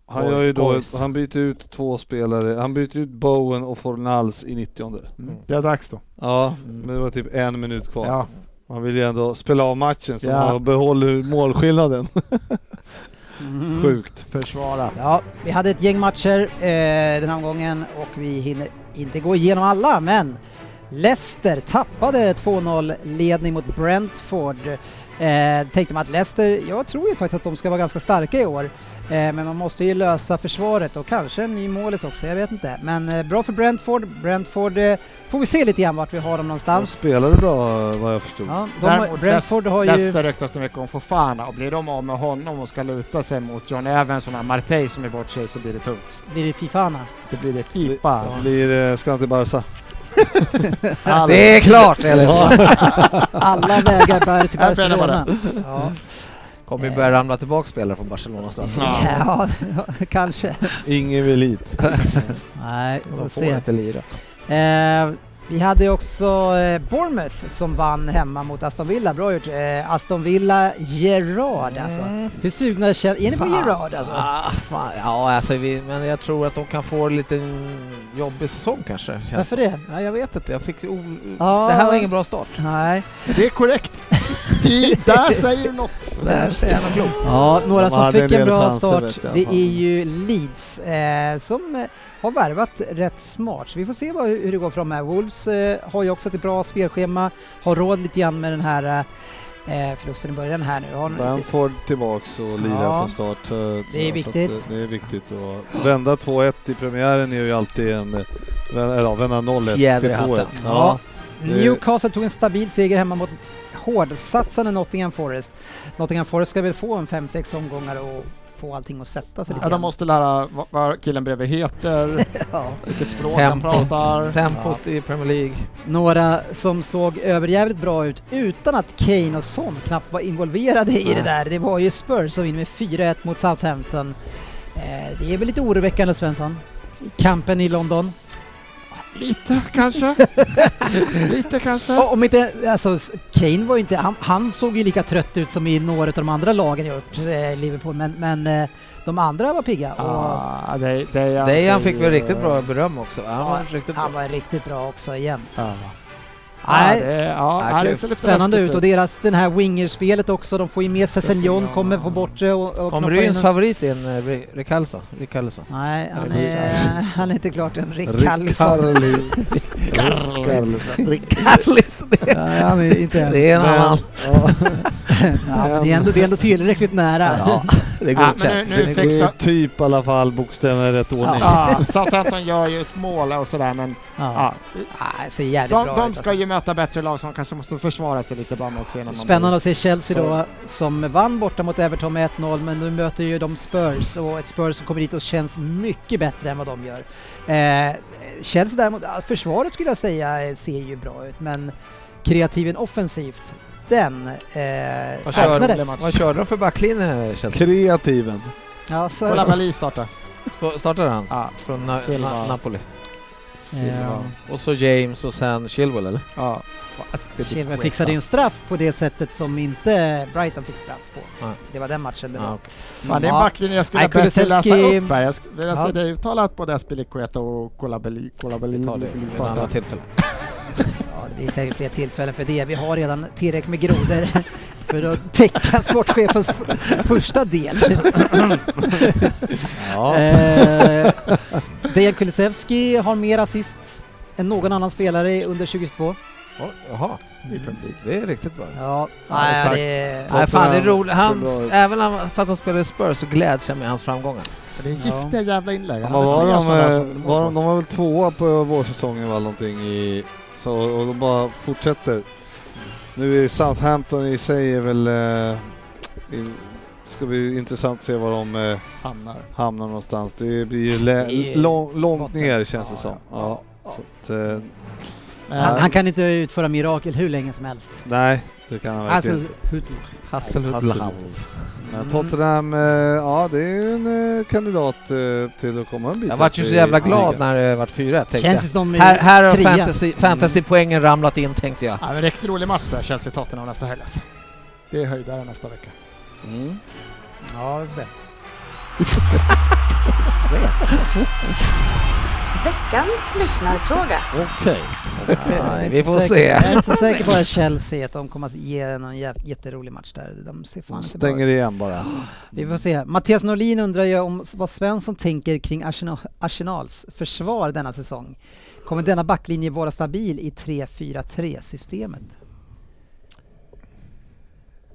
Speaker 5: Han,
Speaker 4: Boy-
Speaker 5: gör ju då
Speaker 4: Boys.
Speaker 5: ett, han byter ut två spelare. Han byter ut Bowen och Fornals i 90
Speaker 6: Det är dags då.
Speaker 5: Ja,
Speaker 6: Mm.
Speaker 5: men det var typ en minut kvar.
Speaker 6: Ja.
Speaker 5: Man vill ju ändå spela av matchen så
Speaker 6: Ja.
Speaker 5: man behåller målskillnaden.
Speaker 3: Mm.
Speaker 5: Sjukt.
Speaker 6: Försvara.
Speaker 3: Ja, vi hade ett gäng matcher eh, den här omgången och vi hinner inte gå igenom alla, men Leicester tappade 2-0 ledning mot Brentford. Eh, tänkte man att Leicester, jag tror ju faktiskt att de ska vara ganska starka i år, eh, men man måste ju lösa försvaret och kanske en ny målis också, jag vet inte. Men eh, bra för Brentford. Brentford eh, får vi se lite grann vart vi har dem
Speaker 5: Han
Speaker 3: någonstans.
Speaker 5: spelade bra vad jag förstod.
Speaker 3: Ja, de, har-
Speaker 6: Däremot
Speaker 3: Brentford har ju...
Speaker 6: Leicester ryktas de mycket om Fofana och blir de av med honom och ska luta sig mot John Evans och den här Martey som är bort sig så blir det tungt.
Speaker 3: Blir det Fifana?
Speaker 6: Det blir ett pipa.
Speaker 5: Det Blir, eh, ska han till Barca?
Speaker 6: Allt.
Speaker 4: Det är klart! Eller?
Speaker 3: Alla vägar bär till
Speaker 6: Jag menar bara
Speaker 3: Barcelona. Ja.
Speaker 4: Kommer ju börja ramla tillbaka spelare från Barcelona snart.
Speaker 3: Ja, kanske.
Speaker 5: Ingen vill hit.
Speaker 3: Nej, vi får
Speaker 4: De får
Speaker 3: se.
Speaker 4: inte lira.
Speaker 3: Eh, vi hade också eh, Bournemouth som vann hemma mot Aston Villa. Bra gjort. Eh, Aston Villa, Gerard
Speaker 5: Mm.
Speaker 3: alltså. Hur sugna känner... Är ni på
Speaker 4: Fan.
Speaker 3: Gerard alltså?
Speaker 4: Ah, fan. Ja, alltså vi, men jag tror att de kan få en liten jobbig säsong kanske. känns
Speaker 3: Varför
Speaker 4: som.
Speaker 3: det?
Speaker 4: Ja, jag vet inte, jag fick... O...
Speaker 3: Ja.
Speaker 4: Det här var ingen bra start.
Speaker 3: Nej.
Speaker 6: Det är korrekt. Det, där säger du något.
Speaker 4: Där säger jag något klokt.
Speaker 3: Ja, några
Speaker 5: De
Speaker 3: som
Speaker 5: hade
Speaker 3: fick
Speaker 5: en
Speaker 3: en
Speaker 5: del
Speaker 3: bra
Speaker 5: chanser,
Speaker 3: start,
Speaker 5: vet jag.
Speaker 3: det är ju Leeds eh, som eh, har värvat rätt smart. Så vi får se vad, hur det går för dem här. Wolves eh, har ju också ett bra spelschema, har råd lite grann med den här eh, förlusten i början här nu. Har lite-
Speaker 5: Bamford tillbaks och lirar
Speaker 3: Ja.
Speaker 5: från start. eh, tror
Speaker 3: Det är
Speaker 5: jag. Så att,
Speaker 3: viktigt.
Speaker 5: eh, Det är viktigt. Och vända 2-1 i premiären är ju alltid en... eh, vä- Eller ja, vända 0-1
Speaker 4: Fjäder i
Speaker 5: till 2-1.
Speaker 4: hatten.
Speaker 5: E Ja. Det-
Speaker 3: Newcastle tog en stabil seger hemma mot hårdsatsande Nottingham Forest. Nottingham Forest ska väl få en 5-6 omgångar och få allting att sätta sig lite
Speaker 6: Ja, de
Speaker 3: grann.
Speaker 6: måste lära vad, vad killen bredvid heter,
Speaker 3: Ja.
Speaker 6: vilket språk han
Speaker 4: Tempot.
Speaker 6: pratar.
Speaker 4: Tempot i Premier League.
Speaker 3: Några som såg överjävligt bra ut utan att Kane och Son knappt var involverade i det där. Det var ju Spurs som vinner med 4-1 mot Southampton. Eh, Det är väl lite oroväckande Svensson? Kampen i London.
Speaker 6: Lite kanske. Lite kanske.
Speaker 3: Och Om inte, alltså s- Kane var ju inte, han, han såg ju lika trött ut som i några av de andra lagen i gjort, eh, Liverpool, men, men eh, de andra var pigga. Och
Speaker 6: Ah, det, det
Speaker 4: Dejan fick väl riktigt bra beröm också? Han var
Speaker 3: Ja,
Speaker 4: riktigt bra.
Speaker 3: han var riktigt bra också igen.
Speaker 6: Ja.
Speaker 3: Nej,
Speaker 6: Ja, det, ja,
Speaker 4: Verkligen.
Speaker 6: det ser lite
Speaker 3: Spännande
Speaker 6: läskigt
Speaker 3: ut och deras, den här wingerspelet också, de får ju med sig Senjon, kommer på bortre och, och
Speaker 4: Kom
Speaker 3: knoppar
Speaker 4: Ryns
Speaker 3: in-
Speaker 4: favorit in, eh, Ri- Rickarlison? Rickarlison.
Speaker 3: Nej, han
Speaker 4: Rick-
Speaker 3: är, han är inte klart än. Rick Carlson.
Speaker 5: Rickarli-
Speaker 4: Rickarlison!
Speaker 3: Nej, han är inte än.
Speaker 4: Det är en
Speaker 5: Men-
Speaker 4: annan.
Speaker 5: Ja,
Speaker 3: Ja, det, är ändå, det är ändå tillräckligt nära.
Speaker 4: Ja, det är
Speaker 6: Ja, men
Speaker 4: godkänt.
Speaker 6: nu, nu
Speaker 5: Det
Speaker 6: fick de,
Speaker 5: är typ i alla fall bokstäverna i rätt ordning.
Speaker 6: ja, Southampton gör ju ett mål och sådär men
Speaker 3: Ja.
Speaker 6: ja.
Speaker 3: Ja, det ser jävligt
Speaker 6: de,
Speaker 3: bra
Speaker 6: de
Speaker 3: ut alltså.
Speaker 6: ska ju möta bättre lag som kanske måste försvara sig lite ibland också. Innan man
Speaker 3: Spännande att se Chelsea
Speaker 6: Så-
Speaker 3: då som vann borta mot Everton med 1-0 men nu möter ju de Spurs och ett Spurs som kommer dit och känns mycket bättre än vad de gör. Eh, Chelsea däremot, ja, försvaret skulle jag säga eh, ser ju bra ut men kreativen offensivt, den eh,
Speaker 4: Vad körde,
Speaker 3: saknades.
Speaker 4: vad körde de för backlinje Chelsea?
Speaker 5: Kreativen.
Speaker 3: Ja, så
Speaker 6: blir-
Speaker 3: är
Speaker 6: Kolla
Speaker 3: det.
Speaker 6: Mali starta.
Speaker 4: Sp- Startade han?
Speaker 6: Ja.
Speaker 4: Från Na-
Speaker 6: Silva.
Speaker 4: Na- Napoli?
Speaker 3: Ja.
Speaker 4: Och så James och sen Chilwell eller?
Speaker 6: Ja.
Speaker 3: Chilwell fixade ju en straff på det sättet som inte Brighton fick straff på.
Speaker 4: Nej.
Speaker 3: Det var den matchen det
Speaker 4: Ja,
Speaker 3: var.
Speaker 4: okej.
Speaker 6: Fan, det är en
Speaker 3: Ja.
Speaker 6: backlinje jag skulle
Speaker 3: Nej,
Speaker 6: ha bett dig läsa
Speaker 3: Kulusevski-
Speaker 6: upp här. Jag skulle vilja
Speaker 3: Ja.
Speaker 6: se dig uttalat både Aspilicueta och Kolabeli. Kolabeli
Speaker 4: Vi tar det vid ett annat
Speaker 6: starta.
Speaker 4: tillfälle.
Speaker 3: Ja, det blir säkert fler tillfällen för det. Vi har redan tillräckligt med grodor för att täcka sportchefens f- första del.
Speaker 5: Ja.
Speaker 3: Eh, Dejan Kulusevski har mer assist än någon annan spelare under 22.
Speaker 4: Oj, Jaha,
Speaker 6: I publik.
Speaker 4: det är riktigt bra.
Speaker 3: Ja,
Speaker 6: det är
Speaker 3: nej,
Speaker 6: starkt.
Speaker 3: det,
Speaker 4: Nej fan det är
Speaker 5: Tottenham
Speaker 4: roligt.
Speaker 5: ser
Speaker 4: Han,
Speaker 5: bra ut.
Speaker 4: även han, fast han spelar i Spurs så gläds jag med hans framgångar.
Speaker 6: Men Det är giftiga jävla inlägg.
Speaker 5: Men
Speaker 6: Han hade
Speaker 5: var
Speaker 6: flera
Speaker 5: de,
Speaker 6: sådana här
Speaker 5: eh,
Speaker 6: som-
Speaker 5: var de, de var väl tvåa på vårsäsongen var någonting i... Så, och de bara fortsätter. Nu är Southampton i sig är väl... Eh, i, ska bli intressant att se var de eh,
Speaker 6: Hamnar.
Speaker 5: hamnar någonstans. Det blir ju lä-
Speaker 3: Det är
Speaker 5: lång, långt
Speaker 3: botten.
Speaker 5: ner känns det
Speaker 3: Ja,
Speaker 5: som.
Speaker 3: ja.
Speaker 5: Ja. Så att, eh,
Speaker 3: han,
Speaker 6: Men,
Speaker 3: han kan inte utföra mirakel hur länge som helst.
Speaker 5: nej, det kan han verkligen
Speaker 3: Alltså,
Speaker 5: inte.
Speaker 3: hur,
Speaker 4: Hasselhult.
Speaker 5: Hasselhult. Men Tottenham, eh, ja det är ju en eh, kandidat eh, till att komma en bit
Speaker 4: Jag vart ju
Speaker 5: upp
Speaker 4: så
Speaker 5: i-
Speaker 4: jävla
Speaker 5: i
Speaker 4: glad
Speaker 5: ligan.
Speaker 4: när det vart 4 tänkte
Speaker 3: Känns det
Speaker 4: jag.
Speaker 3: som
Speaker 4: Här, här har
Speaker 3: trea.
Speaker 4: fantasy, fantasypoängen ramlat in tänkte jag.
Speaker 6: Ja, men riktigt rolig match där, Chelsea-Tottenham nästa helg alltså. Det är höjdare nästa vecka.
Speaker 5: Mm.
Speaker 6: Ja, vi får se.
Speaker 7: Veckans lyssnarfråga.
Speaker 5: Okej.
Speaker 4: Nej,
Speaker 3: Jag är
Speaker 4: vi
Speaker 3: inte
Speaker 4: får
Speaker 3: säker-
Speaker 4: se.
Speaker 3: Jag är inte säker på att Chelsea att de kommer att ge någon jä- jätterolig match där. De ser fan inte bra
Speaker 5: Stänger
Speaker 3: ut.
Speaker 5: igen bara.
Speaker 3: Vi får se. Mattias Norlin undrar ju om s- vad Svensson tänker kring Arsenal, Arsenals försvar denna säsong. Kommer denna backlinje vara stabil i 3-4-3-systemet?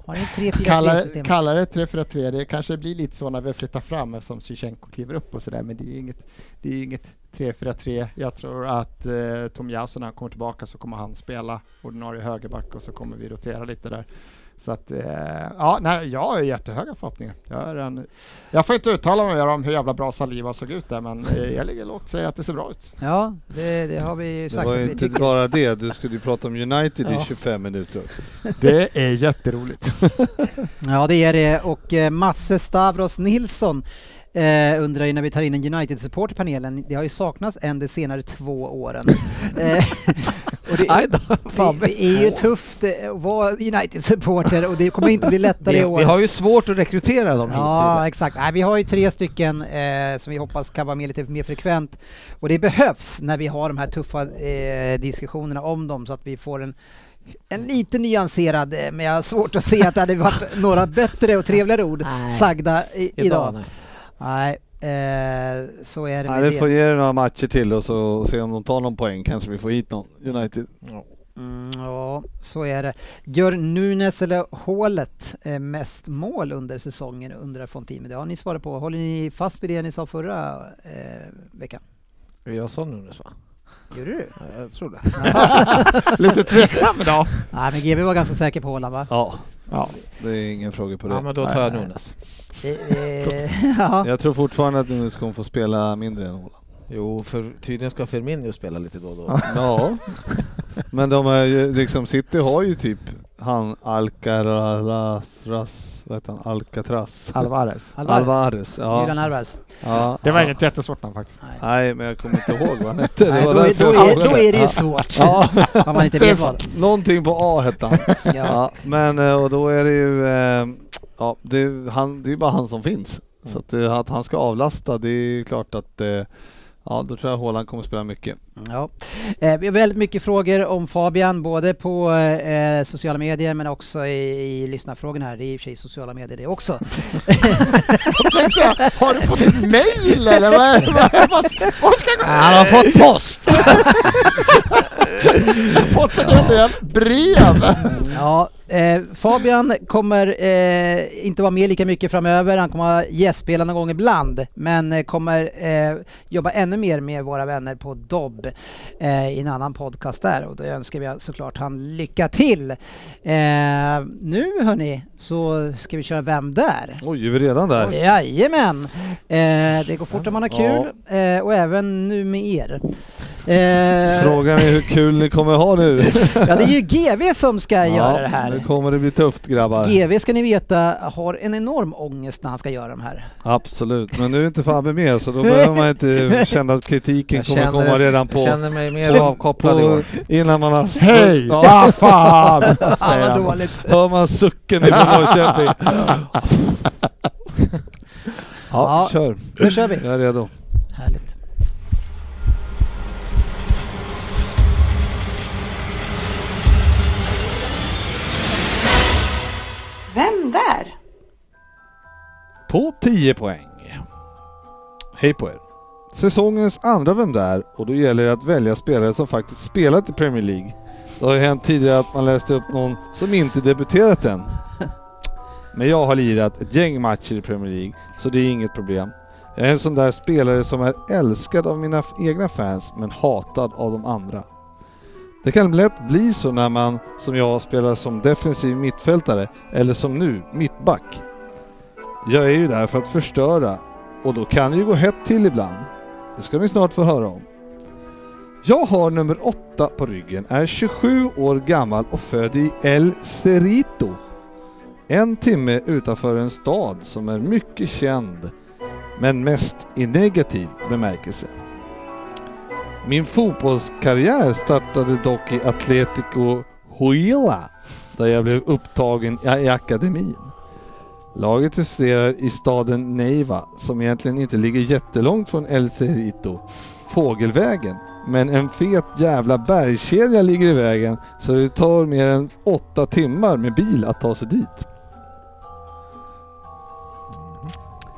Speaker 3: Har ni
Speaker 6: Kallar,
Speaker 3: 3-4-3-systemet?
Speaker 6: kallar det 3-4-3, det kanske blir lite så när vi flyttar fram eftersom Shevchenko kliver upp och sådär, men det är ju inget, det är ju inget 3-4-3. Jag tror att eh, Tom Jansson när han kommer tillbaka så kommer han spela ordinarie högerback och så kommer vi rotera lite där. Så att, eh, ja, nej, jag har ju jättehöga förhoppningar. Jag, är en, jag får inte uttala mig om hur jävla bra Saliva såg ut där, men eh, jag ligger lågt och säger att det ser bra ut.
Speaker 3: Ja, det, det har vi ju
Speaker 5: Det
Speaker 3: sagt
Speaker 5: var
Speaker 3: att
Speaker 5: ju
Speaker 3: vi
Speaker 5: inte
Speaker 3: tycker.
Speaker 5: bara det, du skulle ju prata om United
Speaker 6: Ja.
Speaker 5: i 25 minuter också.
Speaker 6: Det är jätteroligt.
Speaker 3: Ja, det är det. Och eh, Masse Stavros Nilsson eh, undrar ju när vi tar in en United-support i panelen. Det har ju saknats en de senare två åren. Eh, och det,
Speaker 4: Aj då, fan,
Speaker 3: det, det är ju tufft eh, att vara United-supporter och det kommer inte bli lättare
Speaker 4: vi,
Speaker 3: i år.
Speaker 4: vi har ju svårt att rekrytera dem
Speaker 3: Ja,
Speaker 4: hit.
Speaker 3: exakt. Nej, vi har ju tre stycken eh, som vi hoppas kan vara med lite mer frekvent. Och det behövs när vi har de här tuffa eh, diskussionerna om dem så att vi får en, en lite nyanserad, eh, men jag har svårt att se att det hade varit några bättre och trevligare ord
Speaker 4: Nej.
Speaker 3: sagda i, idag.
Speaker 4: nej.
Speaker 3: Nej, eh, så är det
Speaker 5: Nej,
Speaker 3: med
Speaker 5: det
Speaker 3: det.
Speaker 5: får ge dig några matcher till och så se om de tar någon poäng kanske vi får hit någon United.
Speaker 3: Mm, ja, så är det. Gör Nunes eller Hålet eh, mest mål under säsongen, undrar Fontime. Det har ni svarat på. Håller ni fast vid det ni sa förra eh, veckan?
Speaker 4: Jag sa Nunes va?
Speaker 3: Gjorde du?
Speaker 4: Ja, Jag tror det.
Speaker 6: lite tveksam idag.
Speaker 3: Nej, men GB var ganska säker på Håland va?
Speaker 5: Ja.
Speaker 6: Ja.
Speaker 5: Det är ingen fråga på det.
Speaker 4: Ja men då tar jag Nunes.
Speaker 3: ja.
Speaker 5: Jag tror fortfarande att Nunes kommer få spela mindre än Holland.
Speaker 4: Jo, för tydligen ska Firmino spela lite då och då.
Speaker 5: Ja. Men de är ju, liksom City har ju typ han Alcaraz, Ras- vad heter han? Alcatraz?
Speaker 6: Alvarez.
Speaker 3: Alvarez.
Speaker 5: Alvarez,
Speaker 3: Julian
Speaker 5: ja.
Speaker 3: Alvarez.
Speaker 5: ja.
Speaker 6: Det var inget jättesvårt namn faktiskt.
Speaker 5: Nej, men jag kommer inte ihåg vad han hette. Det
Speaker 3: Nej, då,
Speaker 5: var
Speaker 3: är-
Speaker 5: därför
Speaker 3: då,
Speaker 5: jag
Speaker 3: är,
Speaker 5: frågade.
Speaker 3: då är det ju
Speaker 5: Ja.
Speaker 3: svårt.
Speaker 5: Ja.
Speaker 3: Om man inte
Speaker 5: Det är
Speaker 3: vet vad.
Speaker 5: sant. Någonting på A hette han.
Speaker 3: Ja.
Speaker 5: Ja, men eh, och då är det ju, eh, ja, det, är- han, det är bara han som finns. Så att, eh, att han ska avlasta, det är ju klart att eh, Ja, då tror jag Haaland kommer spela mycket.
Speaker 3: Ja. Eh, vi har väldigt mycket frågor om Fabian, både på eh, sociala medier men också i, i lyssnarfrågorna här. Det är i och för sig sociala medier det också.
Speaker 6: Har du fått ett mail eller? Vad är det? Vad är- vad- Vad ska jag gå?
Speaker 4: Han har fått post!
Speaker 6: fått en hel del brev?
Speaker 3: Ja, eh, Fabian kommer eh, inte vara med lika mycket framöver. Han kommer ha gästspela någon gång ibland, men eh, kommer eh, jobba ännu mer med våra vänner på Dobb eh, i en annan podcast där. Och då önskar vi såklart han lycka till. Eh, nu hörni, så ska vi köra Vem där?
Speaker 5: Oj, är vi redan där?
Speaker 3: Jajamän! Eh, det går fort om man har kul eh, och även nu med er. Eh,
Speaker 5: Frågan är hur kul ni kommer ha nu.
Speaker 3: ja, det är ju GV som ska göra det här.
Speaker 5: Nu kommer det bli tufft grabbar.
Speaker 3: GV ska ni veta har en enorm ångest när han ska göra de här.
Speaker 5: Absolut, men nu är inte Fabbe med så då behöver man inte känna att kritiken
Speaker 4: Jag
Speaker 5: kommer
Speaker 4: känner,
Speaker 5: komma redan på,
Speaker 4: jag känner mig mer avkopplad i
Speaker 5: på
Speaker 4: år.
Speaker 5: innan man har...
Speaker 6: Hej!
Speaker 5: Ja,
Speaker 6: Vad fan!
Speaker 3: Fan
Speaker 6: säger
Speaker 3: vad
Speaker 6: han.
Speaker 3: dåligt.
Speaker 5: hör man sucken ifrån Norrköping.
Speaker 3: Ja.
Speaker 5: Ja, kör.
Speaker 3: Nu kör vi.
Speaker 5: Jag är redo.
Speaker 3: Härligt.
Speaker 7: Vem där?
Speaker 5: på 10 poäng. Hej på er! Säsongens andra Vem där? Och då gäller det att välja spelare som faktiskt spelat i Premier League. Det har ju hänt tidigare att man läste upp någon som inte debuterat än. Men jag har lirat ett gäng matcher i Premier League, så det är inget problem. Jag är en sån där spelare som är älskad av mina f- egna fans, men hatad av de andra. Det kan lätt bli så när man, som jag, spelar som defensiv mittfältare, eller som nu, mittback. Jag är ju där för att förstöra och då kan det ju gå hett till ibland. Det ska ni snart få höra om. Jag har nummer 8 på ryggen, är 27 år gammal och född i El Cerrito. En timme utanför en stad som är mycket känd, men mest i negativ bemärkelse. Min fotbollskarriär startade dock i Atletico Huila, där jag blev upptagen i i akademin. Laget justerar i staden Neiva, som egentligen inte ligger jättelångt från El Cerrito, fågelvägen. Men en fet jävla bergskedja ligger i vägen så det tar mer än åtta timmar med bil att ta sig dit.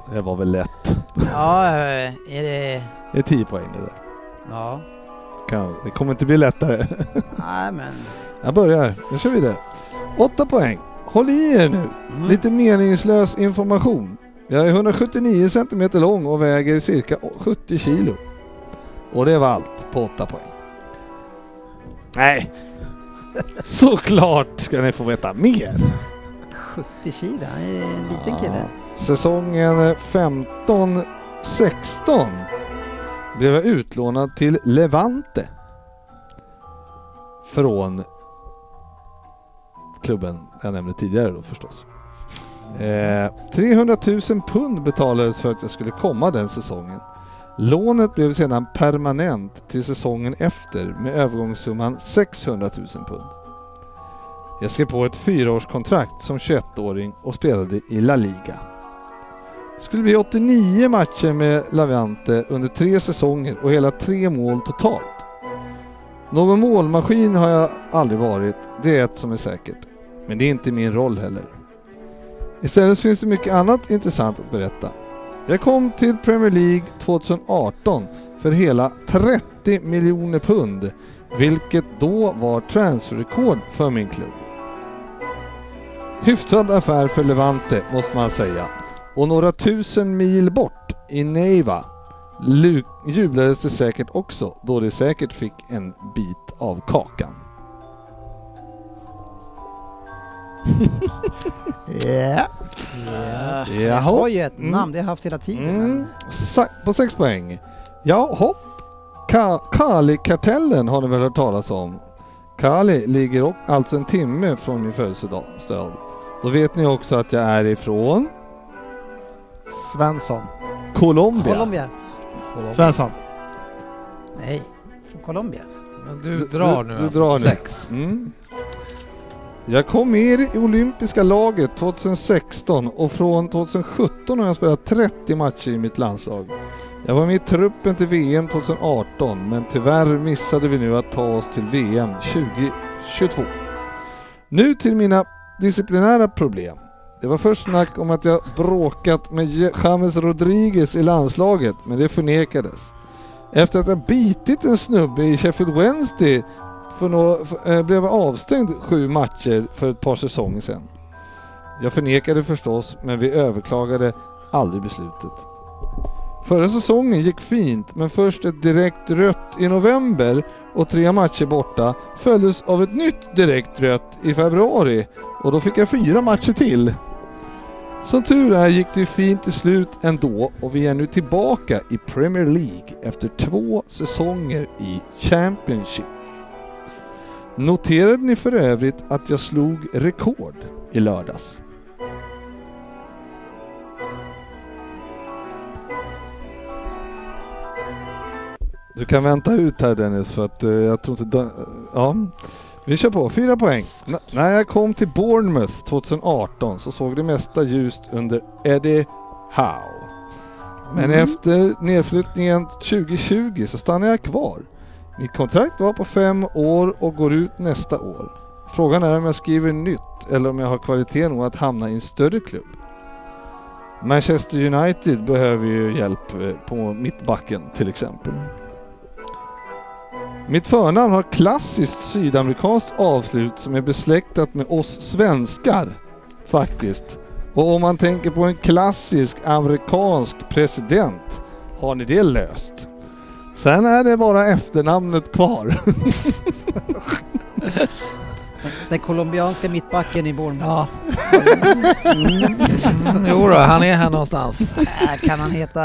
Speaker 5: Det var väl lätt.
Speaker 3: Ja, eh, är det...
Speaker 5: Det är 10 poäng det där.
Speaker 3: Ja.
Speaker 5: Kan- Det kommer inte bli lättare.
Speaker 3: Nej, men...
Speaker 5: Jag börjar. Nu kör vi det. 8 poäng. Håll i er nu.
Speaker 3: Mm.
Speaker 5: Lite meningslös information. Jag är 179 cm lång och väger cirka 70 kilo. Och det var allt på 8 poäng. Nej! Såklart ska ni få veta mer!
Speaker 3: 70 kilo, han är en liten kille.
Speaker 5: Säsongen 15-16 blev jag utlånad till Levante. Från klubben jag nämnde tidigare då förstås. Eh, 300 000 pund betalades för att jag skulle komma den säsongen. Lånet blev sedan permanent till säsongen efter med övergångssumman 600 000 pund. Jag skrev på ett fyraårskontrakt som 21-åring och spelade i La Liga. Det skulle bli 89 matcher med Lavante under tre säsonger och hela tre mål totalt. Någon målmaskin har jag aldrig varit, det är ett som är säkert. Men det är inte min roll heller. Istället finns det mycket annat intressant att berätta. Jag kom till Premier League 2018 för hela 30 miljoner pund vilket då var transferrekord för min klubb. Hyfsad affär för Levante måste man säga. Och några tusen mil bort, i Neiva, lu- jublades det säkert också då de säkert fick en bit av kakan.
Speaker 6: Ja.
Speaker 3: Ja. Äh, Jag
Speaker 5: Jaha.
Speaker 3: har ju ett
Speaker 5: Mm.
Speaker 3: namn, det har jag haft hela tiden.
Speaker 5: Mm,
Speaker 3: men-
Speaker 5: sa- på sex poäng. Ja, hopp. Ka- Kali-kartellen har ni väl hört talas om? Kali ligger o- alltså en timme från min födelsedag. stad. Då vet ni också att jag är ifrån
Speaker 6: Svensson.
Speaker 5: Colombia.
Speaker 3: Colombia.
Speaker 6: Svensson.
Speaker 3: Nej, från Colombia.
Speaker 4: Men du,
Speaker 5: Du-
Speaker 4: drar
Speaker 5: du-
Speaker 4: nu
Speaker 5: du
Speaker 4: alltså.
Speaker 5: drar nu.
Speaker 4: Sex.
Speaker 5: Mm. Jag kom med i olympiska laget 2016 och från 2017 har jag spelat 30 matcher i mitt landslag. Jag var med i truppen till VM 2018 men tyvärr missade vi nu att ta oss till VM 2022. Nu till mina disciplinära problem. Det var först snack om att jag bråkat med Je- James Rodriguez i landslaget, men det förnekades. Efter att jag bitit en snubbe i Sheffield Wednesday för nå, för, eh, blev avstängd sju matcher för ett par säsonger sedan. Jag förnekade förstås, men vi överklagade aldrig beslutet. Förra säsongen gick fint, men först ett direkt rött i november och tre matcher borta följdes av ett nytt direkt rött i februari och då fick jag fyra matcher till. Som tur är gick det ju fint till slut ändå och vi är nu tillbaka i Premier League efter två säsonger i Championship. Noterade ni för övrigt att jag slog rekord i lördags? Du kan vänta ut här Dennis för att eh, jag tror inte... Dan- Ja, vi kör på. Fyra poäng. N- när jag kom till Bournemouth 2018 så såg det mesta ljust under Eddie Howe. Men efter nedflyttningen 2020 så stannade jag kvar. Mitt kontrakt var på fem år och går ut nästa år. Frågan är om jag skriver nytt eller om jag har kvalitet nog att hamna i en större klubb. Manchester United behöver ju hjälp eh, på mittbacken till exempel. Mitt förnamn har klassiskt sydamerikanskt avslut som är besläktat med oss svenskar faktiskt. Och om man tänker på en klassisk amerikansk president, har ni det löst? Sen är det bara efternamnet kvar.
Speaker 3: Den colombianska mittbacken i Bournemouth.
Speaker 4: Ja. Mm, jo då, han är här någonstans.
Speaker 3: Äh, Kan han heta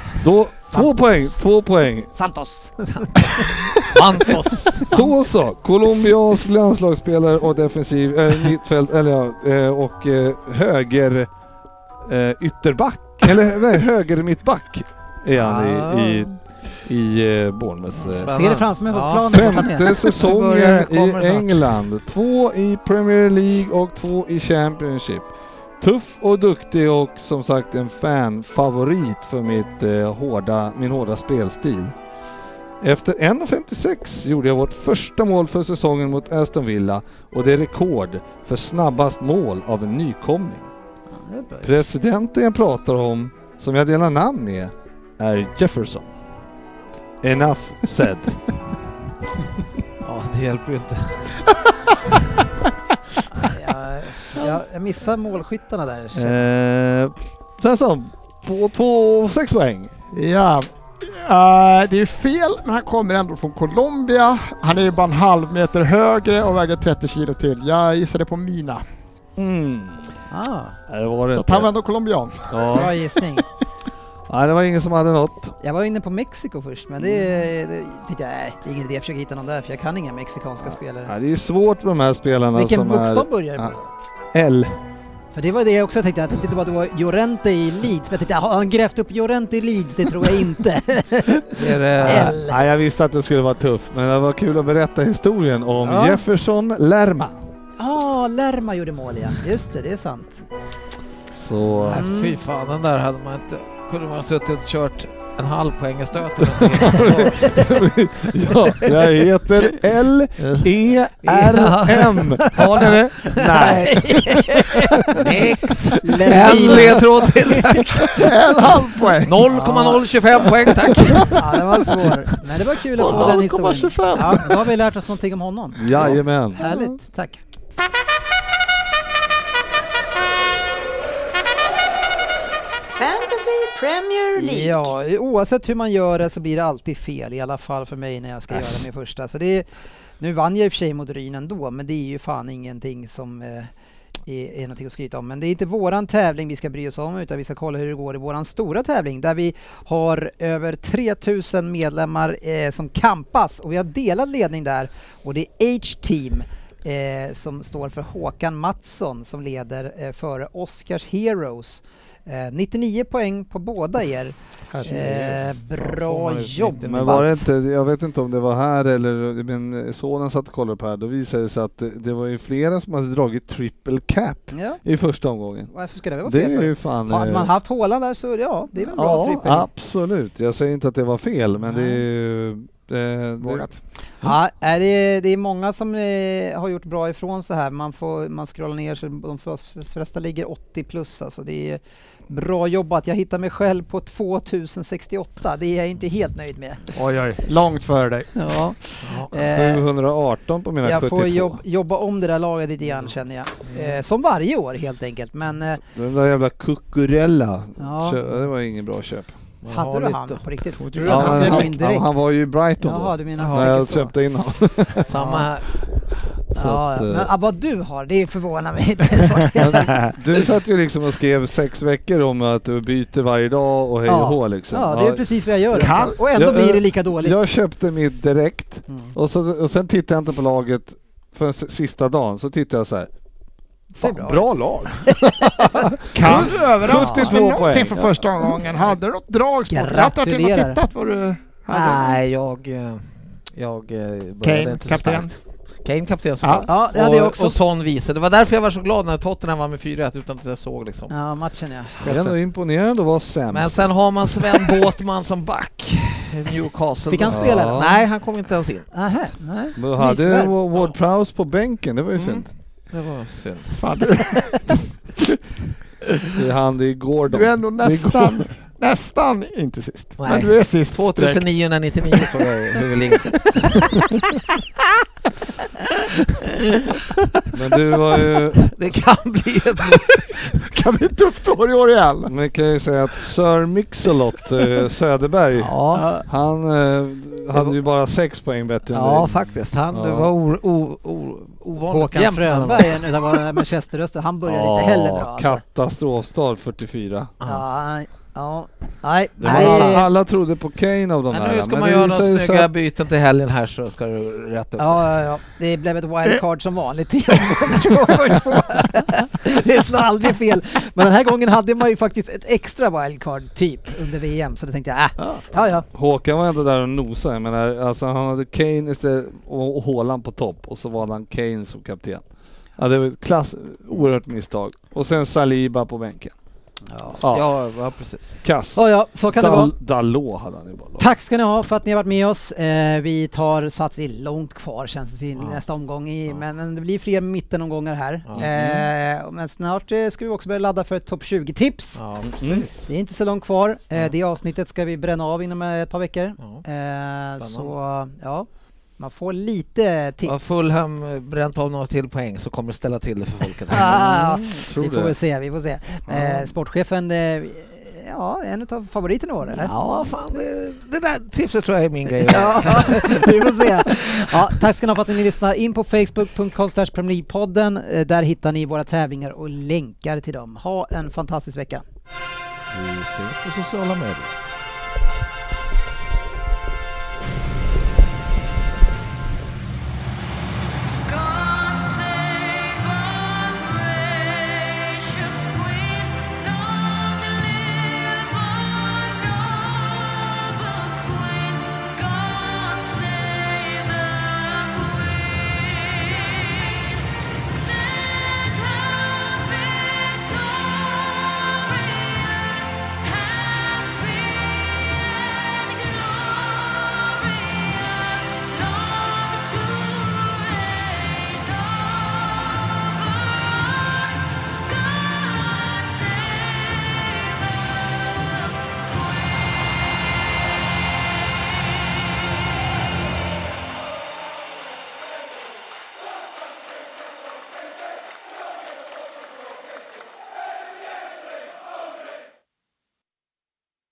Speaker 5: Då, två poäng, två poäng.
Speaker 3: Santos?
Speaker 4: Antos.
Speaker 5: Då så, Colombias landslagsspelare och defensiv, eh, mittfält, eller ja, eh, och eh, höger eh, ytterback, eller nej, höger mittback är han i, i, i eh, Bournemouth. eh.
Speaker 3: Ser det framför mig på
Speaker 4: Ja.
Speaker 3: planen. vad han är.
Speaker 5: Femte säsongen
Speaker 4: börjar-
Speaker 5: i
Speaker 4: kommer snart.
Speaker 5: England. Två i Premier League och två i Championship. Tuff och duktig och som sagt en fanfavorit för mitt, eh, hårda, min hårda spelstil. Efter 1.56 gjorde jag vårt första mål för säsongen mot Aston Villa och det är rekord för snabbast mål av en nykomling. Presidenten jag pratar om, som jag delar namn med, är Jefferson. Enough said.
Speaker 4: Ja, det hjälper ju inte.
Speaker 3: Jag, jag, jag missar målskyttarna där.
Speaker 5: Eh, Svensson, på två, sex poäng.
Speaker 6: Ja. Eh, det är fel, men han kommer ändå från Colombia. Han är ju bara en halv meter högre och väger 30 kilo till. Jag gissade på Mina.
Speaker 5: Mm.
Speaker 3: Ah,
Speaker 5: Nej, det var det
Speaker 6: Så att han var ändå colombian.
Speaker 5: ja.
Speaker 3: bra gissning.
Speaker 5: Nej, det var ingen som hade något.
Speaker 3: Jag var inne på Mexiko först, men det, det tänkte jag, nej, det är ingen idé att försöka hitta någon där, för jag kan inga mexikanska spelare.
Speaker 5: Nej, det är svårt med de här spelarna
Speaker 3: Vilken
Speaker 5: som
Speaker 3: bokstav börjar det
Speaker 5: är...
Speaker 3: med?
Speaker 5: L.
Speaker 3: För det var det jag också tänkte, jag tänkte inte bara att det var Llorente i Leeds, men jag tänkte, har han grävt upp Llorente i Leeds? Det tror jag inte.
Speaker 4: Är det...
Speaker 3: L.
Speaker 5: Nej, jag visste att det skulle vara tufft, men det var kul att berätta historien om
Speaker 3: Ja.
Speaker 5: Jefferson Lerma.
Speaker 3: Ja, ah, Lerma gjorde mål ja. Just det, det är sant.
Speaker 5: Så...
Speaker 4: Nej, fy fan, den där hade man inte... Kunde man ha suttit och kört en halv poängestöt eller någonting.
Speaker 5: ja, jag heter L-E-R-M. Har ni det? Nej.
Speaker 4: Nix! En
Speaker 3: Lermina.
Speaker 4: ledtråd till tack!
Speaker 6: En halv poäng!
Speaker 4: 0,025 poäng tack!
Speaker 3: Ja, den var svår. Men det var kul att få den historien.
Speaker 6: 0,25.
Speaker 3: Ja, då har vi lärt oss någonting om honom.
Speaker 5: Jajamän.
Speaker 3: Härligt, tack.
Speaker 7: Fantasy Premier League.
Speaker 3: Ja, oavsett hur man gör det så blir det alltid fel, i alla fall för mig när jag ska göra min första. Så det är, nu vann jag i och för sig mot Ryn ändå, men det är ju fan ingenting som eh, är, är någonting att skryta om. Men det är inte våran tävling vi ska bry oss om, utan vi ska kolla hur det går i våran stora tävling där vi har över 3000 medlemmar eh, som kampas och vi har delad ledning där och det är H-team eh, som står för Håkan Mattsson som leder eh, före Oscars Heroes. Eh, 99 poäng på båda er. Eh,
Speaker 4: Får
Speaker 3: bra
Speaker 4: man ju
Speaker 3: jobbat!
Speaker 4: lite
Speaker 5: Men var det inte, jag vet inte om det var här eller, men sonen satt och kollade på det här, då visade det sig att det var ju flera som hade dragit triple cap
Speaker 3: Ja,
Speaker 5: i första omgången.
Speaker 3: varför skulle det vara
Speaker 5: Det
Speaker 3: fel?
Speaker 5: är
Speaker 3: för?
Speaker 5: ju fan...
Speaker 3: Hade
Speaker 5: eh,
Speaker 3: man haft Håland där så ja, det är väl en bra
Speaker 5: ja,
Speaker 3: trippel.
Speaker 5: absolut. Jag säger inte att det var fel, men det är ju... eh, det-
Speaker 6: Vågat.
Speaker 3: Ja, nej, det, är, det är många som eh, har gjort bra ifrån så här. Man, får, man scrollar ner så de flesta ligger 80 plus. Alltså, det är bra jobbat. Jag hittar mig själv på 2068. Det är jag inte helt nöjd med.
Speaker 6: Oj, oj. Långt före dig.
Speaker 3: Ja. Eh,
Speaker 5: 718 på mina
Speaker 3: jag
Speaker 5: 72.
Speaker 3: får jobb, jobba om det där laget lite grann känner jag.
Speaker 5: Mm.
Speaker 3: Eh, som varje år helt enkelt. Men eh,
Speaker 5: Den där jävla Cucurella,
Speaker 3: Ja.
Speaker 5: Kö- det var ingen bra köp.
Speaker 4: Man har
Speaker 3: hade du
Speaker 4: lite-
Speaker 3: han på riktigt?
Speaker 6: Tror du
Speaker 5: Ja,
Speaker 6: Ja, han
Speaker 5: han,
Speaker 6: skrev
Speaker 5: han,
Speaker 3: in direkt.
Speaker 5: han var ju i Brighton
Speaker 3: Jaha,
Speaker 5: då,
Speaker 3: du menar
Speaker 5: när jag
Speaker 3: säkert så.
Speaker 5: köpte in honom.
Speaker 4: Samma här.
Speaker 5: Så
Speaker 3: Ja,
Speaker 5: att,
Speaker 3: ja.
Speaker 5: eh,
Speaker 3: men ah, vad du har, det förvånar mig.
Speaker 5: Du satt ju liksom och skrev sex veckor om att du byter varje dag och hej och
Speaker 3: Ja.
Speaker 5: hå liksom.
Speaker 3: ja, det är precis vad jag gör.
Speaker 5: Kan-
Speaker 3: Alltså. Och ändå
Speaker 5: Jag-
Speaker 3: blir det lika dåligt.
Speaker 5: Jag köpte mitt direkt
Speaker 3: Mm.
Speaker 5: och, så, och sen tittade jag inte på laget för sista dagen. Så tittade jag så här.
Speaker 3: Ser
Speaker 5: Fan,
Speaker 3: bra
Speaker 5: bra.
Speaker 3: ut."
Speaker 5: lag!
Speaker 6: Kan du överraska
Speaker 5: 72
Speaker 6: med någonting
Speaker 5: poäng.
Speaker 6: för första omgången? Hade du något dragspel? Jag hade varit inne och
Speaker 3: Gratulerar.
Speaker 6: tittat vad du
Speaker 3: Ah.
Speaker 6: hade.
Speaker 4: Nej, jag... eh, Jag eh, började
Speaker 6: Kane,
Speaker 4: inte så
Speaker 6: kapten.
Speaker 4: starkt. Kane kapten
Speaker 6: Ja.
Speaker 4: såklart.
Speaker 3: Ja, det hade jag
Speaker 4: Och-
Speaker 3: också.
Speaker 4: Och sån vice. Det var därför jag var så glad när Tottenham var med 4-1 utan att jag såg liksom.
Speaker 3: Ja, matchen ja.
Speaker 5: Det är ändå imponerande att vara sämst.
Speaker 4: Men alltså, sen har man Sven Båtman som back. Newcastle.
Speaker 3: Fick han
Speaker 4: Ja.
Speaker 3: spela? då?
Speaker 4: Nej, han kom inte ens in.
Speaker 3: Nähä, nej.
Speaker 5: Men hade
Speaker 3: Nyförvärv.
Speaker 5: Wa- Ward Prowse på bänken, det var ju
Speaker 4: Mm.
Speaker 5: synd.
Speaker 4: Det var synd.
Speaker 6: Fan, du,
Speaker 5: Det är han, det är Gordon.
Speaker 6: du är ändå
Speaker 5: Det är
Speaker 6: nästan, nästan inte sist.
Speaker 4: Nej.
Speaker 6: Men du är sist.
Speaker 4: 2999 såg jag i huvudlinjen.
Speaker 5: Men du var ju...
Speaker 4: Det kan bli ett...
Speaker 6: kan bli tufft år i år igen.
Speaker 5: Man kan ju säga att Sir Mixolot eh, Söderberg,
Speaker 4: Ja,
Speaker 5: han eh, hade ju bara sex poäng bättre än
Speaker 4: ja
Speaker 5: dig.
Speaker 4: faktiskt. Han det
Speaker 5: Ja.
Speaker 4: var o, o, o, ovanligt
Speaker 3: Håkan
Speaker 4: jämn med honom.
Speaker 3: Frönberg, en av våra Manchesterröster, han börjar inte heller bra alltså.
Speaker 5: Katastrofstart 44.
Speaker 3: Ja, ja, nej,
Speaker 5: Det var alla,
Speaker 3: nej.
Speaker 5: alla trodde på Kane av de
Speaker 4: Men
Speaker 5: här.
Speaker 4: nu ska
Speaker 5: men
Speaker 4: man
Speaker 5: det
Speaker 4: göra
Speaker 5: visar
Speaker 4: de
Speaker 5: ju sig
Speaker 4: snygga
Speaker 5: att-
Speaker 4: byten till helgen här så ska det rätta upp sig.
Speaker 3: Ja, ja, ja. Det blev ett wildcard som vanligt i omgång två och två. Det slår aldrig fel. Men den här gången hade man ju faktiskt ett extra wildcard typ under VM så då tänkte jag äh, ja ja.
Speaker 5: Håkan var ändå där och nosade. Jag menar, alltså han hade Kane istället och och Haaland på topp och så var han Kane som kapten. Ja, det var ett klass, oerhört misstag. Och sen Saliba på bänken.
Speaker 4: Ja, ja, precis.
Speaker 5: Kass.
Speaker 3: Ja, ja, så kan det vara.
Speaker 5: Dal- Dalot hade han ju bara.
Speaker 3: Tack ska ni ha för att ni har varit med oss. Eh, vi tar sats i långt kvar känns det till nästa omgång, i, men, men det blir fler mittenomgångar här. Eh, men snart eh, ska vi också börja ladda för ett topp 20-tips.
Speaker 4: Ja, precis.
Speaker 3: Det är inte så långt kvar. Eh, det avsnittet ska vi bränna av inom eh, ett par veckor. Eh, så ja, man får lite
Speaker 4: Har
Speaker 3: tips.
Speaker 4: Fulham eh, bränt av några till poäng så kommer det ställa till det för folket. här.
Speaker 3: Ah,
Speaker 5: Mm, tror
Speaker 3: vi får
Speaker 5: det.
Speaker 3: väl se, vi får se. Eh, sportchefen, eh, ja, en av favoriterna i år eller?
Speaker 4: Ja, fan, det, det där tipset tror jag är min grej.
Speaker 3: Ja, vi får se. Ja, tack ska ni ha för att ni lyssnade. In på facebook.com podden. Eh, Där hittar ni våra tävlingar och länkar till dem. Ha en fantastisk vecka.
Speaker 4: Vi syns på sociala medier.